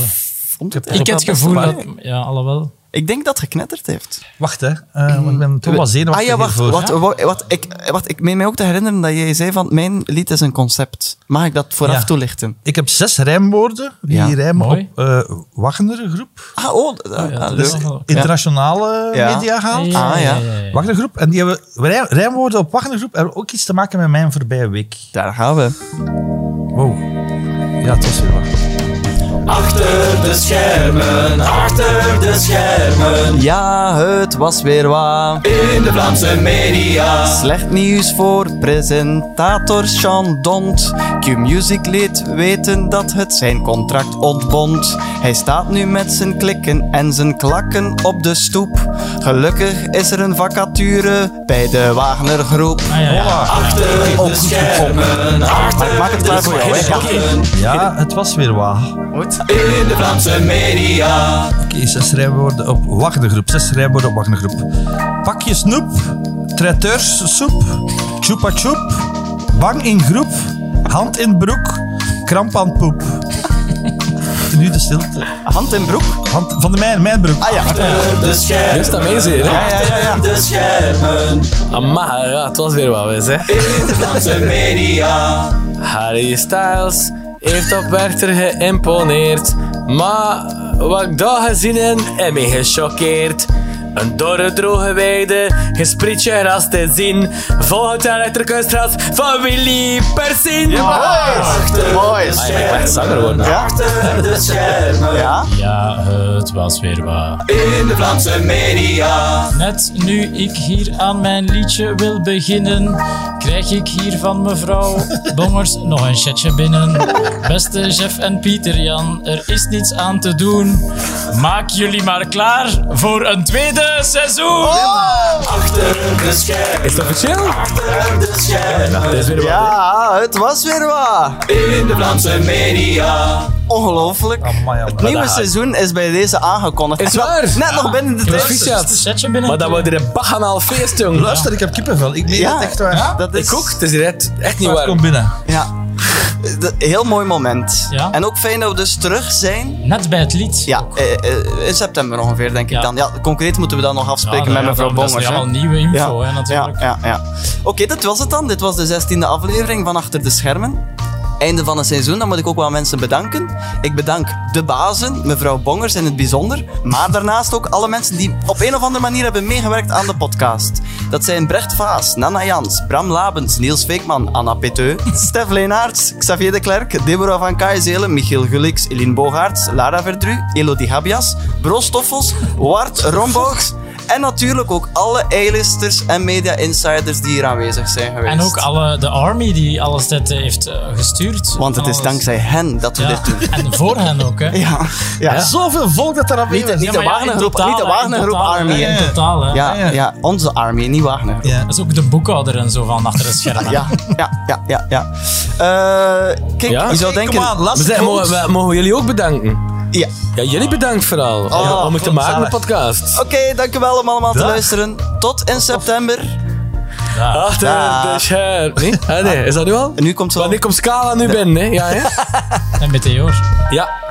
A: Vond het
C: Ik
A: eigenlijk
C: heb het
A: wel best
C: gevoel
A: waar.
C: dat... Ja, alhoewel.
A: Ik denk dat het geknetterd heeft.
D: Wacht, hè. Eh, want ik ben toch wel zenuwachtig
A: Ah ja, wacht.
D: hiervoor.
A: Wat, wat, wat, ik, wat, ik meen mij ook te herinneren dat jij zei van mijn lied is een concept. Mag ik dat vooraf
D: Ja.
A: toelichten?
D: Ik heb zes rijmwoorden die
A: Ja.
D: rijmen
C: Mooi.
D: op eh Wagner Groep. Dus
A: Ah, oh, eh,
C: ja,
A: ah,
C: dat
A: leuk.
C: is wel-
D: Internationale
A: Ja.
D: media gehaald.
A: Ah, ja.
D: Wagner Groep. En die hebben rij- rijmwoorden op Wagner Groep hebben ook iets te maken met mijn voorbije week.
A: Daar gaan we.
D: Wow. Ja, het was weer wat.
A: Ja, het was weer wat. In de Vlaamse media. Slecht nieuws voor presentator Sean Dont. Q-Music liet weten dat het zijn contract ontbond. Hij staat nu met zijn klikken en zijn klakken op de stoep. Gelukkig is er een vacature bij de Wagner Groep.
C: Ah, ja, ja.
A: Ook goed gekomen. Maar ik maak het klaar voor jou, hè. Ja.
D: Ja, het was weer wat.
A: Goed.
D: Oké, zes rijmwoorden op Wagner Groep. Zes rijmwoorden op Wagner Groep. Pakje snoep. Traiteurssoep. Chupa chup. Bang in groep. Hand in broek. Kramp aan poep. En nu de stilte.
A: Hand in broek.
D: Hand van de mijn, mijn broek.
A: Ah ja.
B: Dus dat mee zeer, hè?
A: Ja, ja, ja, ja.
B: Amai, ja, het was weer wat wis, hè? Harry Styles heeft op Werchter geïmponeerd. Maar wat ik daar gezien heb, heb me gechoqueerd. Een dorre droge weide, gesprietje ras te zien. Volg het elektrische ras van Willy Persin.
A: Boys.
B: ik mag zanger worden.
A: oh, Ja. Ja.
C: Ja, het was weer waar. In de Vlaamse media. Net nu ik hier aan mijn liedje wil beginnen, krijg ik hier van mevrouw Bongers nog een chatje binnen. Beste Jeff en Pieter Jan, er is niets aan te doen. Maak jullie maar klaar voor een
A: Oh,
C: tweede seizoen.
B: Is dat officieel? bijna. Het is weer wat.
A: Ja, het was weer wat.
F: in de Vlaamse media.
A: Ongelooflijk.
D: Amai, amai.
A: Het nieuwe seizoen is bij deze aangekondigd.
B: Is
A: En wel-
B: waar?
A: Net nog binnen de tijd.
B: Proficiat.
C: Zet je binnen.
B: Maar dat wordt er een baganaal feest, jong.
D: Luister, ik heb kippenvel. Ik meen
A: Ja,
D: het echt waar.
A: dat is
B: Ik ook. Het is hier echt, echt niet
D: Maar
B: waar.
D: Kom binnen.
A: Ja. De- heel mooi moment.
C: Ja.
A: En ook fijn dat we dus terug zijn.
C: Net bij het lied.
A: Ja, eh, eh, in september ongeveer, denk ik
C: Ja.
A: dan. Ja, concreet moeten we dan nog
C: Ja,
A: afspreken
C: nou
A: met
C: ja,
A: mevrouw
C: dat-
A: Bongers.
C: Dat is
A: hè.
C: allemaal nieuwe info,
A: ja,
C: hè, natuurlijk.
A: Ja, ja, ja. Oké, dat was het dan. Dit was de 16e aflevering van Achter de Schermen. Einde van het seizoen, dan moet ik ook wel mensen bedanken. Ik bedank de bazen, mevrouw Bongers in het bijzonder, maar daarnaast ook alle mensen die op een of andere manier hebben meegewerkt aan de podcast. Dat zijn Brecht Vaas, Nana Jans, Bram Labens, Niels Veekman, Anna Peteu, Stef Leenaerts, Xavier de Klerk, Deborah van Kaijzelen, Michiel Gulix, Eline Bogaerts, Lara Verdru, Elodie Habias, Bro Stoffels, Wart Rombougs, en natuurlijk ook alle A-listers en media-insiders die hier aanwezig zijn geweest.
C: En ook alle, de army die alles dit eh, heeft eh, gestuurd.
A: Want het is
C: Alles.
A: dankzij hen dat we
C: Ja.
A: dit doen.
C: En voor hen ook, hè?
A: Ja, ja.
D: Zoveel volk dat er aan
A: Niet, niet
C: Ja,
A: de
C: maar ja, in
A: Wagnergroep,
C: totaal,
A: niet de
C: hè, in
A: Wagnergroep
C: totaal, hè,
A: Army.
C: In
A: hè.
C: totaal, hè.
A: Ja,
D: ja.
A: ja, onze Army, niet Wagnergroep.
D: Ja.
C: Dat is ook de boekhouder en zo van achter het scherm.
A: Ja, ja, ja, ja. ja. Eh, kijk,
B: Ja?
A: je zou
D: Oké,
A: denken...
D: kom aan, laat
B: We zijn, mogen, we- mogen we jullie ook bedanken?
A: Ja.
B: Ja, jullie bedankt vooral. om het te
D: goed,
B: maken, de
D: zalig.
B: podcast.
A: Oké, dankjewel om allemaal te
D: Dag.
A: luisteren. Tot in september.
B: Achter
A: Dag.
B: Ah, de scherm. Nee? Ah, nee, is dat nu al?
A: En nu komt zo...
B: Wanneer komt Scala nu binnen? Hè? Ja, hè?
C: En meteor.
B: ja.